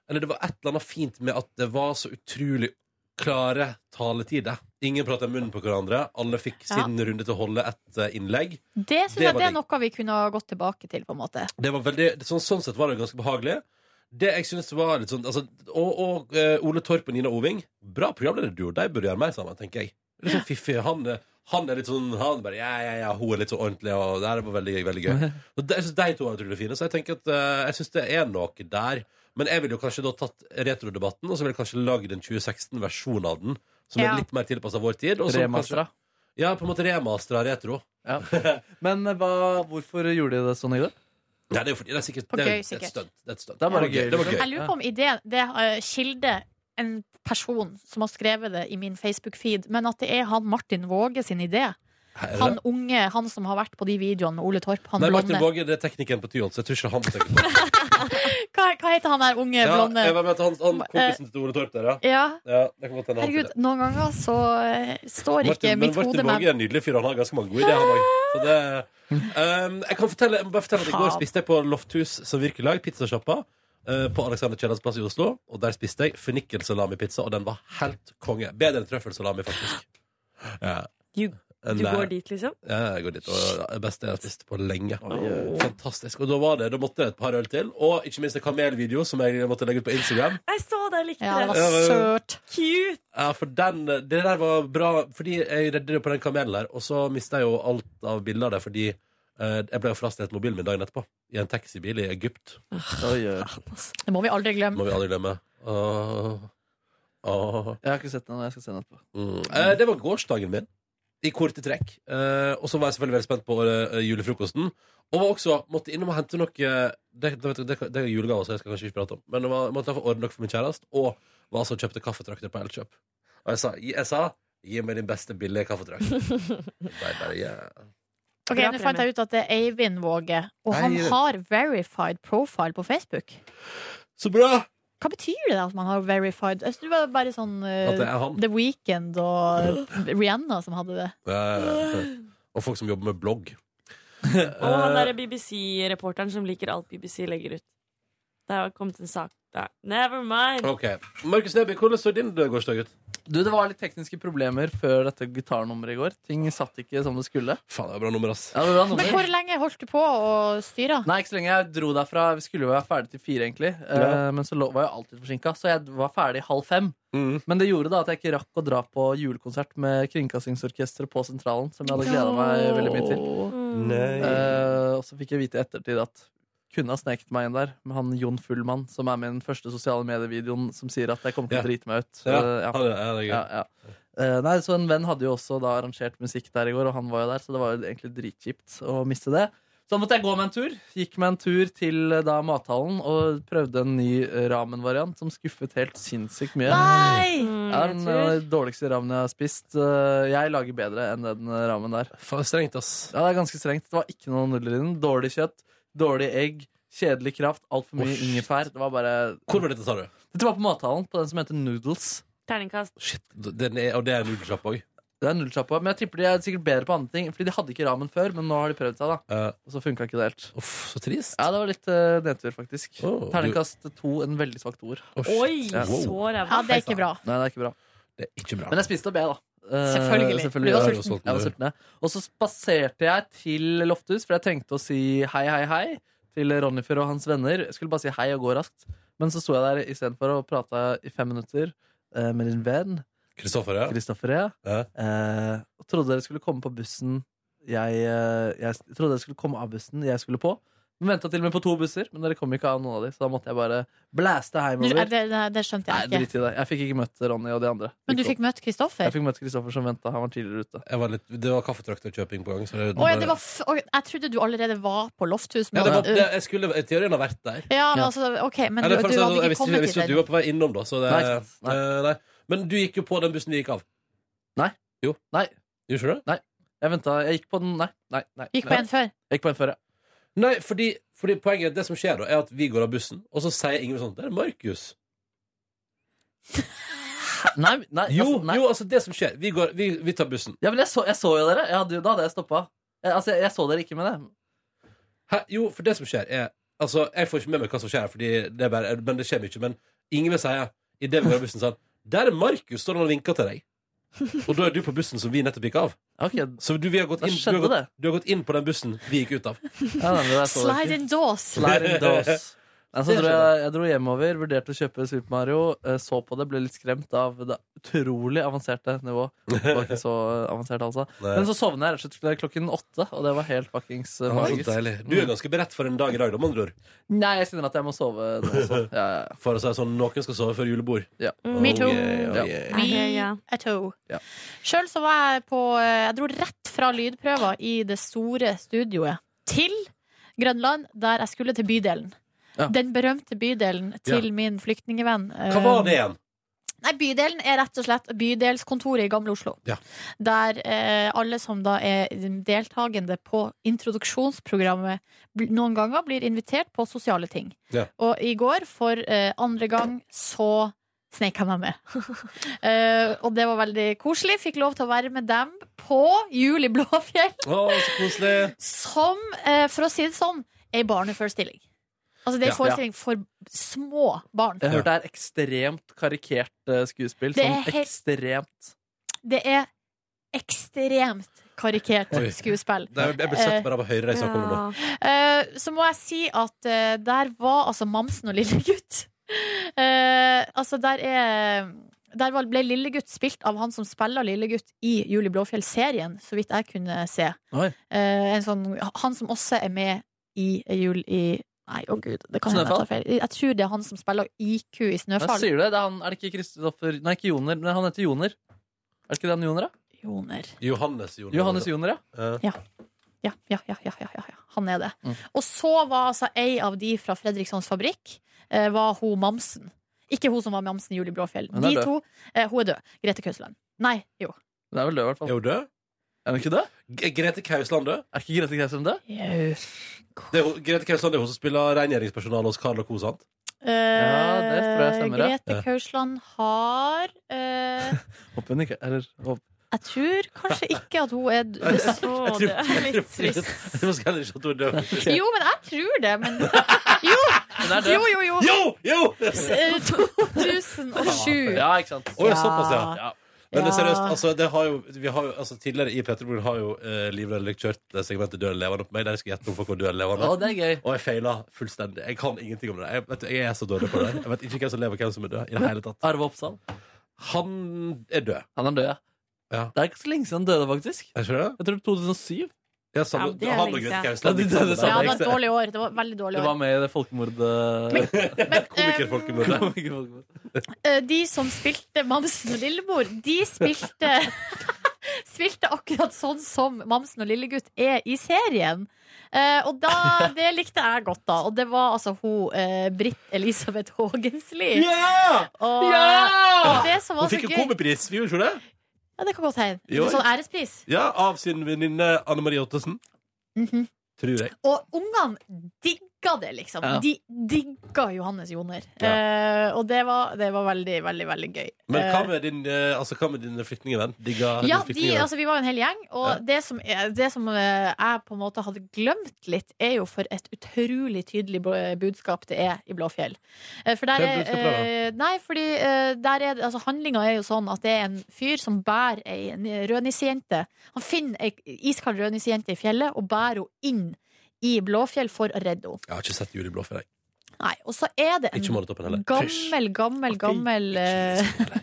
B: Eller det var et eller annet fint med at det var så utrolig klare taletider. Ingen prata i munnen på hverandre. Alle fikk
C: Ja.
B: sin runde til å holde et eh, innlegg.
C: Det syns
B: Det
C: jeg
B: var
C: det
B: digg.
C: er noe vi kunne ha gått tilbake til, på en måte.
B: Det var veldig, sånn, sånn sett var det ganske behagelig. Det jeg synes var litt sånn altså, Og, og eh, Ole Torp og Nina Oving, bra programlederduo. De burde gjøre mer sammen, tenker jeg. Litt sånn fiffig. Han, eh, han er litt sånn Han bare ja, ja, ja, hun er litt sånn ordentlig, og det her var veldig, veldig gøy. Og de, jeg synes de to er utrolig fine, så jeg tenker at eh, jeg syns det er noe der. Men jeg ville jo kanskje da tatt retrodebatten, og så ville jeg kanskje lagd en 2016-versjon av den. Som
D: Ja.
B: er litt mer tilpassa vår tid. og som
D: Remastera.
B: kanskje- Ja, på en måte remastera retro.
D: Ja. Men eh, hva, hvorfor gjorde de det sånn i går?
B: Nei, det er jo fordi det er sikkert
C: På
B: det er
C: gøy,
B: et
C: sikkert.
B: stunt. Det er et stunt.
D: Det er bare gøy,
B: Det var
D: liksom.
B: gøy.
C: Jeg lurer på om ideen Det er eh, kilde en person som har skrevet det i min Facebook-feed, men at det er han Martin Våge sin idé.
B: Her er det.
C: Han unge, han som har vært på de videoene med Ole Torp. Han
B: Nei, Martin
C: blonde.
B: Våge det er teknikeren på Tyholt, så jeg tror ikke han tenker på det.
C: Hva, hva heter han der unge,
B: Ja,
C: blonde? Eh,
B: jeg var med til han, han kompisen til Ole Torp der, ja.
C: Ja.
B: det kan godt hende han
C: Herregud,
B: sier det.
C: noen ganger så eh, står ikke
B: Martin, men
C: mitt hode
B: Martin
C: med
B: Våge er en nydelig fyr, han har ganske mange gode ideer, han òg. Så det Ehm, Jeg kan fortelle, jeg må bare fortelle at i går
C: Faen.
B: spiste jeg på Lofthus som virkelag, pizzasjappa, eh, på Alexander Kiellands plass i Oslo. Og der spiste jeg fennikelsalami-pizza, og den var helt konge. Bedre enn trøffelsalami, faktisk. Ja.
I: Du
B: Nei.
I: går dit, liksom?
B: Ja, jeg går dit. Og det beste jeg har spist på lenge. Fantastisk. Og da var det, da måtte jeg et par øl til. Og ikke minst en kamelvideo som jeg måtte legge ut på Instagram.
I: Jeg så det, jeg likte
C: Ja, det var søt.
I: Cute.
B: Ja, for den, det der var bra Fordi jeg redde det på den kamelen her Og så mistet jeg jo alt av bilder der Fordi eh, jeg ble jo frastelt mobilen min dagen etterpå I en taxibil i Egypt
C: Det må vi aldri glemme.
B: Må vi aldri glemme Åh, åh.
D: Jeg har ikke sett den, jeg skal se den etterpå.
B: Mm. Eh, Det var gårsdagen min I korte trekk Eh, Og så var jeg selvfølgelig veldig spent på eh, julefrokosten Og var også, måtte innom og hente noe Det, det, vet du, det, det er julegaver, så jeg skal kanskje ikke prate om Men jeg var, måtte i hvert fall ordne noe for min kjærest Og var altså og kjøpte kaffetrakter på Elkjøp Og jeg sa, jeg sa Gi meg din beste billige kaffetrakt Nei, bare, ja.
C: Ok,
I: Bra
C: Nå fant jeg ut at det er Eivind Våge, og han
B: Eivind.
C: har verified profile på Facebook.
B: Så bra!
C: Hva betyr det at man har verified? Jeg tror det var bare sånn eh,
B: At det er han.
C: The Weeknd og Rihanna som hadde det.
B: Eh, Og folk som jobber med blogg
I: Og
D: Eh,
I: han derre BBC-reporteren som liker alt BBC legger ut. Det har kommet en sak der. Never mind.
B: Ok, Markus Neby, hvordan så din gårsdag ut?
D: Du, Det var litt tekniske problemer før dette gitarnummeret i går. Ting satt ikke som det skulle.
B: Faen, det var bra nummer, ass.
D: Ja, det var bra
C: Men
D: nummer.
C: hvor lenge holdt du på å styre?
D: Nei, ikke så lenge. Jeg dro derfra. Vi skulle jo være ferdig til fire, egentlig. Eh,
C: Ja.
D: Men så lå- var jeg alltid forsinka, så jeg var ferdig halv fem.
B: Mm.
D: Men det gjorde da at jeg ikke rakk å dra på julekonsert med Kringkastingsorkesteret på Sentralen, som jeg hadde gleda meg
B: Åh.
D: veldig mye til.
B: Nei.
D: Eh, og så fikk jeg vite i ettertid at kunne ha sneket meg inn der med han Jon Fullmann, som er med i den første sosiale medievideoen som sier at jeg kommer til å drite meg ut.
B: Ja, han er-
D: Eh,
B: ja, det er gøy.
D: Ja, ja. Eh, nei, så En venn hadde jo også da arrangert musikk der i går, og han var jo der, så det var jo egentlig dritkjipt å miste det. Så da måtte jeg gå med en tur. Gikk med en tur til eh, da mathallen og prøvde en ny eh, ramen-variant som skuffet helt sinnssykt mye.
C: Nei! Mm,
D: Det er den eh, dårligste ramen jeg har spist. Eh, Jeg lager bedre enn den eh, ramen der.
B: strengt, ass.
D: Ja, det er ganske strengt. Det var ikke noe nudler i den. Dårlig kjøtt, dårlig egg, kjedelig kraft, altfor mye ingefær. Det var bare
B: Hvor var dette, sa du?
D: Dette var på mathallen, på den som heter Noodles.
I: Terningkast.
B: Den er, og det er nudelsjapp òg?
D: Det er nullsjappa, men jeg tipper de er sikkert bedre på andre ting. Fordi de hadde ikke ramen før, men nå har de prøvd seg, da. Og så funka ikke det helt.
B: Eh. så trist.
D: Ja, det var litt eh, nedtur, faktisk.
B: Oh,
D: Terningkast to, en veldig svak toer.
I: Oi,
D: Ja.
I: så ræva.
C: Ja, det er ikke bra.
D: Nei, det er ikke bra.
B: Det er ikke bra.
D: Men jeg spiste opp, jeg, da. Eh,
C: Selvfølgelig.
D: selvfølgelig.
C: Du var
D: Jeg
C: sulten.
D: Jeg var sulten, jeg. Og så spaserte jeg til Lofthus, for jeg trengte å si hei, hei, hei til Ronnyfer og hans venner. Jeg skulle bare si hei og gå raskt. Men så sto jeg der istedenfor og prata i fem minutter eh, med din venn.
B: Kristoffer, ja.
D: Kristoffer, ja. Eh, og trodde dere skulle komme på bussen jeg, eh, jeg s- trodde dere skulle komme av bussen jeg skulle på. Vi venta til og med på to busser, men dere kom ikke av noen av de, så da måtte jeg bare blæste
C: Nå,
D: heimover.
C: eh, Det, det, det skjønte
D: Nei,
C: jeg
D: drit
C: ikke.
D: i det. Jeg fikk ikke møtt Ronny og de andre.
C: Men du fikk møtt Kristoffer?
D: Jeg fikk møtt Kristoffer som venta. Han var tidligere ute.
B: det var kaffetrakterkjøping på gang. Så
C: Å, ja, det var f Oi, jeg trodde du allerede var på Lofthus.
B: ja,
C: Men,
B: det var, det, jeg skulle i teorien ha vært der.
C: ja, men altså, ok, men
B: Nei,
C: du,
B: det er faktisk-
C: du hadde
B: jeg
C: ikke
B: visste jeg
C: kommet
B: visste
C: til
B: at du
C: den.
B: var på vei innom, da. Så det,
D: Nei, sant.
B: eh, nei. Men du gikk jo på den bussen vi gikk av.
D: Nei.
B: Jo.
D: Nei.
B: Gjorde ikke du det?
D: Nei. Jeg venta Jeg gikk på den Nei. nei, nei
C: Gikk
B: Nei.
C: på en før.
D: Jeg gikk på en før, ja.
B: Nei, fordi, fordi poenget er at det som skjer da, er at vi går av bussen, og så sier Ingvild sånn Der er Markus.
D: Nei, nei,
B: jo, altså, jo, altså, det som skjer Vi, går, vi, vi tar bussen.
D: Ja, men jeg så, jeg så jo dere. Jeg hadde, jo- da hadde jeg stoppa. Jeg, altså, jeg, jeg så dere ikke med det.
B: Hæ? Jo, for det som skjer, er Altså, jeg får ikke med meg hva som skjer, fordi det er bare, men det skjer mye. Men Ingvild sier idet vi går av bussen, sånn Der er Markus, står han og vinker til deg. Og da er du på bussen som vi nettopp gikk av. Så du, vi har gått
D: Da
B: inn, du, har
D: skjedde
B: gått,
D: det.
B: du har gått inn på den bussen vi gikk ut av.
D: Ja, nei, men jeg så dere ikke.
C: Slide in doors.
D: Slide in doors. Nei, så
B: Det
D: dro jeg, jeg dro hjemover, vurderte å kjøpe Super Mario, eh, så på det, ble litt skremt av det utrolig avanserte nivået. Det var ikke så eh, avansert, altså.
B: Nei.
D: Men så sovnet jeg rett og slett klokken åtte, og det var helt fuckings eh,
B: Det var så
D: magisk.
B: deilig. Du er ganske beredt for en dag i dag, da, med andre ord.
D: Nei, jeg kjenner at jeg må sove nå også. Ja, ja, ja.
B: For å si det sånn, noen skal sove før julebord.
C: Mm, Me too.
B: yeah, oh, yeah.
C: Me a too.
D: Ja.
C: Sjøl så var jeg på eh, Jeg dro rett fra lydprøver i det store studioet til Grønland, der jeg skulle til bydelen.
B: Ja.
C: Den berømte bydelen til
B: Ja.
C: min flyktningevenn.
B: Hva var det igjen?
C: Eh, Nei, Bydelen er rett og slett bydelskontoret i Gamle Oslo.
B: Ja.
C: Der eh, alle som da er deltakende på introduksjonsprogrammet, bl- noen ganger blir invitert på sosiale ting.
B: Ja.
C: Og i går, for eh, andre gang, så snek jeg meg med. eh, og det var veldig koselig. Fikk lov til å være med dem på Jul i Blåfjell,
B: Å, så koselig.
C: som, eh, for å si det sånn, ei barneforestilling. Altså det er en
D: Ja.
C: forestilling for små barn.
D: Jeg hørte det er ekstremt karikert eh, skuespill.
C: Det er
D: Sånn
C: helt-
D: ekstremt.
C: Det er ekstremt karikert
B: Oi.
C: skuespill.
B: Det er, jeg ble sett bare av å høre deg snakke om det nå.
C: Eh, Så må jeg si at eh, der var altså Mamsen og Lillegutt. Eh, altså, der er der var- ble Lillegutt spilt av han som spiller Lillegutt i Julie Blåfjell-serien, så vidt jeg kunne se.
D: Oi.
C: Eh, en sånn, han som også er med i Jul i Nei, å gud, det kan hende jeg
D: Snøfall?
C: tar feil. Jeg tror det er han som spiller IQ i
D: Hva
C: Snøfall.
D: sier du det? det er, han, er det ikke Kristoffer Nei, ikke Joner. Men han heter Joner. Er det ikke det han Joner, da?
C: Joner.
B: Johannes Joner.
D: Johannes Joner,
B: ja.
C: Ja. Ja, ja, ja, ja, ja, ja, ja. Han er det.
D: Mm.
C: Og så var altså ei av de fra Fredrikssons fabrikk eh, Var hun Mamsen. Ikke hun som var Mamsen i Julie Blåfjell.
D: Hun er
C: De
D: død.
C: to, eh, Hun er død. Grete Kausland. Nei, jo.
D: Hun er vel død, i hvert fall.
B: Er hun død?
D: Er hun ikke død?
B: Grete Kausland død?
D: Er ikke Grete Kausland død?
B: Det er, hun- Grete Kausland er hun som spiller rengjøringspersonalet hos Carl og Co, sant?
C: Eh,
D: Ja, det tror jeg stemmer, ja.
C: Grete Kausland har eh,
D: Håper hun ikke Eller håper
C: Jeg tror kanskje ikke at hun er
B: Jeg- jeg- jeg
C: død.
B: tror-
C: det er
B: jeg
C: litt
B: tror- jeg
C: trist.
B: tror faktisk heller ikke at hun er død.
C: Jo, men jeg tror det. Men
D: Hun er død.
C: jo, jo, jo.
B: Jo! Jo!
C: S- eh, 2007.
D: Ja, ikke sant.
B: Å, ja, såpass, ja.
D: Ja.
B: Men det er
C: Ja.
B: seriøst, altså, det har jo, vi har jo altså, tidligere i Peterborg har jo eh, Liv Rønnelik kjørt det segmentet Døden levende på meg, der jeg skulle gjette hvorfor hvor døden levende.
D: Å, det er gøy.
B: Og jeg feila fullstendig. Jeg kan ingenting om det. Jeg, vet, du, jeg er så dårlig på det. Jeg vet ikke hvem som lever, og hvem som er død. I det hele tatt.
D: Arve Oppsal.
B: Han er død.
D: Han er død, ja. Det er ikke så lenge siden han døde, faktisk.
B: Er ikke det?
D: Jeg tror 2007.
B: Ja, samme- Ja, det er han og lenge Grete siden. Kausland
D: Ja,
B: gikk
D: de
C: Ja,
B: sammen der.
D: døde
C: det
D: sammen,
C: var et
D: ikke sant?
C: dårlig år. Det eh, var et veldig dårlig
D: Det
C: år.
D: var med i det folkemordet
B: Komikerfolkemordet.
D: Komikerfolkemordet.
C: Eh, de som spilte Mamsen og Lillemor, de spilte Spilte akkurat sånn som Mamsen og Lillegutt er i serien. Eh, og da, det likte jeg godt, da. Og det var altså hun eh, Britt Elisabeth Haagensli.
B: Ja!
C: Og,
B: Ja!
C: og det som var
B: Hun
C: så
B: fikk jo
C: gøy
B: komipris, vi gjorde ikke det?
C: Ja, det kan godt hende.
B: Jo.
C: En Sånn ærespris.
B: Ja, av sin venninne Anne Marie Ottesen.
C: Mhm.
B: Tror jeg.
C: Og ungene digga det, liksom.
B: Ja.
C: De digga Johannes Joner. Eh, og det var, det var veldig, veldig, veldig gøy.
B: Men
C: Eh,
B: hva med din, eh, altså, hva med din flyktningevenn? Digga
C: Ja,
B: din
C: de,
B: flyktningevenn?
C: altså, vi var jo en hel gjeng, og
B: Ja.
C: det som, er- det som eh, jeg på en måte hadde glemt litt, er jo for et utrolig tydelig bo- budskap det er i Blåfjell. Eh, For der
I: Hva er
C: er,
I: budskapet
C: eh, nei, fordi eh, der er, det- altså, handlinga er jo sånn at det er en fyr som bærer ei en rødnissejente. Han finner ei iskald rødnissejente i fjellet og bærer henne inn i Blåfjell for å redde henne.
B: Jeg har ikke sett Juli Blå før, jeg.
C: Nei, og så er det
B: Ikke Molotov heller.
C: en gammel, gammel, gammel eh,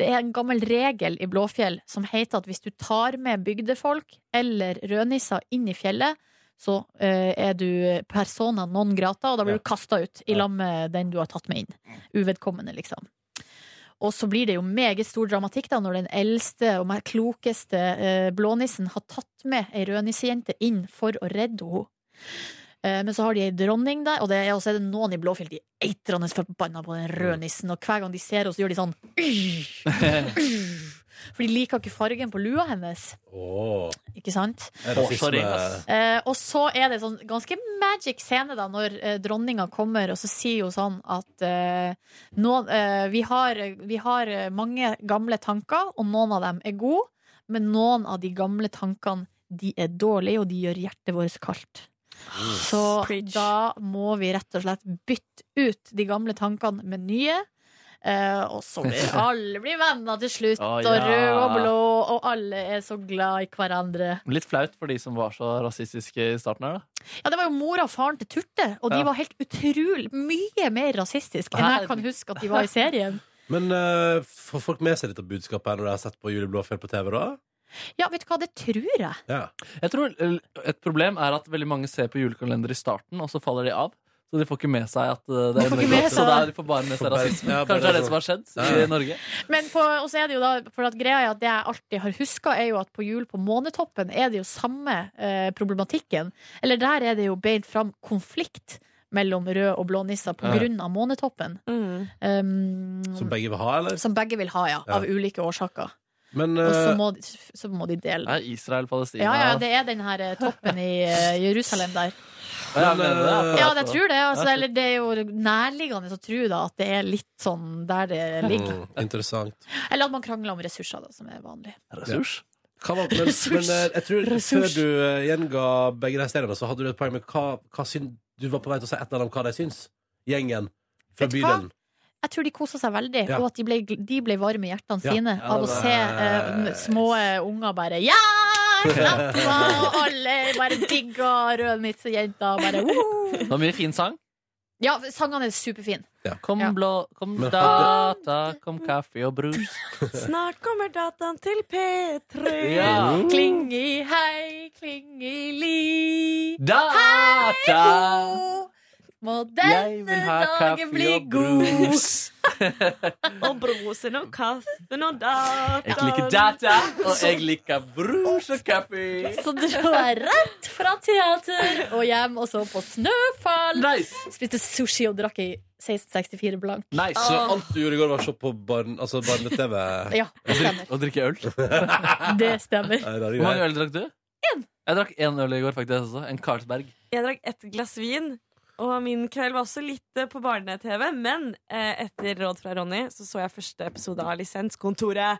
C: Det er en gammel regel i Blåfjell som heter at hvis du tar med bygdefolk eller rødnisser inn i fjellet, så eh, er du persona non grata, og da blir du kasta ut i
X: Ja.
C: lag med den du har tatt med inn. Uvedkommende, liksom. Og så blir det jo meget stor dramatikk da når den eldste og mer klokeste eh, blånissen har tatt med ei rødnissejente inn for å redde henne. Eh, Men så har de ei dronning der, og det er, og så er det noen i Blåfjell de er eitrende forbanna på den røde nissen. Og hver gang de ser oss, gjør de sånn For de liker ikke fargen på lua hennes. Ikke sant?
P: Det er rasisme. Sorry, ass.
C: Eh, og så er det sånn ganske magic scene da når eh, dronninga kommer, og så sier hun sånn at eh, noen, eh, vi, har, vi har eh, mange gamle tanker, og noen av dem er gode, men noen av de gamle tankene de er dårlige, og de gjør hjertet vårt kaldt. Så da må vi rett og slett bytte ut de gamle tankene med nye. eh, og så blir alle blir venner til slutt,
D: Å,
C: og rød og
D: ja.
C: blå, og alle er så glad i hverandre.
D: Litt flaut for de som var så rasistiske i starten her, da.
C: Ja, det var jo mora og faren til Turte, og de
D: Ja.
C: var helt utrolig mye mer rasistiske enn jeg kan huske at de var i serien.
B: Men eh, får folk med seg dette budskapet her når de har sett på Julie Blåfjell på TV, da?
C: Ja, vet du hva, det tror jeg.
D: Jeg tror eh, Et problem er at veldig mange ser på julekalender i starten, og så faller de av. Så de får ikke med seg at eh, det er
C: ikke med
D: Så
C: seg
D: da
C: det.
D: er de får bare med
B: Får
D: seg
B: bare-
D: rasisme.
B: ja, bare
D: Kanskje det er det
B: sånn.
D: som har skjedd
B: Ja.
D: i Norge.
C: Men på, og så er det jo da, for at greia er at det jeg alltid har huska, er jo at på Jul på månetoppen er det jo samme eh, problematikken. Eller der er det jo beint fram konflikt mellom rød og blå nisser på
B: Ja.
C: grunn av månetoppen. Um,
B: Som begge vil ha, eller?
C: som begge vil ha, ja.
B: Ja.
C: Av ulike årsaker.
B: Men
C: Og så
B: eh,
C: må, de- så må de dele.
D: Nei, Israel, Palestina
C: Ja, ja, det er den her eh, toppen i eh, Jerusalem der.
D: Ja, jeg
B: eh,
D: mener det, akkurat.
C: Ja, det tror det. Altså,
D: Ja,
C: eller det er jo nærliggende å tro da, at det er litt sånn der det ligger.
B: Mm, interessant.
C: Eller at man krangler om ressurser, da, som er vanlig.
B: Ressurs? Hva var, men, men
C: Ressurs.
B: eh, jeg tror
C: Ressurs.
B: før du eh, gjenga begge de seriene, så hadde du et poeng med hva, hva syn, Du var på vei til å si et eller annet om hva de syns, gjengen fra
C: Vet du hva?
B: bydelen.
C: Jeg tror de kosa seg veldig,
B: Ja.
C: og at de ble, de ble varme i hjertene
B: Ja.
C: sine
B: Ja,
C: av å
B: det var-
C: se eh, små eh, unger bare Ja! Klappa, og alle bare digga rødnissejenta. og Bare woho!
D: Det var mye fin sang.
C: Ja, sangene er superfine.
D: Kom blå, kom
C: Men-
D: data, kom kaffe og brus.
I: Snart kommer dataen til P3.
D: Ja.
C: Kling i hei, kling i li.
D: Data!
C: Må
D: Jeg vil
C: denne
D: ha
C: dagen bli
D: kaffe og
C: god.
D: brus.
I: og brosen og kaffen og dataen.
D: Jeg liker data, og jeg liker brus og kaffe.
C: Så dro jeg rett fra teater og hjem og så på Snøfall. Spiste sushi og drakk i 1664 blank.
B: Nice. Så
I: Ah.
C: Åh.
B: alt du gjorde i går, var å se på barn- altså barne-TV?
C: Ja, det stemmer.
D: Og drikke øl.
C: Det stemmer.
D: Hvor mange øl drakk du?
C: Én.
D: Jeg drakk én øl i går, faktisk. også. En Carlsberg.
I: Jeg drakk ett glass vin, og min kveld var også litt eh, på barne-TV. Men eh, etter råd fra Ronny så så jeg første episode av Lisenskontoret.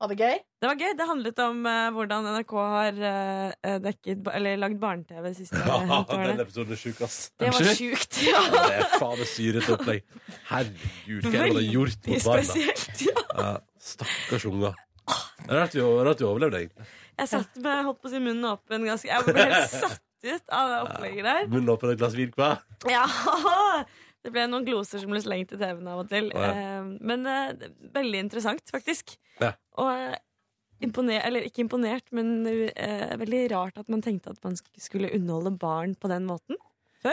C: Var det gøy?
I: Det var gøy. Det handlet om eh, hvordan NRK har eh, dekket, ba- eller lagd barne-TV de siste
B: Ja,
I: årene.
B: den episoden er sjuk, ass.
I: Det var sjukt, ja.
B: det er faen meg syrete opplegg. Herregud, hva er det du har gjort
I: Veldig
B: mot barna?
I: spesielt, ja.
B: Ja, stakkars unger. Det er Rart du, rart du overlevde, egentlig.
I: Jeg satt med holdt på å si munnen åpen ganske Jeg ble helt satt ut av det opplegget der.
B: Munnen åpen og et glass vin hver.
I: Ja, det ble noen gloser som ble slengt i TV-en av og til.
B: Ja.
I: Eh, Men eh, det- veldig interessant, faktisk.
B: Ja.
I: Og eh, imponer, eller ikke imponert, men eh, veldig rart at man tenkte at man sk- skulle underholde barn på den måten.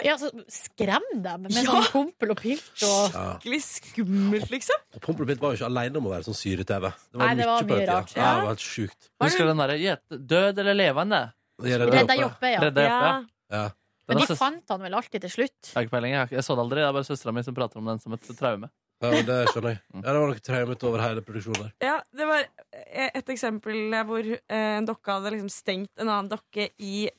C: Ja, så Skrem dem med sånn pompel og pilt og
B: Ja.
I: Skikkelig skummelt, liksom.
B: Og Pompel og Pilt var jo ikke alene om å være sånn syre-TV. Det
C: Nei, det var
B: på den
C: mye
B: tida.
C: rart,
B: Ja.
C: ja.
B: det var helt sjukt.
D: Husker du den derre gjete- Død eller levende?
B: Jeg
C: Redda Redda Joppe. Joppe, ja.
D: Redda Joppe,
C: Ja.
B: Ja.
D: Den
C: Men
D: har
C: de
D: søs-
C: fant han vel alltid til slutt.
D: Jeg har ikke peiling. Jeg, har ikke- jeg så det aldri. Det er bare søstera mi som prater om den som et traume. Mm.
B: Ja, men det skjønner jeg. Ja, det var noe traumet over hele produksjonen der.
I: Ja, det var eh, et eksempel hvor eh, en dokke hadde liksom stengt en annen dokke i eh,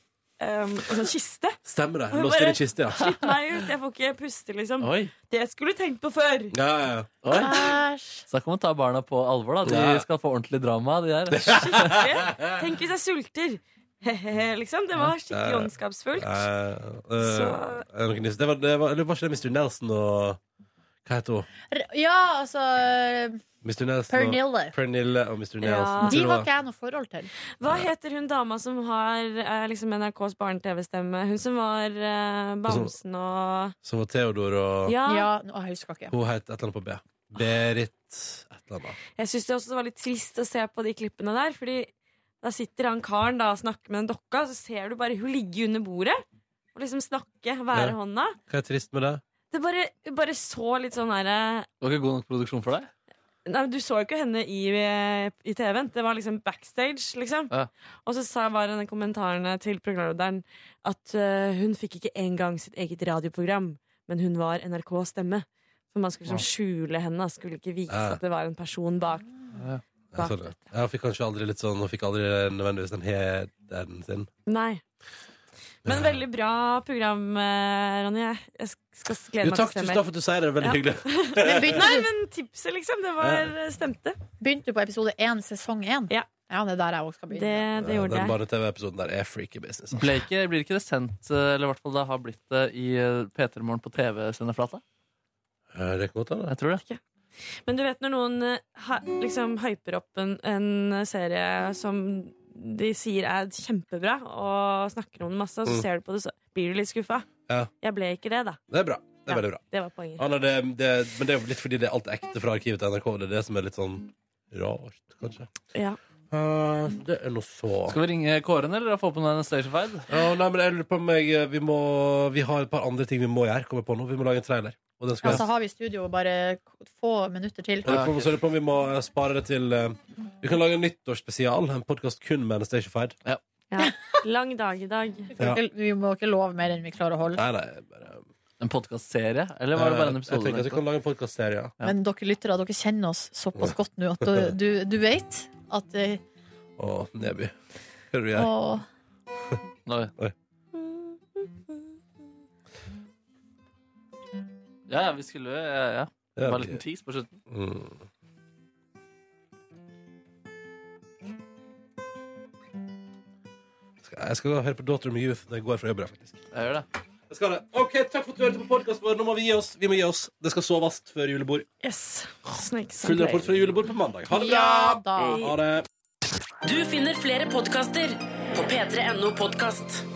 I: en sånn kiste.
B: Stemmer det.
I: Og hun
B: Låst inn
I: bare,
B: i kiste, ja.
I: Slipp meg ut, jeg får ikke puste, liksom.
D: Oi.
I: Det skulle du tenkt på før!
B: Ja, ja, ja.
D: Oi. Snakk om å ta barna på alvor, da. De
B: Ja.
D: skal få ordentlig drama, de der.
I: Tenk hvis jeg sulter! He-he, liksom. Det var skikkelig
B: Eh,
I: ondskapsfullt.
B: eh, er det noe nytt? Det var, det var, eller var ikke det Mr. Nelson og Hva heter hun?
C: R- Ja, altså
B: Mr. Nelson
C: Pernille.
B: Og, Pernille og Mr. Nelson.
I: Ja.
C: De
B: Jeg tror det
C: har ikke jeg noe forhold til.
I: Hva heter hun dama som har eh, liksom NRKs barne-TV-stemme? Hun som var eh, bamsen og
B: Som var Theodor og
I: Ja.
C: nå, jeg husker ikke.
B: Hun het et eller annet på B. Berit et eller annet.
I: Jeg syns det også var litt trist å se på de klippene der, fordi Da sitter han karen da og snakker med den dokka, så ser du bare hun ligge under bordet og liksom snakke, være
B: Ja.
I: hånda.
B: Hva er trist med det?
I: Det bare, bare så litt sånn herre
D: Det var ikke god nok produksjon for deg?
I: Nei, men Du så jo ikke henne i, eh, i TV-en. Det var liksom backstage, liksom.
D: Ja.
I: Og så sa bare denne kommentaren til programlederen at eh, hun fikk ikke engang sitt eget radioprogram, men hun var NRKs stemme. For man skulle liksom skjule henne, skulle ikke vise
B: Ja.
I: at det var en person bak.
B: Jeg, så det. jeg fikk kanskje aldri litt sånn, og fikk aldri nødvendigvis den heden sin.
I: Nei. Men veldig bra program, eh, Ronny. Jeg- Jeg skal glede
B: Jo,
I: meg
B: takk,
I: til å se
B: tusen
I: mer.
B: takk for at du sier det. Det er veldig
I: Ja.
B: hyggelig.
I: Men begynte Nei, men tipset, liksom. Det var, stemte.
C: Begynte du på episode én, sesong én?
I: Ja.
C: det er der jeg òg skal begynne.
I: det gjorde
B: Den
I: jeg.
B: barne-TV-episoden der er freaky business. altså.
D: Ble ikke, blir ikke det sendt, eh, eller i hvert fall det har blitt det, i eh, P3 Morgen på TV-sendeflata?
B: Eh, Det kan godt hende.
D: Jeg tror det.
I: Men du vet når noen eh, ha, liksom hyper opp en, en serie som de sier er kjempebra, og snakker om det masse, og så
B: Mm.
I: ser du på det, så blir du litt skuffa.
B: Ja.
I: Jeg ble ikke det, da.
B: Det er bra. Det er
I: Ja,
B: veldig bra.
I: det var poenget.
B: Ja, nei, det, det, men det er jo litt fordi det er alt ekte fra arkivet til NRK. Det er det som er litt sånn rart, kanskje.
I: Ja.
B: Eh, det er noe så
D: Skal vi ringe Kåren, eller få på en stagefied?
B: Ja, nei, men jeg lurer på om jeg vi, må, vi har et par andre ting vi må gjøre. Kommer på nå. Vi må lage en trailer. Og den skal
C: Altså har vi studio bare få minutter til.
B: Jeg lurer på om- så lurer jeg på om vi må eh, spare det til eh, Vi kan lage en nyttårsspesial. En podkast kun med Anastacified. Ja.
I: Ja. Lang dag i dag.
C: Vi, får ikke, vi må ikke love mer enn vi klarer å holde.
B: Nei, nei, bare,
D: En podkastserie? Eller var det bare en episode?
B: Jeg tenker at vi kan lage en podcastserie, ja.
C: Men dere lyttere, dere kjenner oss såpass godt nå at du, du, du vet at eh,
B: Å, Neby. Hører du jeg?
C: å,
D: Nei.
B: Oi.
D: Ja, ja, vi skulle jo ja, ja.
B: Ja, ok.
D: Bare en liten tease på slutten.
B: Mm. Skal- Jeg skal høre på Daughter of Youth når jeg går fra jobb. faktisk.
D: Jeg gjør det.
B: Jeg skal det. Ok, Takk for at du hørte på podkasten vår. Nå må vi gi oss. Vi må gi oss. Det skal soves før julebord.
I: Yes. Snakes
B: Full rapport fra julebord på mandag. Ha det bra!
A: Ja da.
B: Ha det.
A: Du finner flere podkaster på p3.no podkast.